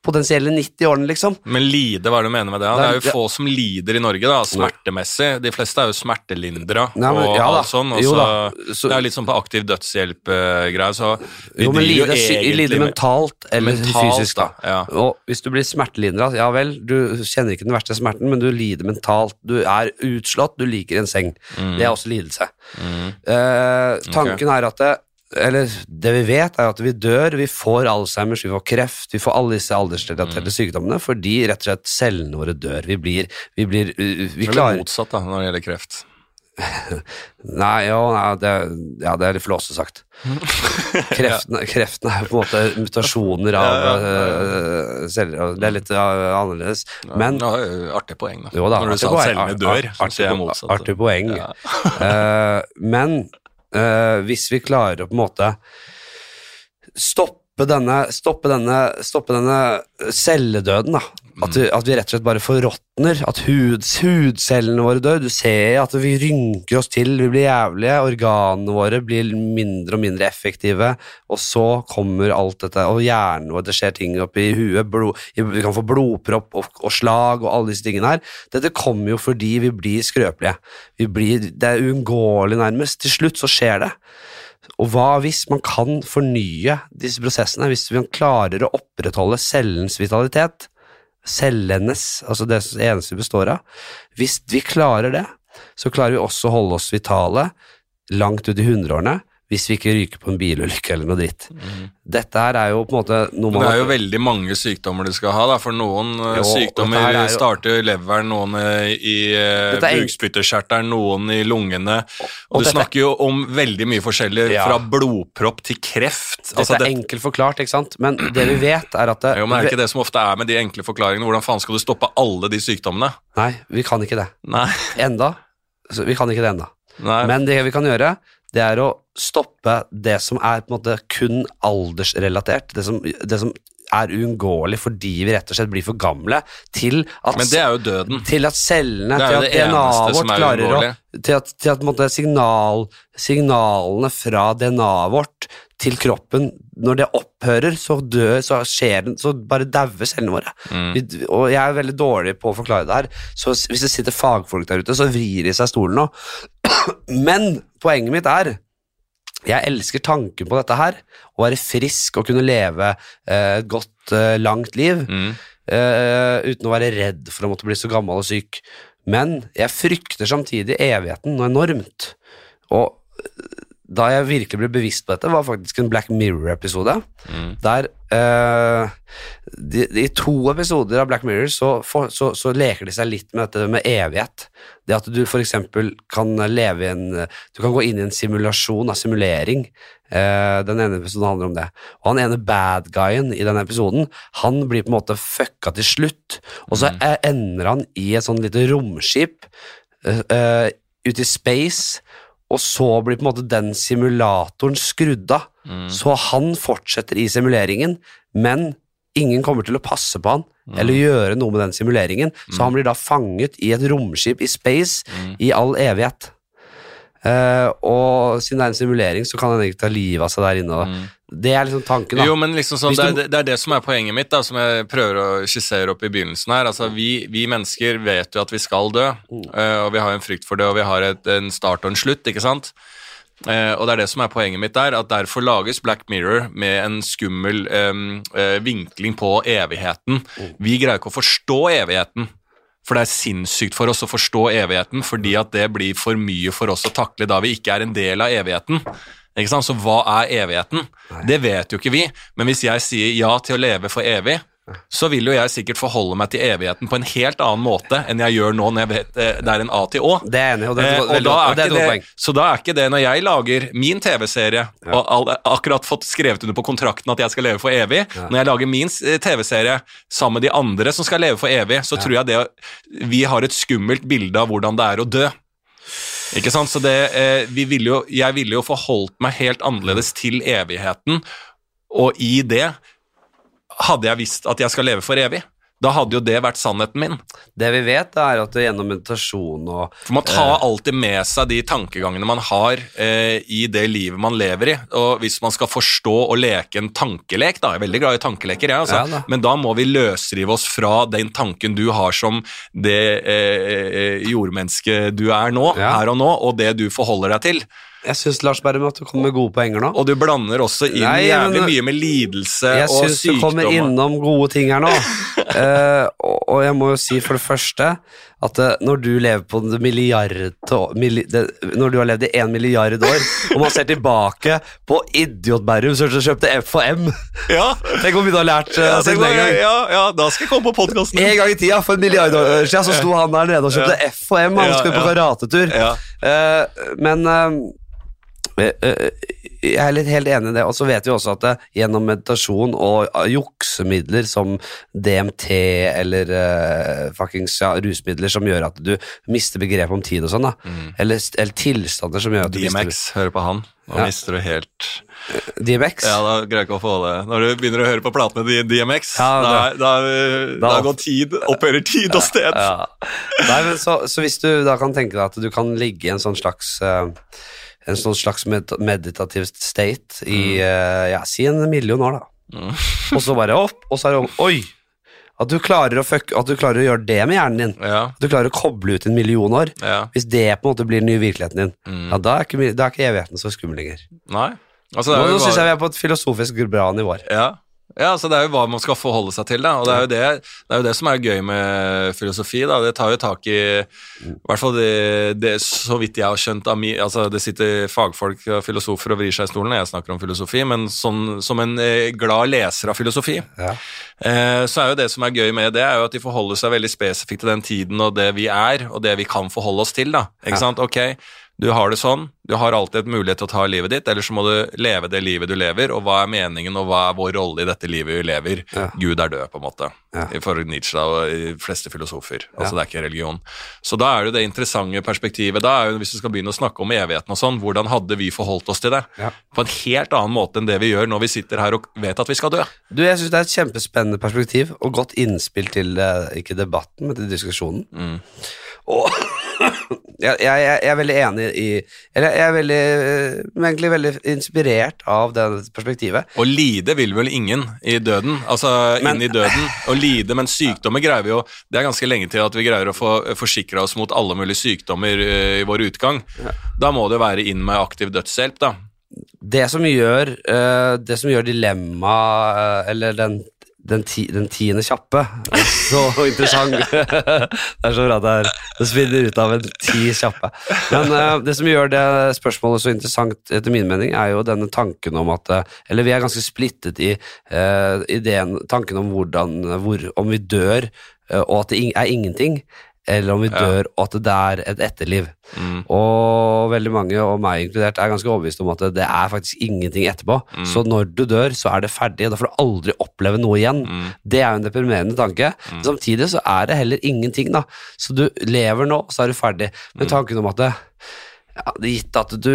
Speaker 1: potensielle 90 årene, liksom?
Speaker 2: Men lide, hva er det du mener med det?
Speaker 1: Nei,
Speaker 2: da? Det er jo
Speaker 1: det-
Speaker 2: få som lider i Norge, da, smertemessig. De fleste er jo smertelindra
Speaker 1: Nei, men-
Speaker 2: og
Speaker 1: ja da.
Speaker 2: alt sånn. Og
Speaker 1: Jo
Speaker 2: så,
Speaker 1: da. Så-
Speaker 2: det er jo litt sånn på aktiv dødshjelp-greier, så vi
Speaker 1: Jo, men
Speaker 2: driver
Speaker 1: lide, sy- lide
Speaker 2: med-
Speaker 1: mentalt eller
Speaker 2: Mentalt,
Speaker 1: fysisk, da.
Speaker 2: da, ja.
Speaker 1: Og hvis du blir smertelindra, ja vel, du kjenner ikke den verste smerten, men du lider mentalt. Du er utslått, du liker en seng.
Speaker 2: Mm.
Speaker 1: Det er også lidelse. Eh, tanken er at det, eller det vi vet, er at vi dør, vi får Alzheimers, vi får kreft, vi får alle disse aldersrelaterte
Speaker 2: Mm.
Speaker 1: sykdommene fordi rett og slett cellene våre dør. Vi blir, vi blir uh, Vi
Speaker 2: Eller
Speaker 1: klarer
Speaker 2: motsatt, da, når det gjelder kreft.
Speaker 1: Nei, jo, nei det, ja, det er litt flåsete sagt. Kreftene, kreftene er på en måte mutasjoner av
Speaker 2: Ja, ja, ja,
Speaker 1: øh, celler, og det er litt øh, annerledes. Men
Speaker 2: ja, artig poeng, da.
Speaker 1: jo da,
Speaker 2: når du
Speaker 1: artig
Speaker 2: sa at
Speaker 1: poeng.
Speaker 2: cellene dør,
Speaker 1: Ar-
Speaker 2: så
Speaker 1: artig
Speaker 2: sier jeg
Speaker 1: po-
Speaker 2: motsatt.
Speaker 1: Artig poeng.
Speaker 2: Ja.
Speaker 1: Eh, men eh, hvis vi klarer å på en måte stoppe denne, stoppe denne, stoppe denne eh, celledøden, da. At, vi, at vi rett og slett bare forråtner. At hud, hudcellene våre dør. Du ser at vi rynker oss til, vi blir jævlige. Organene våre blir mindre og mindre effektive. Og så kommer alt dette, og hjernen vår, det skjer ting oppi huet. Blod, vi kan få blodpropp og, og slag og alle disse tingene her. Dette kommer jo fordi vi blir skrøpelige. Vi blir, det er uunngåelig, nærmest. Til slutt så skjer det. Og hva hvis man kan fornye disse prosessene, hvis man klarer å opprettholde cellens vitalitet, cellenes, altså det eneste vi består av, hvis vi klarer det, så klarer vi også å holde oss vitale langt ut i hundreårene, hvis vi ikke ryker på en bilulykke eller noe dritt.
Speaker 2: Mm.
Speaker 1: Dette her er jo på en måte noe
Speaker 2: Men
Speaker 1: man
Speaker 2: Det er jo veldig mange sykdommer du skal ha, da, for noen eh,
Speaker 1: Jo, og
Speaker 2: sykdommer
Speaker 1: dette her er jo-
Speaker 2: starter i leveren, noen eh, i eh,
Speaker 1: Dette er en-
Speaker 2: bukspytterskjerteren, noen i lungene. Og,
Speaker 1: og
Speaker 2: du
Speaker 1: dette-
Speaker 2: snakker jo om veldig mye forskjellig,
Speaker 1: Ja.
Speaker 2: fra blodpropp til kreft.
Speaker 1: Dette
Speaker 2: Altså,
Speaker 1: er
Speaker 2: det-
Speaker 1: enkelt forklart, ikke sant? Men det vi vet er at det,
Speaker 2: jo, men er det ikke det som ofte er med de enkle forklaringene? Hvordan faen skal du stoppe alle de sykdommene?
Speaker 1: Nei, vi kan ikke det.
Speaker 2: Nei,
Speaker 1: Enda. Så Vi kan ikke det enda.
Speaker 2: Nei.
Speaker 1: Men det vi kan gjøre, det er å stoppe det som er på en måte kun aldersrelatert. Det som, det som er uunngåelig fordi vi rett og slett blir for gamle til at,
Speaker 2: Men det er jo døden.
Speaker 1: til at cellene,
Speaker 2: Det er jo
Speaker 1: til at
Speaker 2: det eneste
Speaker 1: DNA-et
Speaker 2: som
Speaker 1: vårt
Speaker 2: er
Speaker 1: klarer å
Speaker 2: uunngåelig.
Speaker 1: Til at, til at på en måte, signal, signalene fra DNA-et vårt til kroppen Når det opphører, så dør, så skjer den, så bare dauer cellene våre.
Speaker 2: Mm.
Speaker 1: Vi- Og jeg er veldig dårlig på å forklare det her, så s- hvis det sitter fagfolk der ute, så vrir de seg i stolen nå. Men poenget mitt er jeg elsker tanken på dette her, å være frisk og kunne leve eh, et godt, eh, langt liv
Speaker 2: Mm.
Speaker 1: eh, uten å være redd for å måtte bli så gammel og syk. Men jeg frykter samtidig evigheten noe enormt. Og eh, da jeg virkelig ble bevisst på dette, var faktisk en Black Mirror-episode. Der eh, de, de, I to episoder av Black Mirror så, for, så, så leker de seg litt med dette med evighet. Det at du f.eks. kan leve i en Du kan gå inn i en simulasjon av simulering. Eh, den ene episoden handler om det. Og han ene bad guyen i den episoden, han blir på en måte fucka til slutt. Og så eh, ender han i et sånn lite romskip eh, eh, ute i space, og så blir på en måte den simulatoren skrudd av.
Speaker 2: Mm.
Speaker 1: Så han fortsetter i simuleringen, men ingen kommer til å passe på han
Speaker 2: Mm.
Speaker 1: eller gjøre noe med den simuleringen. Så han blir da fanget i et romskip i space
Speaker 2: Mm.
Speaker 1: i all evighet. Eh, og siden det er en simulering, så kan han egentlig ta livet av seg der inne. da. Det er liksom tanken, da.
Speaker 2: Mm. Jo, men liksom sånn,
Speaker 1: Hvis
Speaker 2: det,
Speaker 1: du-
Speaker 2: er, det- det er det som er poenget mitt, da, som jeg prøver å skissere opp i begynnelsen her. Altså, vi, vi mennesker vet jo at vi skal dø,
Speaker 1: Oh.
Speaker 2: eh, og vi har en frykt for det, og vi har et, en start og en slutt, ikke sant? Eh, og det er det som er poenget mitt der, at derfor lages Black Mirror med en skummel eh, eh, vinkling på evigheten. Vi greier ikke å forstå evigheten. For det er sinnssykt for oss å forstå evigheten, fordi at det blir for mye for oss å takle da vi ikke er en del av evigheten. Ikke sant? Så hva er evigheten? Det vet jo ikke vi. Men hvis jeg sier ja til å leve for evig, så vil jo jeg sikkert forholde meg til evigheten på en helt annen måte enn jeg gjør nå når jeg vet eh, det er en A til Å.
Speaker 1: Det er jeg enig i, og det er,
Speaker 2: Eh,
Speaker 1: et
Speaker 2: og
Speaker 1: veldig
Speaker 2: da
Speaker 1: godt- og
Speaker 2: er
Speaker 1: det er et
Speaker 2: ikke
Speaker 1: godt
Speaker 2: det,
Speaker 1: poeng.
Speaker 2: så da er ikke det når jeg lager min TV-serie og all, akkurat fått skrevet under på kontrakten at jeg skal leve for evig Når jeg lager min eh, TV-serie sammen med de andre som skal leve for evig, så tror jeg det vi har et skummelt bilde av hvordan det er å dø. Ikke sant? Så det, eh, vi ville jo, jeg ville jo forholdt meg helt annerledes til evigheten, og i det hadde jeg visst at jeg skal leve for evig. Da hadde jo det vært sannheten min.
Speaker 1: Det vi vet, da, er at gjennom meditasjon og
Speaker 2: For man tar alltid med seg de tankegangene man har eh, i det livet man lever i. Og hvis man skal forstå og leke en tankelek, da jeg er veldig glad i tankeleker, jeg, altså.
Speaker 1: Ja, da.
Speaker 2: men da må vi løsrive oss fra den tanken du har som det eh, eh, jordmennesket du er nå,
Speaker 1: Ja.
Speaker 2: her og nå, og det du forholder deg til.
Speaker 1: Jeg syns Lars Berrum at du kommer med gode poenger nå.
Speaker 2: Og du blander også inn
Speaker 1: Nei,
Speaker 2: jævlig
Speaker 1: men-
Speaker 2: mye med lidelse
Speaker 1: Jeg
Speaker 2: Eh, og
Speaker 1: syns du
Speaker 2: sykdom.
Speaker 1: kommer
Speaker 2: og-
Speaker 1: innom gode ting her nå. Eh, og, og jeg må jo si for det første at eh, når du lever på det milliarde milli, det, Når du har levd i én milliard år, og man ser tilbake på Idiot Berrum som kjøpte F og M
Speaker 2: Ja,
Speaker 1: Tenk om vi da har lært eh,
Speaker 2: ja,
Speaker 1: seg
Speaker 2: tenk
Speaker 1: det en
Speaker 2: om-
Speaker 1: gang.
Speaker 2: ja, ja, da skal jeg komme på podkasten.
Speaker 1: En gang i tida, for en milliard år siden, så sto han der nede og kjøpte F og M. Han
Speaker 2: Ja,
Speaker 1: skulle på
Speaker 2: ja.
Speaker 1: karatetur.
Speaker 2: Ja.
Speaker 1: Eh, men eh, eh, jeg er litt helt enig i det. Og så vet vi også at det, gjennom meditasjon og eh, juksemidler som DMT eller eh, fuckings ja, rusmidler som gjør at du mister begrepet om tid og sånn, da. Eller, eller tilstander som gjør at du
Speaker 2: DMX, hører på han. Nå
Speaker 1: Ja.
Speaker 2: mister du helt
Speaker 1: mister DMX?
Speaker 2: Ja, da greier jeg ikke å få det. Når du begynner å høre på platene di DMX,
Speaker 1: Ja,
Speaker 2: da, da, da,
Speaker 1: da-
Speaker 2: går tid, opphører tid og sted.
Speaker 1: Ja. Nei, men så, så hvis du da kan tenke deg at du kan ligge i en sånn slags eh, en sånn slags med meditativ state i
Speaker 2: Mm.
Speaker 1: eh, ja, si en million år, da. og så bare opp, og så er det om- Oi! At du, klarer å fuck, at du klarer å gjøre det med hjernen din.
Speaker 2: Ja,
Speaker 1: At du klarer å koble ut en million år.
Speaker 2: ja.
Speaker 1: Hvis det på en måte blir den nye virkeligheten din,
Speaker 2: Mm.
Speaker 1: ja, da, er ikke, mi- da er ikke evigheten så skummel lenger.
Speaker 2: Nei. Altså,
Speaker 1: Nå,
Speaker 2: det er jo
Speaker 1: nå syns jeg
Speaker 2: bare,
Speaker 1: vi er på et filosofisk bra nivå her.
Speaker 2: ja. Ja, altså Det er jo hva man skal forholde seg til, da. og det er jo det, det, er jo det som er gøy med filosofi. da, Det tar jo tak i i hvert fall det, det så vidt jeg har skjønt av mi, altså Det sitter fagfolk og filosofer og vrir seg i stolen når jeg snakker om filosofi, men sånn, som en eh, glad leser av filosofi,
Speaker 1: Ja.
Speaker 2: Eh, så er jo det som er gøy med det, er jo at de forholder seg veldig spesifikt til den tiden og det vi er, og det vi kan forholde oss til, da. Ikke
Speaker 1: Ja.
Speaker 2: sant? Ok, du har det sånn, du har alltid et mulighet til å ta livet ditt, eller så må du leve det livet du lever, og hva er meningen, og hva er vår rolle i dette livet vi lever?
Speaker 1: Ja.
Speaker 2: Gud er død, på en måte,
Speaker 1: Ja.
Speaker 2: for Nietzsche og de fleste filosofer. Altså, det er ikke religion. Så da er det jo det interessante perspektivet, da er jo hvis du skal begynne å snakke om evigheten og sånn, hvordan hadde vi forholdt oss til det?
Speaker 1: Ja.
Speaker 2: På en helt annen måte enn det vi gjør når vi sitter her og vet at vi skal dø.
Speaker 1: Du, jeg synes Det er et kjempespennende perspektiv og godt innspill til eh, ikke debatten, men til diskusjonen.
Speaker 2: Mm.
Speaker 1: Og jeg, jeg, jeg er veldig enig i Eller jeg er veldig, eh, egentlig veldig inspirert av det perspektivet.
Speaker 2: Å lide vil vel ingen i døden, altså
Speaker 1: Men-
Speaker 2: inn i døden. Å lide, men sykdommer greier vi jo Det er ganske lenge til at vi greier å få forsikra oss mot alle mulige sykdommer eh, i vår utgang. Da må det være inn med aktiv dødshjelp, da.
Speaker 1: Det som gjør, eh, det som gjør dilemmaet, eller den den, ti, den tiende kjappe. Så interessant. Det er så bra at det, er, det svinner ut av en ti kjappe. Men eh, det som gjør det spørsmålet så interessant etter min mening, er jo denne tanken om at eh, Eller vi er ganske splittet i eh, ideen, tanken om hvordan hvor, Om vi dør eh, og at det ing- er ingenting, eller om vi dør og at det er et etterliv.
Speaker 2: Mm.
Speaker 1: Og veldig mange, og meg inkludert, er ganske overbevist om at det er faktisk ingenting etterpå.
Speaker 2: Mm.
Speaker 1: Så når du dør, så er det ferdig. Da får du aldri oppleve noe igjen.
Speaker 2: Mm.
Speaker 1: Det er jo en deprimerende tanke. Men Samtidig så er det heller ingenting, da. Så du lever nå, så er du ferdig.
Speaker 2: Mm.
Speaker 1: Men tanken om at det, ja, det er gitt at du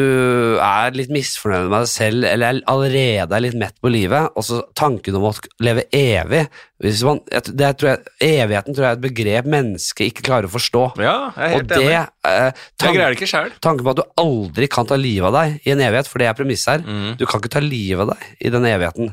Speaker 1: er litt misfornøyd med deg selv, eller er- allerede er litt mett på livet, og så tanken om å leve evig hvis man, jeg- det tror jeg, Evigheten tror jeg er et begrep mennesket ikke klarer å forstå.
Speaker 2: Ja, jeg er
Speaker 1: Og
Speaker 2: helt enig.
Speaker 1: det, eh,
Speaker 2: Jeg
Speaker 1: tanken,
Speaker 2: greier det ikke sjøl.
Speaker 1: tanken på at du aldri kan ta livet av deg i en evighet, for det er premisset her.
Speaker 2: Mm.
Speaker 1: Du kan ikke ta livet av deg i den evigheten.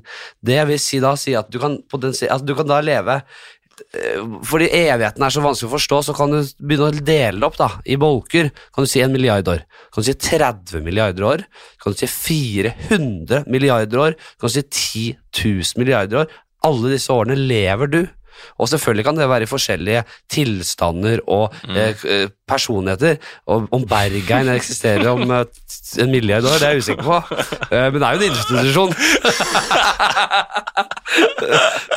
Speaker 1: Det vil si da si at du kan, potensi- at du kan da leve eh, fordi evigheten er så vanskelig å forstå, så kan du begynne å dele det opp da, i bolker. Kan du si en milliard år? Kan du si 30 milliarder år? Kan du si 400 milliarder år? Kan du si 10 000 milliarder år? Alle disse årene lever du. Og selvfølgelig kan det være i forskjellige tilstander og eh, k- eh, personligheter. Og om Bergein eksisterer om eh, t- en milliard år, det er jeg usikker på. Eh, men det er jo en institusjon.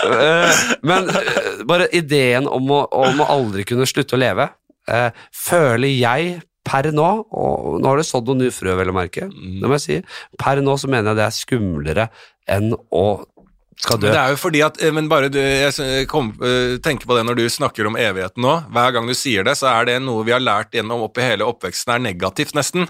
Speaker 1: Eh, men eh, bare ideen om å, om å aldri kunne slutte å leve, eh, føler jeg per nå Og nå har det sådd noen ufrø, vel å merke. Det må jeg si. Per nå så mener jeg det er skumlere enn å skal dø.
Speaker 2: Men det er jo fordi at eh, Men bare du, jeg s- kom, eh, tenker på det når du snakker om evigheten nå. Hver gang du sier det, så er det noe vi har lært gjennom opp i hele oppveksten er negativt, nesten.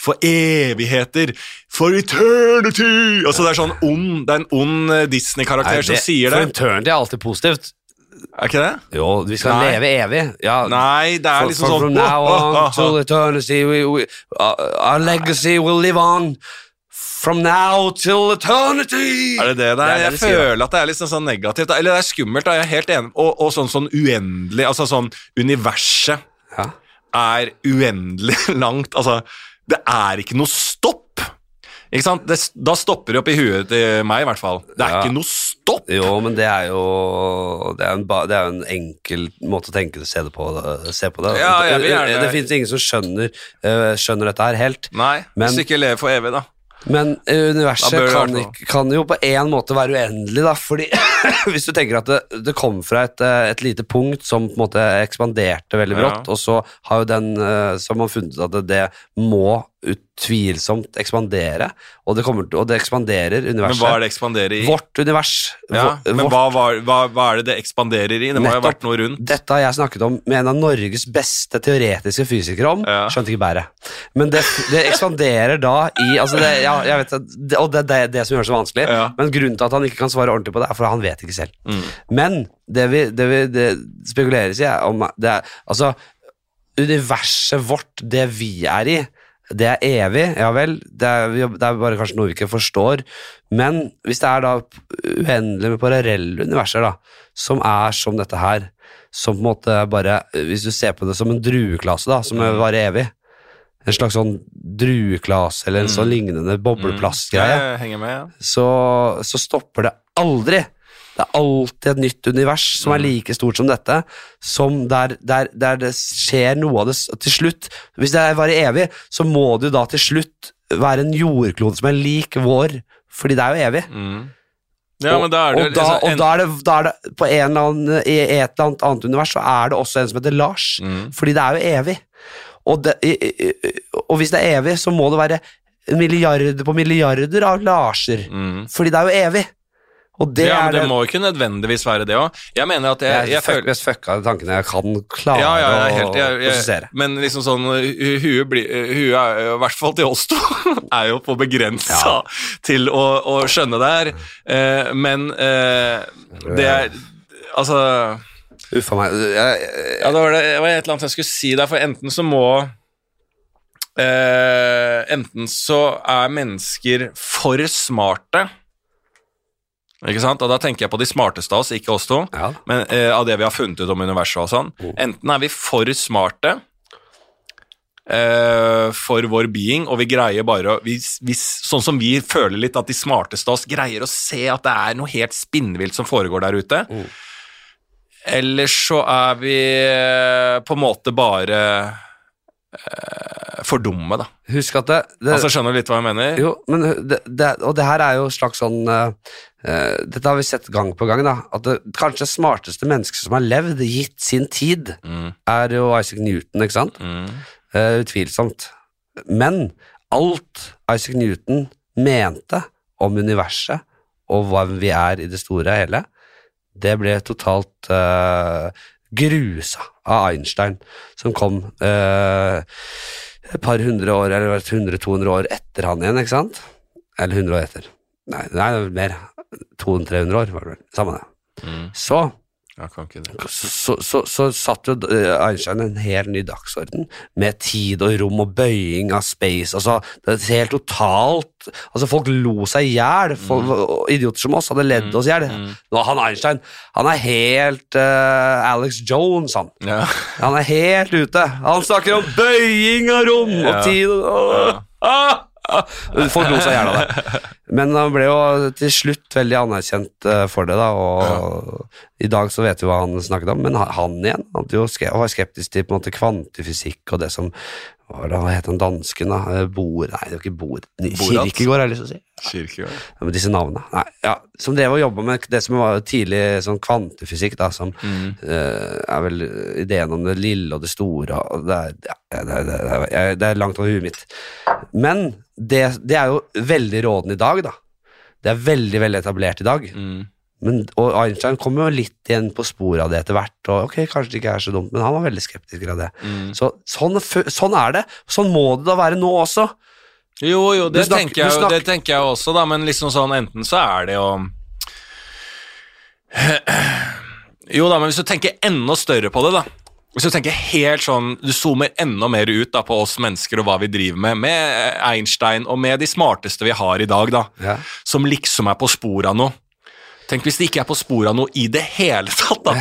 Speaker 2: For evigheter! For eternity! Altså Det er sånn ond Det er en ond eh,
Speaker 1: Nei,
Speaker 2: Disney-karakter
Speaker 1: det-
Speaker 2: som sier
Speaker 1: For
Speaker 2: det.
Speaker 1: en turn til er alltid positivt.
Speaker 2: Er ikke det?
Speaker 1: Jo, vi skal
Speaker 2: Nei.
Speaker 1: leve evig. Ja,
Speaker 2: Nei, det
Speaker 1: for-
Speaker 2: er liksom
Speaker 1: for
Speaker 2: sånn
Speaker 1: From now
Speaker 2: «Åh, åh,
Speaker 1: on
Speaker 2: åh,
Speaker 1: till eternity, we, we, our, our legacy will live on. From now till eternity!
Speaker 2: Er det det
Speaker 1: Det er
Speaker 2: det er?
Speaker 1: det
Speaker 2: Jeg
Speaker 1: de sier,
Speaker 2: føler at det er liksom sånn negativt. da. Eller det er skummelt, da. Jeg er helt enig. Og, og sånn, sånn uendelig Altså sånn Universet
Speaker 1: Ja.
Speaker 2: er uendelig langt. Altså, det er ikke noe stopp. Ikke sant? Det, da stopper det opp i huet til meg, i hvert fall. Det er
Speaker 1: Ja.
Speaker 2: ikke noe stopp.
Speaker 1: Jo, men det er jo Det er en, ba- det er jo en enkel måte å tenke se det på. Se på det.
Speaker 2: Ja, jeg vil gjerne-
Speaker 1: Det, det finnes ingen som skjønner, eh, skjønner dette her helt.
Speaker 2: Nei,
Speaker 1: Men-
Speaker 2: hvis du ikke lever for evig, da.
Speaker 1: Men eh, universet
Speaker 2: Da bør det
Speaker 1: kan,
Speaker 2: være noe.
Speaker 1: ikk- kan jo på en måte være uendelig, da, fordi hvis du tenker at det, det kom fra et, eh, et lite punkt som på en måte ekspanderte veldig
Speaker 2: Ja.
Speaker 1: brått, og så har jo den eh, så har man funnet ut at det, det må utvilsomt ekspandere, og det, kommer, til- og det ekspanderer
Speaker 2: Men
Speaker 1: universet.
Speaker 2: hva er det ekspanderer i?
Speaker 1: Vårt univers.
Speaker 2: ja,
Speaker 1: Vår-
Speaker 2: men
Speaker 1: vårt-
Speaker 2: hva, var- hva, hva er det det ekspanderer i? Det må jo ha
Speaker 1: Nettopp.
Speaker 2: vært noe rundt.
Speaker 1: Dette har jeg snakket om med en av Norges beste teoretiske fysikere om.
Speaker 2: Ja.
Speaker 1: Skjønte ikke bæret. Men det, det ekspanderer da i altså det, ja, jeg vet, at- det, Og det er det, det som gjør det så vanskelig.
Speaker 2: Ja. Mm.
Speaker 1: Men grunnen til at han ikke kan svare ordentlig på det, er fordi han vet ikke selv. Men det vi, det vi det spekuleres i, er om det er Altså, universet vårt, det vi er i, det er evig, ja vel. Det er, vi- det er bare kanskje noe vi ikke forstår. Men hvis det er da uendelig med parallelle universer, da, som er som dette her, som på en måte er bare Hvis du ser på det som en drueklase, da, som varer evig. En slags sånn drueklase eller en sånn lignende bobleplastgreie
Speaker 2: Jeg henger med. ja.
Speaker 1: så, så stopper det aldri. Det er alltid et nytt univers som
Speaker 2: Mm.
Speaker 1: er like stort som dette, som der, der, der det skjer noe av det s- til slutt. Hvis det varer evig, så må det jo da til slutt være en jordklode som er lik vår, fordi det er jo evig.
Speaker 2: Mm. Ja, men da er det
Speaker 1: og,
Speaker 2: jo
Speaker 1: og, da,
Speaker 2: liksom
Speaker 1: og
Speaker 2: en-
Speaker 1: da er det, da er det på en eller annen, I et eller annet, annet univers så er det også en som heter Lars,
Speaker 2: Mm.
Speaker 1: fordi det er jo evig. Og, det, i- i- i- og hvis det er evig, så må det være milliarder på milliarder av Larser.
Speaker 2: Mm.
Speaker 1: Fordi det er jo evig. Og det
Speaker 2: ja,
Speaker 1: er
Speaker 2: men det
Speaker 1: det
Speaker 2: må jo ikke nødvendigvis være det òg. Jeg mener at jeg,
Speaker 1: jeg,
Speaker 2: jeg,
Speaker 1: jeg
Speaker 2: føler
Speaker 1: mest fucka de tankene jeg kan klare
Speaker 2: ja, ja, jeg er helt,
Speaker 1: å
Speaker 2: jeg, jeg,
Speaker 1: prosessere.
Speaker 2: men liksom sånn hu- Huet blir- eh, huet er jo, i hvert fall til oss to, er jo på begrensa til å, å skjønne det her. Eh, men eh, det er Altså
Speaker 1: Uffa meg. Jeg, jeg,
Speaker 2: Ja, det var, det, det var et eller annet jeg skulle si der, for enten så må eh, Enten så er mennesker for smarte, ikke sant? Og da tenker jeg på de smarteste av oss, ikke oss to
Speaker 1: ja.
Speaker 2: men, eh, av det vi har funnet ut om universet og sånn.
Speaker 1: Mm.
Speaker 2: Enten er vi for smarte eh, for vår being, og vi greier bare å vi, vi, Sånn som vi føler litt at de smarteste av oss greier å se at det er noe helt spinnvilt som foregår der ute.
Speaker 1: Mm.
Speaker 2: Eller så er vi eh, på en måte bare eh, for dumme, da.
Speaker 1: Husk at det, det
Speaker 2: Altså, skjønner du litt hva jeg mener?
Speaker 1: Jo, men det, det, og det her er jo slags sånn eh, eh, Dette har vi sett gang på gang, da. At det, kanskje det smarteste mennesket som har levd, gitt sin tid,
Speaker 2: Mm,
Speaker 1: er jo Isaac Newton, ikke sant?
Speaker 2: mm.
Speaker 1: Eh, utvilsomt. Men alt Isaac Newton mente om universet og hva vi er i det store og hele, det ble totalt eh, grusa av Einstein, som kom eh, et par hundre år, eller 100-200 år etter han igjen, ikke sant? Eller 100 år etter. Nei, nei det var mer. 200-300 år, var det vel. Samme det.
Speaker 2: Mm.
Speaker 1: Så
Speaker 2: Jeg kan ikke det.
Speaker 1: så, så, så satt jo eh, Einstein en helt ny dagsorden, med tid og rom og bøying av space. Altså, det er helt totalt altså Folk lo seg i hjel. Folk- og Idioter som oss hadde ledd oss i hjel. Nå, Han Einstein han er helt eh, Alex Jones, han.
Speaker 2: Ja.
Speaker 1: Han er helt ute. Han snakker om bøying av rom og
Speaker 2: Ja.
Speaker 1: tid og
Speaker 2: Ja.
Speaker 1: Ah, Folk lo seg gjerne av det. Men han ble jo til slutt veldig anerkjent eh, for det, da. Og i dag så vet vi hva han snakket om, men ha- han igjen han hadde jo ske- var skeptisk til på en måte kvantefysikk og det som hva var det, Hva het han dansken, da? Eh, Bor... Nei, det var ikke Bor... Kirkegård, har jeg lyst til å si.
Speaker 2: Kirkegård.
Speaker 1: Ja, men disse navnene. Nei, ja, som drev og jobba med det som var tidlig sånn kvantefysikk, da, som eh, er vel ideen om det lille og det store og Det er, ja, det er, det er, jeg- det er langt over huet mitt. Men det, det er jo veldig rådende i dag, da. Det er veldig veldig etablert i dag.
Speaker 2: Mm.
Speaker 1: Men, og Einstein kom jo litt igjen på sporet av det etter hvert. Og ok, kanskje det ikke er så dumt, men han var veldig skeptisk av det. Så, sånn, fø- sånn er det. Sånn må det da være nå også.
Speaker 2: Jo, jo,
Speaker 1: Du
Speaker 2: det,
Speaker 1: snakker-
Speaker 2: tenker
Speaker 1: du
Speaker 2: jeg, jo-
Speaker 1: snakker-
Speaker 2: det tenker jeg også, da, men liksom sånn enten så er det jo Jo da, men hvis du tenker enda større på det, da. Hvis du tenker helt sånn, du zoomer enda mer ut da på oss mennesker og hva vi driver med, med eh, Einstein og med de smarteste vi har i dag, da,
Speaker 1: Ja.
Speaker 2: som liksom er på sporet av noe. Tenk hvis de ikke er på sporet av noe i det hele tatt, da.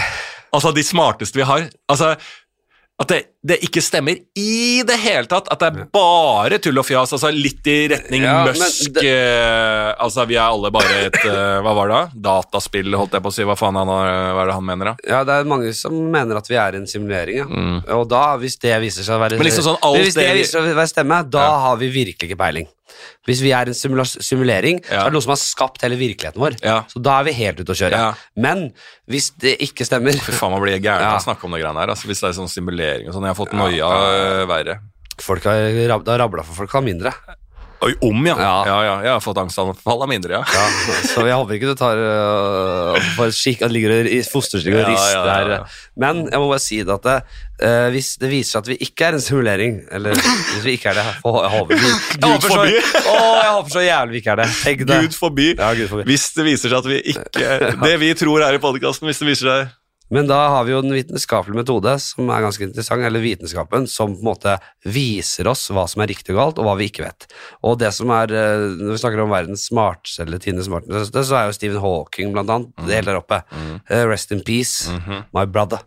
Speaker 2: Altså, de smarteste vi har. Altså, at det, det ikke stemmer i det hele tatt. At det er bare tull og fjas. Altså litt i retning
Speaker 1: Ja, men
Speaker 2: Musk
Speaker 1: det-
Speaker 2: eh, Altså, vi er alle bare et eh, Hva var det da? Dataspill, holdt jeg på å si. Hva faen han, har- hva er det han mener, da?
Speaker 1: Ja, det er mange som mener at vi er i en simulering, ja. Og da, hvis det viser seg å være
Speaker 2: Mm. Men liksom sånn alt
Speaker 1: Men Hvis det
Speaker 2: det vi-
Speaker 1: viser seg å være stemme, da har vi virkelig ikke peiling. Hvis vi er i en simula simulering, så
Speaker 2: Ja.
Speaker 1: er det noe som har skapt hele virkeligheten vår.
Speaker 2: Ja.
Speaker 1: Så da er vi helt ute å kjøre.
Speaker 2: Ja.
Speaker 1: Men hvis det ikke stemmer
Speaker 2: Fy faen, man blir gæren
Speaker 1: Ja.
Speaker 2: av å snakke om det greiene her. Altså, hvis det er sånn simulering og sånn. Jeg har fått noia eh, verre.
Speaker 1: folk har, rab- Det har rabla for folk har mindre.
Speaker 2: Oi, om, ja. Ja.
Speaker 1: Ja.
Speaker 2: ja! Jeg har fått angstanfall av mindre, ja.
Speaker 1: Ja, så jeg håper ikke du tar øh, for skikk, at ligger og- i fosterstilling og
Speaker 2: Ja, ja,
Speaker 1: rister
Speaker 2: ja, ja.
Speaker 1: der. Men jeg må bare si det at det, øh, hvis det viser seg at vi ikke er en simulering, eller hvis vi ikke er det for, jeg håper, jeg håper så,
Speaker 2: forby.
Speaker 1: Å, jeg håper så jævlig vi ikke er det. Tenk det.
Speaker 2: Gud forby.
Speaker 1: Ja, Gud forby.
Speaker 2: Hvis det viser seg at vi ikke Det vi tror her i podkasten, hvis det viser seg
Speaker 1: Men da har vi jo den vitenskapelige metode, som er ganske interessant, eller vitenskapen, som på en måte viser oss hva som er riktig og galt, og hva vi ikke vet. Og det som er, eh, når vi snakker om verdens smarteste, eller Tine smarteste, så er jo Stephen Hawking blant annet, helt der oppe. Eh, Rest in peace, my brother.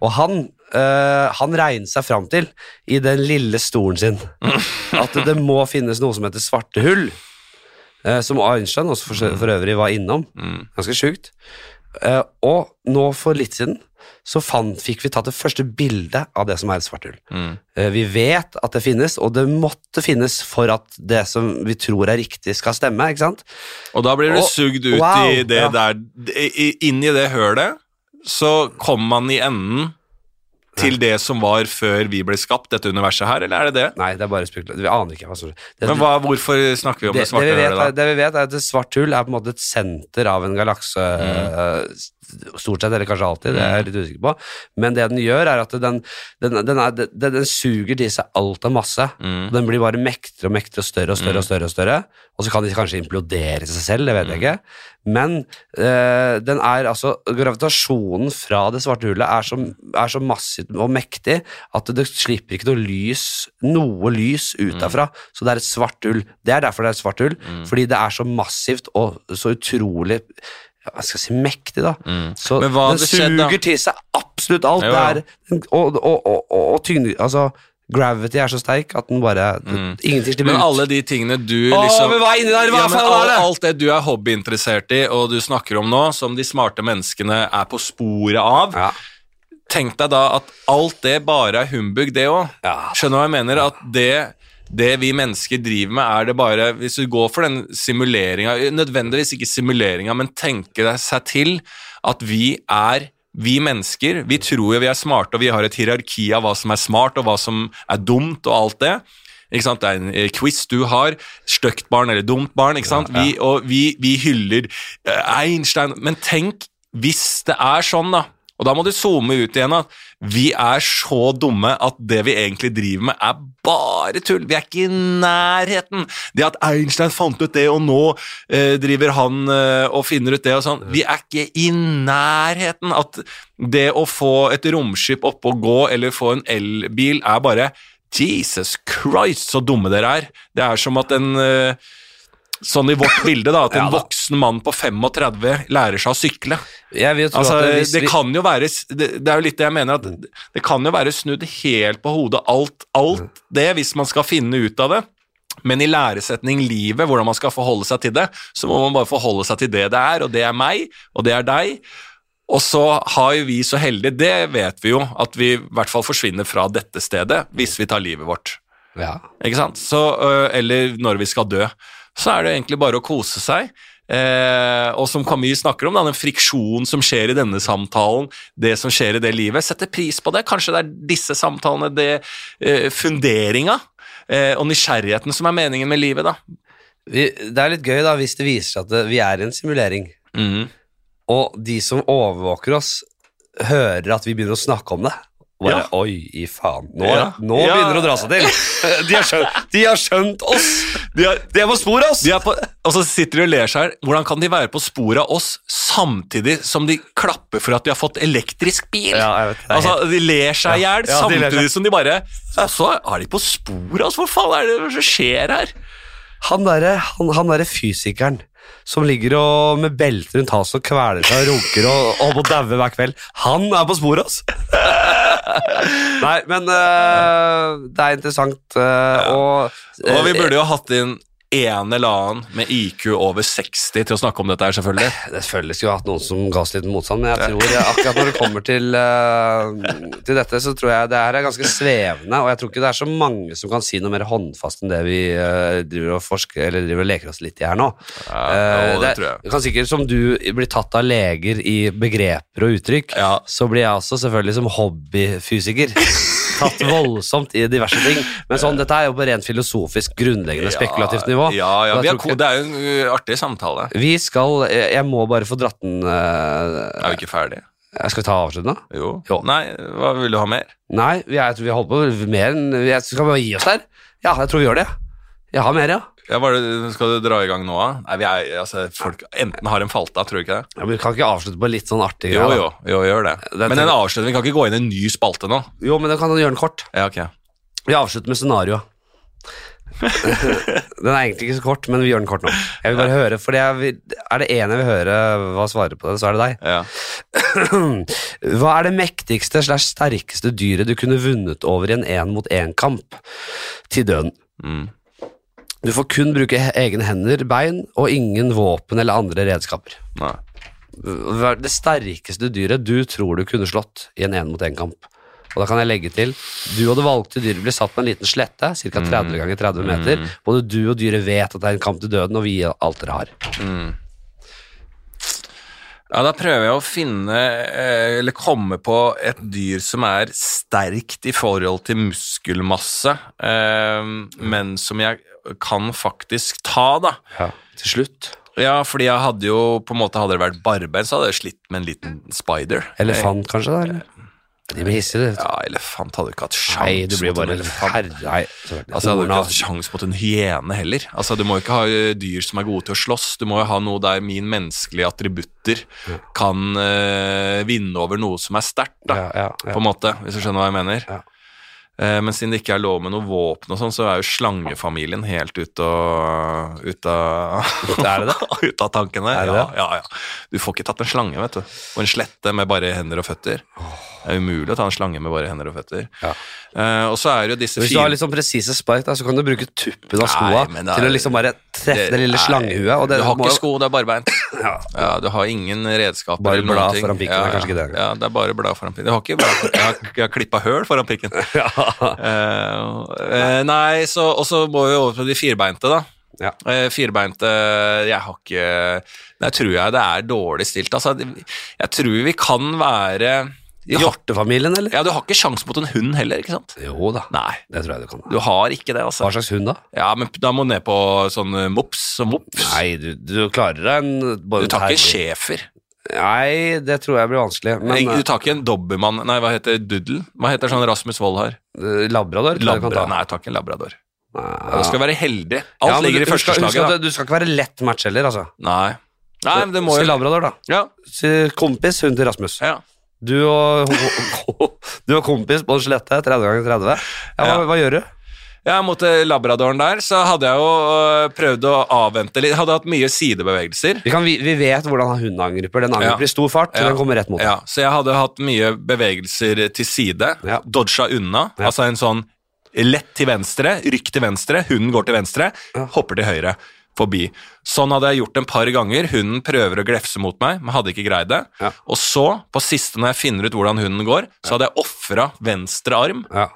Speaker 1: Og han, eh, han regner seg fram til, i den lille stolen sin, at det må finnes noe som heter svarte hull, eh, som Einstein også for, for øvrig var innom. Ganske sjukt. Eh, og nå for litt siden så fant, fikk vi tatt det første bildet av det som er et svart hull.
Speaker 2: Mm.
Speaker 1: Eh, vi vet at det finnes, og det måtte finnes for at det som vi tror er riktig, skal stemme. ikke sant?
Speaker 2: Og da blir du
Speaker 1: Og-
Speaker 2: sugd ut
Speaker 1: wow,
Speaker 2: i det
Speaker 1: ja.
Speaker 2: der i- i- Inn i det hølet, så kommer man i enden til det som var før vi ble skapt, dette universet her, eller er det det?
Speaker 1: Nei, det er bare spekulasjon. Vi aner ikke hva som skjer. Det,
Speaker 2: Men hva, hvorfor snakker vi om
Speaker 1: det,
Speaker 2: det,
Speaker 1: det,
Speaker 2: svarte
Speaker 1: vi vet, er,
Speaker 2: hølet, da?
Speaker 1: det vi vet, er at et svart hull er på en måte et senter av en galakse, eh,
Speaker 2: Mm.
Speaker 1: st- stort sett, eller kanskje alltid, det er jeg litt usikker på. Men det den gjør, er at den, den, den, er, den, den suger til seg alt av masse.
Speaker 2: Mm.
Speaker 1: og Den blir bare mektigere og mektigere og større og større og større. Og større. Og så kan de kanskje implodere seg selv, det vet
Speaker 2: Mm.
Speaker 1: jeg ikke. Men eh, den er altså, gravitasjonen fra det svarte hullet er så, er så massivt og mektig at det slipper ikke noe lys, noe lys ut
Speaker 2: Mm.
Speaker 1: derfra. Så det er et svart hull. Det er derfor det er et svart hull, fordi det er så massivt og så utrolig ja, hva skal jeg si mektig, da. Så
Speaker 2: Mm. Men hva
Speaker 1: den
Speaker 2: hadde skjedd, da?
Speaker 1: suger til seg absolutt alt.
Speaker 2: Jo, jo.
Speaker 1: Det er, og og, og, og, og tyngde Altså, gravity er så sterk at den bare Ingenting slipper
Speaker 2: Mm. Men
Speaker 1: ut.
Speaker 2: alle de tingene du
Speaker 1: Å,
Speaker 2: liksom
Speaker 1: men hva er inni der? Hva
Speaker 2: ja, men
Speaker 1: faen er
Speaker 2: alt,
Speaker 1: det?
Speaker 2: alt det du er hobbyinteressert i, og du snakker om nå, som de smarte menneskene er på sporet av,
Speaker 1: ja.
Speaker 2: tenk deg da at alt det bare er humbug, det òg.
Speaker 1: Ja.
Speaker 2: Skjønner du hva jeg mener? At det, det vi mennesker driver med, er det bare Hvis du går for den simuleringa, nødvendigvis ikke simuleringa, men tenke deg seg til at vi er vi mennesker vi tror jo vi er smarte, og vi har et hierarki av hva som er smart, og hva som er dumt, og alt det. Ikke sant? Det er en eh, quiz du har. Støkt barn eller dumt barn. Ikke sant? Vi, og vi, vi hyller eh, Einstein. Men tenk hvis det er sånn, da. Og da må du zoome ut igjen at vi er så dumme at det vi egentlig driver med, er bare tull. Vi er ikke i nærheten. Det at Einstein fant ut det, og nå eh, driver han eh, og finner ut det og sånn Vi er ikke i nærheten. At det å få et romskip oppe og gå, eller få en elbil, er bare Jesus Christ, så dumme dere er. Det er som at en eh, Sånn i vårt bilde, da. At en
Speaker 1: Ja da.
Speaker 2: voksen mann på 35 lærer seg å sykle.
Speaker 1: Jeg vil jo tro
Speaker 2: Altså,
Speaker 1: at hvis
Speaker 2: det
Speaker 1: vi-
Speaker 2: kan jo være Det, det er jo litt det jeg mener, at det kan jo være snudd helt på hodet, alt, alt det, hvis man skal finne ut av det. Men i læresetning livet, hvordan man skal forholde seg til det, så må man bare forholde seg til det det er, og det er meg, og det er deg. Og så har jo vi så heldige, det vet vi jo, at vi i hvert fall forsvinner fra dette stedet hvis vi tar livet vårt.
Speaker 1: Ja.
Speaker 2: Ikke sant? Så, øh, eller når vi skal dø. Så er det egentlig bare å kose seg. Eh, og som Camus snakker om, da, den friksjonen som skjer i denne samtalen, det som skjer i det livet. Sette pris på det. Kanskje det er disse samtalene, det eh, funderinga eh, og nysgjerrigheten som er meningen med livet, da.
Speaker 1: Vi, det er litt gøy da hvis det viser seg at det, vi er i en simulering,
Speaker 2: Mhm.
Speaker 1: og de som overvåker oss, hører at vi begynner å snakke om det. Og Bare,
Speaker 2: Ja.
Speaker 1: Oi, i faen. Nå,
Speaker 2: Ja.
Speaker 1: nå
Speaker 2: Ja.
Speaker 1: begynner det å dra seg til! De har skjønt, de har skjønt oss!
Speaker 2: De er,
Speaker 1: De er på sporet av oss!
Speaker 2: de er på, og så sitter de og ler seg her. Hvordan kan de være på sporet av oss samtidig som de klapper for at de har fått elektrisk bil?
Speaker 1: Ja, jeg vet det.
Speaker 2: Altså, De ler seg i hjel
Speaker 1: Ja, de ler seg.
Speaker 2: samtidig som de bare Så er de på sporet av oss! Hva faen er det som skjer her?
Speaker 1: Han derre han, han derre fysikeren som ligger og med belte rundt halsen og kveler seg og runker og holder på å daue hver kveld, han er på sporet, ass! Nei, men øh, det er interessant, øh, og eh,
Speaker 2: Og vi burde jo hatt inn en eller annen med IQ over 60 til å snakke om dette her, selvfølgelig.
Speaker 1: Det selvfølgelig skulle jeg hatt noen som ga oss litt motstand, men jeg tror jeg, akkurat når det kommer til, eh, til dette, så tror jeg det her er ganske svevende, og jeg tror ikke det er så mange som kan si noe mer håndfast enn det vi eh, driver og forsker, eller driver og leker oss litt i her nå. Eh,
Speaker 2: jo, det tror jeg.
Speaker 1: det kan sikkert som du blir tatt av leger i begreper og uttrykk,
Speaker 2: Ja.
Speaker 1: så blir jeg også selvfølgelig som hobbyfysiker tatt voldsomt i diverse ting. Men sånn, dette er jo på rent filosofisk grunnleggende spekulativt nivå.
Speaker 2: Ja, ja,
Speaker 1: og
Speaker 2: vi
Speaker 1: jeg
Speaker 2: har,
Speaker 1: tror
Speaker 2: ko-
Speaker 1: ikke-
Speaker 2: Det er jo en ø, artig samtale.
Speaker 1: vi skal, eh, jeg jeg må bare få dratt den eh,
Speaker 2: Er vi ikke ferdige?
Speaker 1: jeg skal vi ta avslutten, da?
Speaker 2: Jo.
Speaker 1: Jo.
Speaker 2: Nei, hva vil du ha mer?
Speaker 1: Nei, vi, er, jeg tror vi har holdt på mer enn jeg Skal vi bare gi oss der? Ja, jeg tror vi gjør det. Jeg har mer, ja.
Speaker 2: Ja, hva er det- skal du dra i gang nå, da? Nei, vi er, altså, folk enten har en falt av, tror du ikke det?
Speaker 1: ja men vi kan ikke avslutte på litt sånn artig
Speaker 2: Jo,
Speaker 1: greie, da?
Speaker 2: jo, jo, gjør det.
Speaker 1: Det
Speaker 2: Men den avslutningen kan ikke gå inn i en ny spalte nå.
Speaker 1: Jo, men da kan du gjøre den kort.
Speaker 2: Ja, ok.
Speaker 1: Vi avslutter med scenarioa. den er egentlig ikke så kort, men vi gjør den kort nå. Jeg vil bare høre, for jeg vil, Er det én jeg vil høre hva svarer på det, så er det deg.
Speaker 2: Ja.
Speaker 1: Hva er det mektigste slash sterkeste dyret du kunne vunnet over i en én-mot-én-kamp til døden?
Speaker 2: Mm.
Speaker 1: Du får kun bruke he- egne hender, bein og ingen våpen eller andre redskaper.
Speaker 2: Nei.
Speaker 1: Hva er det sterkeste dyret du tror du kunne slått i en én-mot-én-kamp? Og da kan jeg legge til Du og det valgte dyret blir satt på en liten slette, ca. 30 ganger 30 meter. Både du og dyret vet at det er en kamp til døden, og vi gir alt dere har.
Speaker 2: Ja, da prøver jeg å finne, eh, eller komme på et dyr som er sterkt i forhold til muskelmasse, eh, men som jeg kan faktisk ta, da.
Speaker 1: Til slutt.
Speaker 2: Ja, fordi jeg hadde jo, på en måte hadde det vært barbein, så hadde jeg slitt med en liten spider.
Speaker 1: Elefant, kanskje? da, eller? De blir hissige, det. vet du.
Speaker 2: Ja, elefant hadde jo ikke hatt sjans.
Speaker 1: Nei, du blir
Speaker 2: mot en
Speaker 1: bare
Speaker 2: elefant.
Speaker 1: Herre, nei, selvfølgelig.
Speaker 2: Altså, jeg hadde jo
Speaker 1: Horna.
Speaker 2: ikke hatt sjans mot en hyene heller. Altså, Du må jo ikke ha ø, dyr som er gode til å slåss. Du må jo ha noe der min menneskelige attributter kan ø, vinne over noe som er sterkt, da,
Speaker 1: Ja, ja, ja.
Speaker 2: på en måte, hvis du skjønner hva jeg mener.
Speaker 1: Ja.
Speaker 2: Eh, men siden det ikke er lov med noe våpen, og sånn, så er jo slangefamilien helt ute og, ut av
Speaker 1: Er det
Speaker 2: ut av tankene.
Speaker 1: Er det
Speaker 2: ja,
Speaker 1: det?
Speaker 2: ja, ja. Du får ikke tatt en slange, vet du. Og en slette med bare hender og føtter. Det er umulig å ta en slange med bare hender og føtter.
Speaker 1: Ja.
Speaker 2: Eh, og så er det jo disse
Speaker 1: Hvis du har litt sånn presise spark, da, så kan du bruke tuppen av skoa
Speaker 2: Nei, men det er-
Speaker 1: til å liksom bare treffe det, lille
Speaker 2: Nei,
Speaker 1: slangehuet. Og det
Speaker 2: du har
Speaker 1: må
Speaker 2: ikke
Speaker 1: jo-
Speaker 2: sko, det er barbein.
Speaker 1: Ja.
Speaker 2: Ja, du har ingen redskaper.
Speaker 1: Bare
Speaker 2: eller noen
Speaker 1: blad
Speaker 2: ting.
Speaker 1: foran pikken,
Speaker 2: ja,
Speaker 1: det er kanskje ikke det.
Speaker 2: Ja, det er bare blad foran pikken. Jeg har ikke blad foran, jeg har, jeg har klippa høl foran pikken. Eh, eh, nei, så, og så må vi over på de firbeinte, da.
Speaker 1: Ja.
Speaker 2: Eh, firbeinte Jeg har ikke Der tror jeg det er dårlig stilt. Altså, det- jeg tror vi kan være ja,
Speaker 1: Hjortefamilien, eller?
Speaker 2: ja, du har ikke sjans mot en hund heller, ikke sant?
Speaker 1: Jo da,
Speaker 2: Nei,
Speaker 1: det tror jeg du kan.
Speaker 2: du har ikke det, altså.
Speaker 1: Hva slags hund, da?
Speaker 2: Ja, men da må du ned på sånn eh, mops og mops.
Speaker 1: Nei, du, du klarer deg en bare
Speaker 2: Du
Speaker 1: en
Speaker 2: tar ikke
Speaker 1: terrier.
Speaker 2: schæfer.
Speaker 1: Nei, det tror jeg blir vanskelig. Men eh,
Speaker 2: Du tar ikke en dobbermann Nei, hva heter Duddel? Hva heter sånn Rasmus Wold har?
Speaker 1: eh, labrador tror jeg du kan ta.
Speaker 2: Labra. Nei, jeg tar ikke en labrador.
Speaker 1: Nei.
Speaker 2: Du skal være heldig. Alt
Speaker 1: Ja, men
Speaker 2: ligger
Speaker 1: du-
Speaker 2: i første
Speaker 1: husk at- husk
Speaker 2: slaget,
Speaker 1: at Du skal ikke være lett match heller, altså.
Speaker 2: da. Nei. Nei, men det må
Speaker 1: Si
Speaker 2: jo
Speaker 1: labrador, da.
Speaker 2: Ja.
Speaker 1: Si kompis, hun til Rasmus.
Speaker 2: ja.
Speaker 1: Du og, du og kompis på en slette 30 ganger 30. Ja, hva,
Speaker 2: Ja.
Speaker 1: hva gjør du?
Speaker 2: Ja, mot eh, labradoren der, så hadde jeg jo øh, prøvd å avvente litt. Hadde hatt mye sidebevegelser.
Speaker 1: Vi, kan, vi, vi vet hvordan hun angriper. Den angriper
Speaker 2: Ja.
Speaker 1: i stor fart, så
Speaker 2: Ja.
Speaker 1: den kommer rett mot deg.
Speaker 2: Ja, så jeg hadde hatt mye bevegelser til side.
Speaker 1: Ja.
Speaker 2: Dodga unna.
Speaker 1: Ja.
Speaker 2: Altså en sånn lett til venstre, rykk til venstre, hunden går til venstre, hopper til høyre, forbi. Sånn hadde jeg gjort en par ganger, hunden prøver å glefse mot meg, men hadde ikke greid det.
Speaker 1: Ja.
Speaker 2: Og så, på siste når jeg finner ut hvordan hunden går, så hadde jeg ofra venstre arm,
Speaker 1: Ja.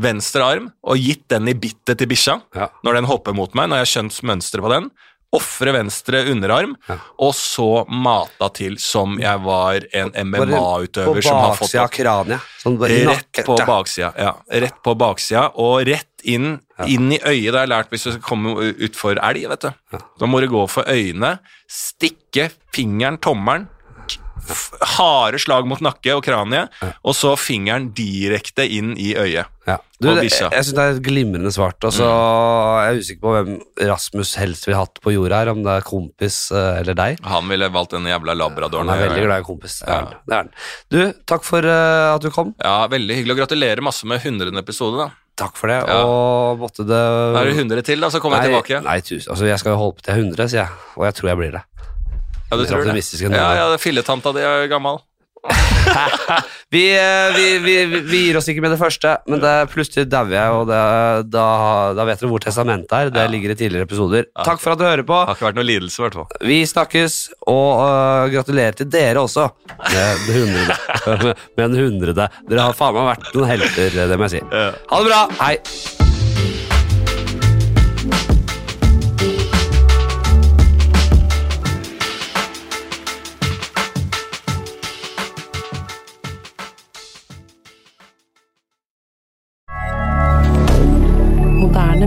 Speaker 2: venstre arm, og gitt den i bittet til bikkja,
Speaker 1: Ja.
Speaker 2: når den hopper mot meg, når jeg har skjønt mønsteret på den. Ofre venstre underarm, og så mata til som jeg var en
Speaker 1: Bare
Speaker 2: MMA-utøver
Speaker 1: På
Speaker 2: som har fått
Speaker 1: baksida av kraniet. Sånn bare i
Speaker 2: Rett
Speaker 1: nakken.
Speaker 2: på baksida, ja. Rett på baksida, og rett inn, inn i øyet. Det har jeg lært hvis du skal komme utfor elg, vet du. Da må du gå for øynene, stikke fingeren, tommelen, f- harde slag mot nakke og kranie, og så fingeren direkte inn i øyet.
Speaker 1: Ja. Du,
Speaker 2: Og
Speaker 1: det, jeg
Speaker 2: bikkja.
Speaker 1: syns det er glimrende svart. Og så
Speaker 2: Mm.
Speaker 1: er jeg usikker på hvem Rasmus helst ville hatt på jorda her, om det er kompis eh, eller deg.
Speaker 2: Han ville valgt den jævla
Speaker 1: Han
Speaker 2: labradoren.
Speaker 1: er veldig glad i kompis. Det er han. Det er han. Du, takk for eh, at du kom.
Speaker 2: Ja, veldig hyggelig. Og gratulerer masse med 100. episode, da.
Speaker 1: Takk for det,
Speaker 2: Ja.
Speaker 1: og måtte det
Speaker 2: Da er det 100 til, da, så kommer jeg tilbake.
Speaker 1: Nei, tusen. Altså, jeg skal jo holde på til jeg er 100, sier jeg. Og jeg tror jeg blir det.
Speaker 2: Ja, du
Speaker 1: litt
Speaker 2: tror det?
Speaker 1: optimistisk enn
Speaker 2: Ja,
Speaker 1: det.
Speaker 2: ja, filletanta di er gammel.
Speaker 1: Vi, eh, vi, vi, vi- vi gir oss ikke med det første, men det, plutselig dauer jeg, og det, da, da vet dere hvor testamentet er. Det ligger i tidligere episoder. Takk for at du hører på.
Speaker 2: Det har ikke vært noe lidelse, i hvert fall.
Speaker 1: Vi snakkes, og øh, gratulerer til dere også med den hundrede. med den hundrede. Dere har faen meg vært noen helter, eh, det må jeg si. Ha det bra! Hei!
Speaker 6: Moderne